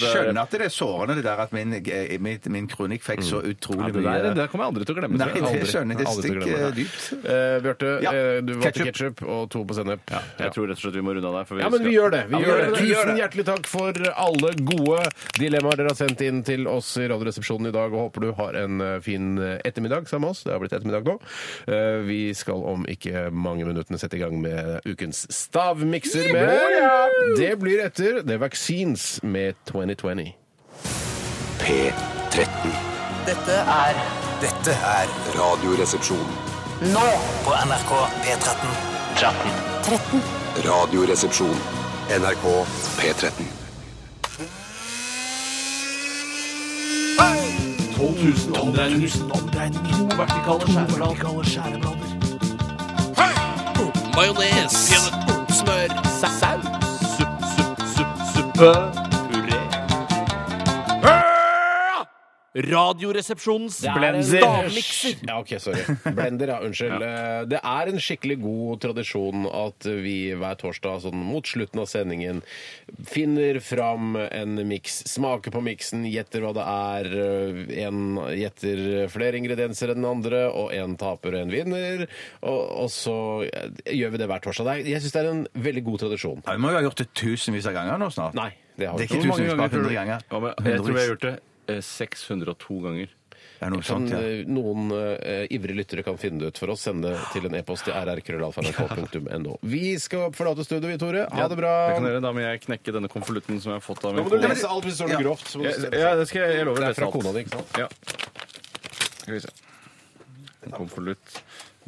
Speaker 3: ketchup er-
Speaker 4: skjønner at det er sårende det der at min, eh, mitt- min kronikk fikk så
Speaker 3: Ja,
Speaker 4: utrolig
Speaker 3: det, der,
Speaker 4: mye
Speaker 3: det kommer jeg aldri til å glemme.
Speaker 4: Nei,
Speaker 3: tror jeg.
Speaker 4: det
Speaker 3: Aldri.
Speaker 4: skjønner jeg. Det
Speaker 2: Aldri til å
Speaker 4: stikker
Speaker 2: glemme
Speaker 4: eh,
Speaker 2: det.
Speaker 4: dypt.
Speaker 2: Eh, Bjarte,
Speaker 4: Ja.
Speaker 2: eh, du valgte
Speaker 4: Ketchup.
Speaker 2: ketsjup og to på sennep.
Speaker 3: Jeg tror rett og slett vi må runde av der. for vi
Speaker 2: Ja, men
Speaker 3: skal-
Speaker 2: vi gjør det. Vi
Speaker 3: Ja,
Speaker 2: gjør det.
Speaker 4: Vi gjør
Speaker 2: Tusen
Speaker 4: det.
Speaker 2: hjertelig takk for alle gode dilemmaer dere har sendt inn til oss i Radioresepsjonen i dag, og håper du har en eh, fin ettermiddag sammen med oss. Det har blitt ettermiddag nå. Eh, Vi skal om ikke mange minuttene sette i gang med ukens stavmikser med Det blir etter The Vaccines med 2020.
Speaker 5: P13.
Speaker 10: Dette er
Speaker 9: Dette er
Speaker 5: Radioresepsjon.
Speaker 10: nå på NRK P13.
Speaker 5: Radioresepsjon. NRK P13.
Speaker 7: 12 000 omdreininger. To vertikale skjæreblader. Majones. Smør. Saus. Supp, supp, supp, suppe. Puré. Radioresepsjonens stavmikser.
Speaker 2: Ja, ok, sorry. Blender, ja. Unnskyld. Eh, Det er en skikkelig god tradisjon at vi hver torsdag sånn mot slutten av sendingen finner fram en miks, smaker på miksen, gjetter hva det er, eh, en gjetter flere ingredienser enn den andre, og en taper og en vinner, og, og så eh, gjør vi det hver torsdag. Det er- Jeg syns det er en veldig god tradisjon.
Speaker 4: Ja, Vi må jo ha gjort det tusenvis av ganger nå snart.
Speaker 2: Nei, det har vi
Speaker 4: det er ikke
Speaker 2: ikke. Hvor mange
Speaker 4: tusenvis, bare
Speaker 2: ganger tror du?
Speaker 4: hundre ganger.
Speaker 3: Ja, men jeg tror jeg har gjort det eh, 602 ganger.
Speaker 4: Det er noe
Speaker 2: Kan
Speaker 4: sånt, ja.
Speaker 2: eh, noen eh, ivrige lyttere kan finne det ut for oss, sende til en e-post til rrkrøllalfa.nrk.no. Vi skal forlate studio, vi, Tore. Ha det bra.
Speaker 3: Det kan dere, da må jeg knekke denne konvolutten som jeg har fått av
Speaker 2: Nå
Speaker 3: min
Speaker 2: må du
Speaker 3: kone.
Speaker 2: lese alt hvis det står noe grovt. så må du
Speaker 3: Ja,
Speaker 2: se.
Speaker 3: ja, det skal jeg, jeg lover å
Speaker 2: Det er
Speaker 3: lese
Speaker 2: fra
Speaker 3: alt.
Speaker 2: kona di, ikke sant?
Speaker 3: Ja. Skal vi se. En konvolutt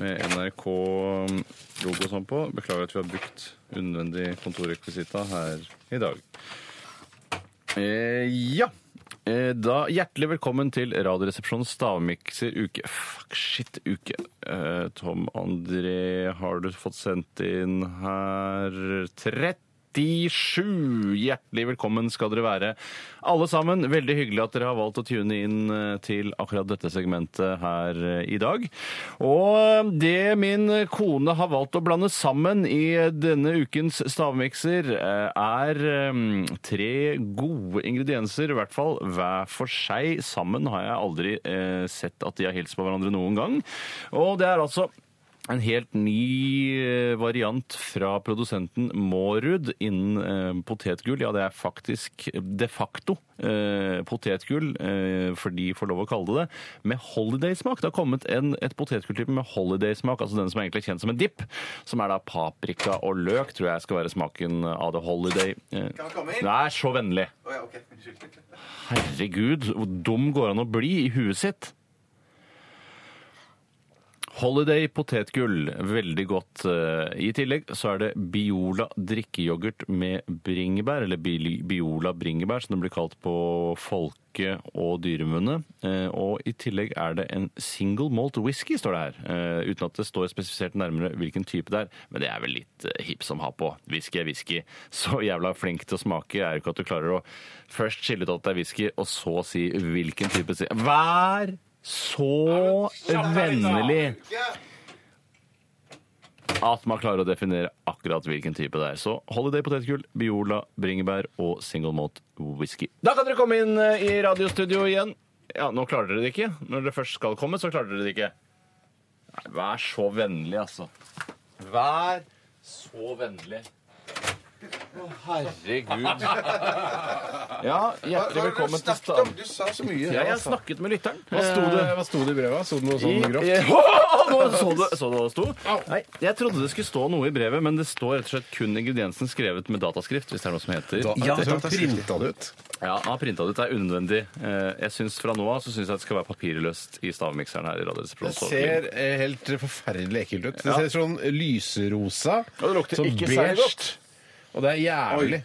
Speaker 3: med NRK-logo sånn på. Beklager at vi har brukt unnvendig kontorrekvisita her i dag. Eh, ja. Eh, Da Hjertelig velkommen til Radioresepsjonens stavmikser uke Fuck shit, uke. Eh, Tom André, har du fått sendt inn her 37. Hjertelig velkommen skal dere være, alle sammen. Veldig hyggelig at dere har valgt å tune inn eh, til akkurat dette segmentet her eh, i dag. Og eh, det min kone har valgt å blande sammen i denne ukens stavmikser, eh, er eh, tre gode ingredienser, i hvert fall hver for seg. Sammen har jeg aldri eh, sett at de har hilst på hverandre noen gang. Og det er altså en helt ny eh, variant fra produsenten Mårud innen eh, potetgull. Ja, det er faktisk de facto eh, potetgull, eh, for de får lov å kalle det det, med holidaysmak. Det har kommet en, et potetgulltype med holidaysmak, altså den som egentlig er kjent som en dipp, som er da paprika og løk, tror jeg skal være smaken av det holiday. Eh, Vær så vennlig. Herregud, hvor dum går han å bli i huet sitt? Holiday potetgull, veldig godt. Eh, I tillegg så er det Biola drikkeyoghurt med bringebær, eller Bi- Biola bringebær, som det blir kalt på folke- og dyremunne. Eh, Og i tillegg er det en single malt whisky, står det her. eh, Uten at det står spesifisert nærmere hvilken type det er, men det er vel litt eh, hipp som har på. Whisky er whisky. Så jævla flink til å smake er jo ikke at du klarer å først skille ut at det er whisky, og så si hvilken type si- Vær så vennlig at man klarer å definere akkurat hvilken type det er. Så Holiday potetgull, Biola, bringebær og single malt whisky. Da kan dere komme inn eh, i radiostudio igjen. Ja, nå klarer dere det ikke. Når dere først skal komme, så klarer dere det ikke. Nei, vær så vennlig, altså. Vær så vennlig. Å, herregud. Ja, hjertelig velkommen til staden.
Speaker 7: Du sa så mye.
Speaker 3: Ja, altså. jeg har snakket med lytteren.
Speaker 2: Hva sto det, Eh, hva sto det i brevet? Sto det noe sånn
Speaker 3: Eh,
Speaker 2: grovt?
Speaker 3: Åh, Nå så du, så du hva det sto? Nei, jeg trodde det skulle stå noe i brevet, men det står rett og slett kun ingrediensen skrevet med dataskrift, hvis det er noe som heter.
Speaker 2: Da,
Speaker 4: Ja,
Speaker 2: ja,
Speaker 4: det var
Speaker 2: printa det ut.
Speaker 3: Ja, han har printa det ut. Det er unødvendig. Eh, Jeg synes Fra nå av så syns jeg det skal være papirløst i stavmikseren her i
Speaker 2: Det
Speaker 3: Radioresepsjonen.
Speaker 2: ser eh, helt forferdelig ekkelt ut. Det ser sånn lyserosa,
Speaker 3: Og det lukter
Speaker 2: sånn
Speaker 3: ikke særlig godt.
Speaker 2: Og det er jævlig.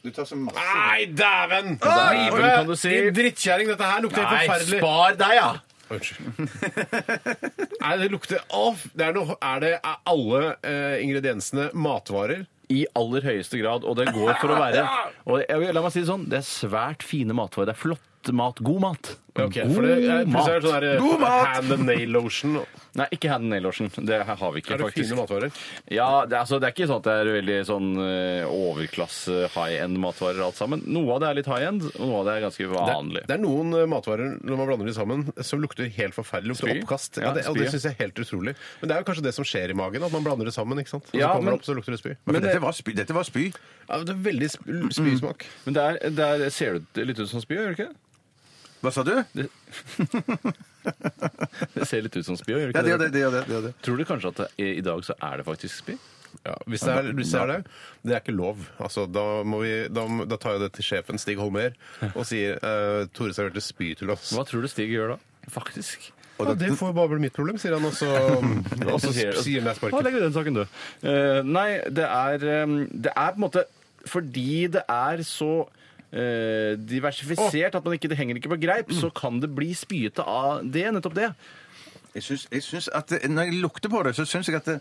Speaker 7: Du tar så masse
Speaker 2: Nei, dæven!
Speaker 3: Dæven, kan du si.
Speaker 2: Din drittkjerring, dette her lukter helt forferdelig.
Speaker 3: spar deg, ja!
Speaker 2: Unnskyld. Nei, det lukter av. Det er, noe, er det er alle eh, ingrediensene matvarer?
Speaker 3: I aller høyeste grad, og det går for å være og jeg, vil- La meg si det sånn, det er svært fine matvarer. Det er flott mat. God mat.
Speaker 2: Okay, for det er,
Speaker 3: God
Speaker 2: plutselig er det sånn
Speaker 3: mat.
Speaker 2: der, eh, Hand and nail lotion.
Speaker 3: Nei, ikke Hand Nailorsen. Det her har vi ikke,
Speaker 2: Er det
Speaker 3: faktisk.
Speaker 2: fine matvarer?
Speaker 3: Ja, det, er- altså, det er ikke sånn at det er veldig sånn eh, overklasse high-end-matvarer alt sammen. Noe av det er litt high-end, og noe av det er ganske
Speaker 2: Det,
Speaker 3: vanlig.
Speaker 2: det er noen eh, matvarer når man blander de sammen, som lukter helt forferdelig. Lukter
Speaker 3: Spy?
Speaker 2: oppkast.
Speaker 3: Ja,
Speaker 2: Ja, det, og
Speaker 3: spy, ja.
Speaker 2: det syns jeg er helt utrolig. Men det er jo kanskje det som skjer i magen, at man blander det sammen. ikke sant? Og så
Speaker 3: Ja,
Speaker 2: kommer
Speaker 3: men-
Speaker 2: det opp, så lukter det spy.
Speaker 4: Men dette var spy. Dette var spy.
Speaker 2: Ja, det er veldig sp spysmak.
Speaker 3: Men der, der ser det litt ut som spy, gjør det ikke?
Speaker 4: Hva sa du? Ja,
Speaker 3: Det ser litt ut som spy, gjør det
Speaker 4: det
Speaker 3: ikke?
Speaker 4: gjør det. det, gjør det, det, gjør det.
Speaker 3: Tror du kanskje at det, i dag så er det faktisk spy?
Speaker 2: Ja, hvis det er, hvis det, er det, det er ikke lov. Altså, da, må vi, da, da tar jeg det til sjefen, Stig Holmer, og sier eh, Tore serverte spy til oss.
Speaker 3: Hva tror du Stig gjør da? Faktisk.
Speaker 2: Ja, det får bare bli mitt problem, sier han, og så, og så sier han jeg
Speaker 3: Da
Speaker 2: sparker.
Speaker 3: legger vi den saken død. Eh, nei, det er, eh, det er på en måte Fordi det er så eh, diversifisert at man ikke, det henger ikke på greip, så kan det bli spyete av det. Nettopp det.
Speaker 4: Jeg syns, jeg syns at det, Når jeg lukter på det, så syns jeg at det,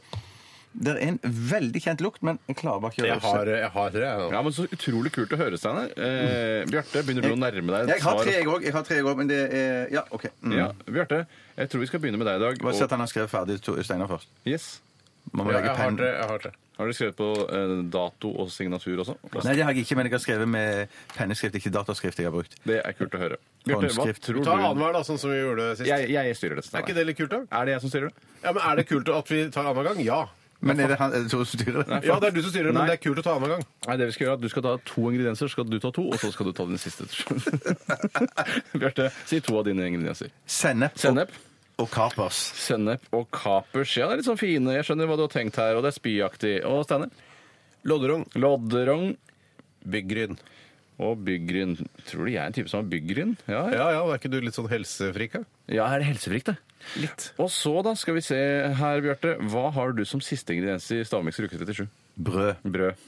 Speaker 4: det er en veldig kjent lukt, men jeg klarer bare ikke å
Speaker 2: Jeg har, jeg har det, jeg.
Speaker 3: Ja, men Så utrolig kult å høre, Steinar. Eh, Bjarte, begynner du å nærme deg et
Speaker 4: Jeg har
Speaker 3: svar?
Speaker 4: tre, jeg òg. Jeg har tre, jeg òg, men det er Ja, OK. Mm.
Speaker 3: Ja, Bjarte, jeg tror vi skal begynne med deg i dag.
Speaker 4: Bare
Speaker 3: og-
Speaker 4: se at han har skrevet ferdig to- Steinar først.
Speaker 3: yes.
Speaker 4: Man må
Speaker 2: Ja,
Speaker 4: legge
Speaker 2: jeg
Speaker 4: penn
Speaker 2: har det. Jeg har det.
Speaker 3: Har dere skrevet på eh, dato og signatur også?
Speaker 4: Nei, det har jeg ikke, men jeg har skrevet med penneskrift, ikke dataskrift jeg har brukt.
Speaker 3: Det er kult å høre. Bjarte, hva
Speaker 4: Håndskrift.
Speaker 3: tror
Speaker 2: Ta
Speaker 3: du?
Speaker 2: annenhver, da, sånn som vi gjorde sist.
Speaker 3: Jeg, jeg styrer det.
Speaker 2: Er
Speaker 3: Steinar.
Speaker 2: ikke det litt kult, da?
Speaker 3: Er det jeg som styrer det?
Speaker 2: Ja, men Er det kult at vi tar annenhver gang? Ja.
Speaker 4: Men er det han er det Tore som styrer?
Speaker 2: Ja, det er du som styrer,
Speaker 3: Nei.
Speaker 2: men det er kult å ta annenhver gang.
Speaker 3: Nei, det vi skal gjøre er at Du skal ta to ingredienser, så skal du ta to, og så skal du ta den siste. Bjarte, si to av dine ingredienser.
Speaker 4: Sennep,
Speaker 3: Sennep.
Speaker 4: Og, og kapers.
Speaker 3: Sennep og kapers. Ja, det er litt sånn fine. Jeg skjønner hva du har tenkt her, og det er spyaktig. Og Steinar?
Speaker 2: Lodderong,
Speaker 3: Lodderogn
Speaker 2: byggryn.
Speaker 3: og byggryn. Tror du jeg er en type som har byggryn? Ja, ja.
Speaker 2: Ja ja, er ikke du litt sånn helsefrik? Ja?
Speaker 3: ja er det helsefrikt, det?
Speaker 2: Litt.
Speaker 3: Og så, da, skal vi se her, Bjarte. Hva har du som siste ingrediens i Stavmikser uke 37?
Speaker 4: Brød.
Speaker 3: Brød.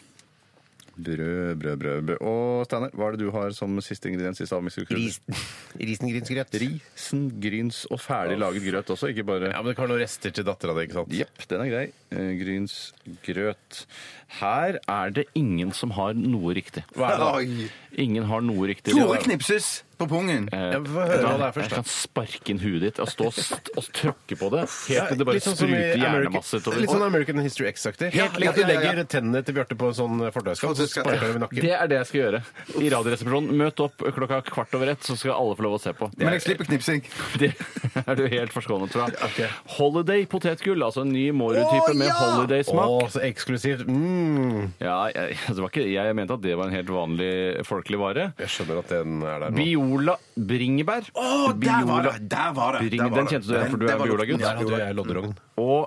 Speaker 3: Brød, brød, brød. brød. Og Steinar, hva er det du har som siste ingrediens i Stavmikser uke 37?
Speaker 2: Risengrynsgrøt.
Speaker 3: Risen, gryns og ferdig laget grøt også, ikke bare
Speaker 2: Ja, men det kan være noen rester til dattera di, ikke sant?
Speaker 3: Jepp, den er grei. Eh, Gryns, grøt. Her er det ingen som har noe riktig.
Speaker 2: Hva er det da?
Speaker 4: Oi.
Speaker 3: Ingen har noe riktig.
Speaker 4: Tore knipses på pungen.
Speaker 2: Ja, vi får høre hva det er
Speaker 3: Jeg
Speaker 2: først, da.
Speaker 3: kan sparke inn huet ditt og stå og st og tråkke på det helt til det bare
Speaker 2: Litt sånn som i
Speaker 3: spruter
Speaker 2: American-
Speaker 3: hjernemasse utover.
Speaker 2: Litt sånn American History X-aktig.
Speaker 3: Ja,
Speaker 2: Helt lik at du
Speaker 4: ja, ja, ja.
Speaker 2: legger tennene til Bjarte på en sånn fortauskatt, så
Speaker 4: Fortauskatt,
Speaker 2: sparker du i nakken.
Speaker 3: Det er det jeg skal gjøre. I Radioresepsjonen, møt opp klokka kvart over ett, så skal alle få lov å se på.
Speaker 4: Men jeg slipper knipsing.
Speaker 3: Det er du helt forskånet fra. Holiday potetgull, altså en ny Mårud-type med holiday-smak.
Speaker 2: Å, så eksklusivt. Mm.
Speaker 3: Ja, jeg, altså, det var ikke, jeg mente at det var en helt vanlig folkelig vare.
Speaker 2: Jeg skjønner at den er der nå.
Speaker 3: Biola bringebær.
Speaker 4: Å, der var det! Der var det!
Speaker 3: Bring-
Speaker 4: Der var
Speaker 3: den
Speaker 4: det.
Speaker 3: kjente du igjen, for du
Speaker 4: Den-
Speaker 3: er
Speaker 4: den var
Speaker 3: Biola-gutt.
Speaker 4: lukten.
Speaker 2: Der hadde jo jeg lodderogn.
Speaker 4: Mm.
Speaker 3: Og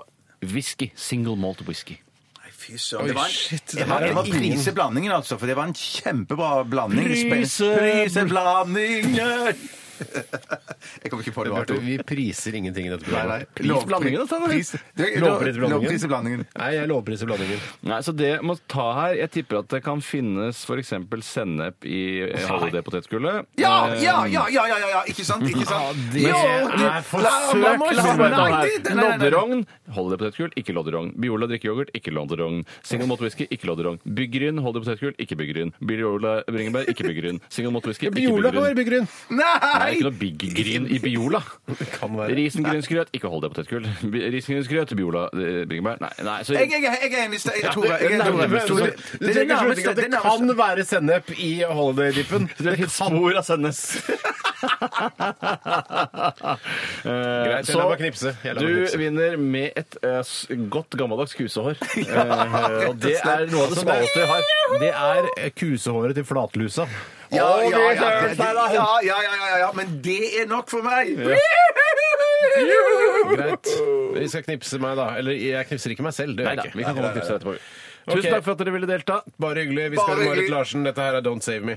Speaker 3: whisky. Single malt whisky.
Speaker 4: Nei, Fy søren. Det var en-
Speaker 2: shit, det
Speaker 4: Jeg må-
Speaker 2: her er
Speaker 4: jeg må
Speaker 2: ingen-
Speaker 4: prise blandingen, altså, for det var en kjempebra blanding.
Speaker 3: Prise-
Speaker 4: Prise blandingen! Jeg kommer ikke på det.
Speaker 2: Bjarte,
Speaker 4: Arthur.
Speaker 2: vi priser ingenting i dette
Speaker 4: Nei,
Speaker 2: programmet.
Speaker 4: nei.
Speaker 3: Pris blandingen, dette, da.
Speaker 4: altså, Pris- Det-
Speaker 2: Lovpriser blandingen.
Speaker 4: Lovpriser blandingen.
Speaker 2: Nei, jeg lovpriser blandingen.
Speaker 3: Nei, så det må ta her. Jeg tipper at det kan finnes f.eks. sennep i eh, halve det potetgullet.
Speaker 4: Ja,
Speaker 3: Eh,
Speaker 4: ja, ja, ja, ja, ja, Um, ja, ikke sant? Ikke sant?
Speaker 3: det
Speaker 4: Jo,
Speaker 3: er for søkt! La meg
Speaker 4: la-
Speaker 3: spørre
Speaker 4: nei,
Speaker 3: deg
Speaker 4: det-
Speaker 3: her.
Speaker 4: nei, nei, nei.
Speaker 3: Lodderogn, holder det potetgull, ikke lodderogn. Biola drikkeyoghurt, ikke lodderogn. Single malt whisky, ikke lodderogn. Byggryn, holder potetgull, ikke byggryn. Biola bringebær, ikke byggryn. Single malt whisky, ikke
Speaker 2: Biola kan være
Speaker 3: byggryn.
Speaker 2: byggrunn.
Speaker 3: Det
Speaker 4: Nei!
Speaker 3: er ikke noe biggryn i Biola.
Speaker 2: Kan være.
Speaker 3: Risengrynsgrøt, ikke hold det potetgull. Bi- Risengrynsgrøt, Biola eh, bringebær. Nei, nei, så
Speaker 4: Jeg, jeg, jeg, jeg er enig, Ste- jeg tror jeg- jeg er
Speaker 2: Du
Speaker 4: enig.
Speaker 2: trenger
Speaker 4: Tore.
Speaker 2: ikke
Speaker 4: Det er det
Speaker 2: slutte
Speaker 4: nærmeste.
Speaker 2: til at det
Speaker 4: Det nærmeste.
Speaker 2: kan være sennep i holiday-dippen.
Speaker 3: Det er litt spor av sendes. Greit,
Speaker 2: jeg lar meg knipse. Jeg lar meg
Speaker 3: Eh, Du
Speaker 2: knipse.
Speaker 3: vinner med et eh, s- godt gammeldags kusehår. Eh, og det er noe av det smaleste jeg har.
Speaker 2: Det er eh, kusehåret til flatlusa.
Speaker 4: Ja,
Speaker 3: Å,
Speaker 4: ja,
Speaker 3: det er
Speaker 4: ja, det- det-
Speaker 3: Steinar.
Speaker 4: ja, ja, ja, ja, ja, men det er nok for meg!
Speaker 2: Greit. Vi skal knipse meg, da. Eller jeg knipser ikke meg selv. Det gjør
Speaker 3: Neida,
Speaker 2: jeg
Speaker 3: vi
Speaker 2: ikke.
Speaker 3: kan komme og knipse etterpå.
Speaker 2: Ok.
Speaker 3: Tusen takk for at dere ville delta.
Speaker 2: Bare hyggelig. Vi
Speaker 4: Bare
Speaker 2: skal ha Marit
Speaker 4: hyggelig.
Speaker 2: Larsen. Dette her er Don't Save Me.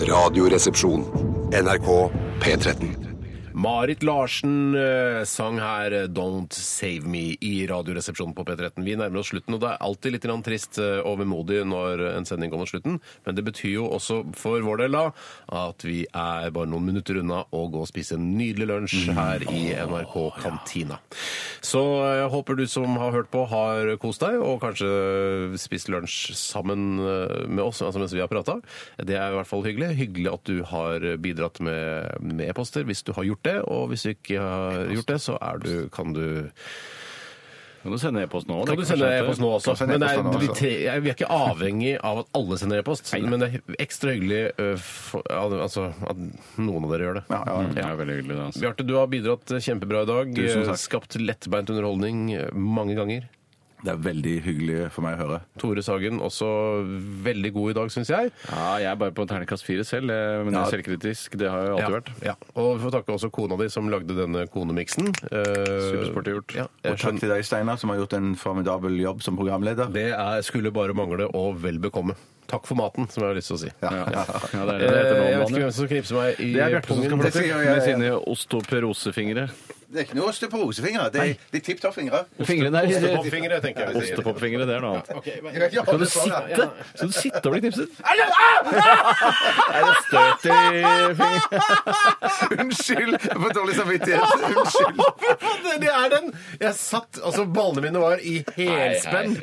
Speaker 5: Radioresepsjon. NRK P13.
Speaker 2: Marit Larsen eh, sang her eh, Don't Save Me i Radioresepsjonen på P13. Vi nærmer oss slutten, og det er alltid litt grann trist eh, og vemodig når en sending kommer til slutten, men det betyr jo også for vår del da at vi er bare noen minutter unna å gå og spise en nydelig
Speaker 4: Mm.
Speaker 2: lunsj her i NRK Kantina. Så eh, jeg håper du som har hørt på, har kost deg og kanskje spist lunsj sammen eh, med oss altså mens vi har prata. Det er i hvert fall hyggelig. Hyggelig at du har bidratt med med e-poster hvis du har gjort det. Og hvis du ikke har gjort det, så er du, kan du
Speaker 3: Kan du sende e-post nå?
Speaker 2: Kan du sende e-post nå også?
Speaker 4: Kan sende
Speaker 2: Men det er,
Speaker 4: e-post nå
Speaker 2: vi,
Speaker 4: også.
Speaker 2: tre, jeg- vi er ikke avhengig av at alle sender e-post. Men det er ekstra hyggelig ø, for, altså, at noen av dere gjør det.
Speaker 4: Ja, ja, ja.
Speaker 3: Det er veldig hyggelig. det, Altså.
Speaker 2: Bjarte, du har bidratt kjempebra i dag.
Speaker 4: Tusen takk.
Speaker 2: Skapt lettbeint underholdning mange ganger.
Speaker 4: Det er veldig hyggelig for meg å høre.
Speaker 2: Tore Sagen også veldig god i dag, syns jeg.
Speaker 3: Ja, jeg er bare på terningkast fire selv, eh, men jeg er selvkritisk. Det har jeg alltid vært.
Speaker 2: Ja. Og vi får takke også kona di som lagde denne konemiksen. Eh,
Speaker 3: Supersporty gjort.
Speaker 2: Ja,
Speaker 4: Og
Speaker 2: jeg
Speaker 4: takk
Speaker 2: skjønner.
Speaker 4: til deg, Steinar, som har gjort en formidabel jobb som programleder.
Speaker 2: Det er, skulle bare mangle, og vel bekomme. Takk for maten, som jeg har lyst til å si.
Speaker 3: Ja, ja. ja Eh, det er
Speaker 2: Eh,
Speaker 3: det det heter nå
Speaker 2: jeg
Speaker 3: om
Speaker 2: vet ikke
Speaker 3: dagen.
Speaker 2: hvem som knipser meg i
Speaker 3: Det er Bjarte som skal
Speaker 2: pungen.
Speaker 3: få lov
Speaker 4: Det
Speaker 3: til
Speaker 4: sier
Speaker 3: med
Speaker 4: jeg, ja, ja.
Speaker 3: sine osteoperosefingre.
Speaker 4: Det er ikke noe osteoporosefingre. Det er, det er tipp topp fingre.
Speaker 3: Fingrene er
Speaker 2: Ostepopfingre, tenker jeg.
Speaker 3: Ostepopfingre, det er noe annet.
Speaker 2: Ok, men-
Speaker 3: Kan du sitte? Skal du sitte og bli knipset? Er det støt i fingeren?
Speaker 4: Unnskyld! Jeg får dårlig samvittighet. Unnskyld.
Speaker 2: Det er den! Jeg satt Altså, ballene mine var i helspenn.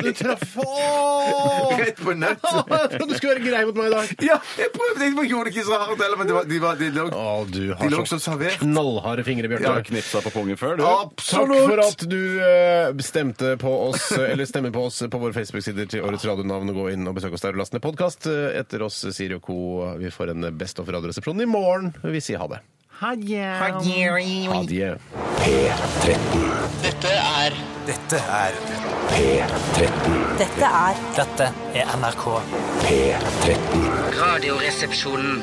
Speaker 2: Du traff Åh!
Speaker 4: Rett på nett.
Speaker 2: Du skulle være grei mot meg i dag.
Speaker 4: Ja, jeg prøvde ikke, jeg gjorde det ikke så hardt heller, men det var, de, var, de lå
Speaker 2: Å, du
Speaker 4: De
Speaker 2: har
Speaker 4: lå
Speaker 2: så
Speaker 4: så servert.
Speaker 2: knallharde fingre, Bjarte.
Speaker 3: Du har knipsa på pungen før, du.
Speaker 2: Takk for at du eh, stemte på oss, eh, eller stemmer på oss på våre Facebook-sider til Årets radionavn. og Gå inn og besøk oss der og last ned podkast. Etter oss Siri og co. Vi får en Best of Radioresepsjonen i morgen. Vi sier ha det. Adjø.
Speaker 10: Dette er Dette er
Speaker 11: Dette er
Speaker 10: Dette er NRK.
Speaker 11: Radioresepsjonen.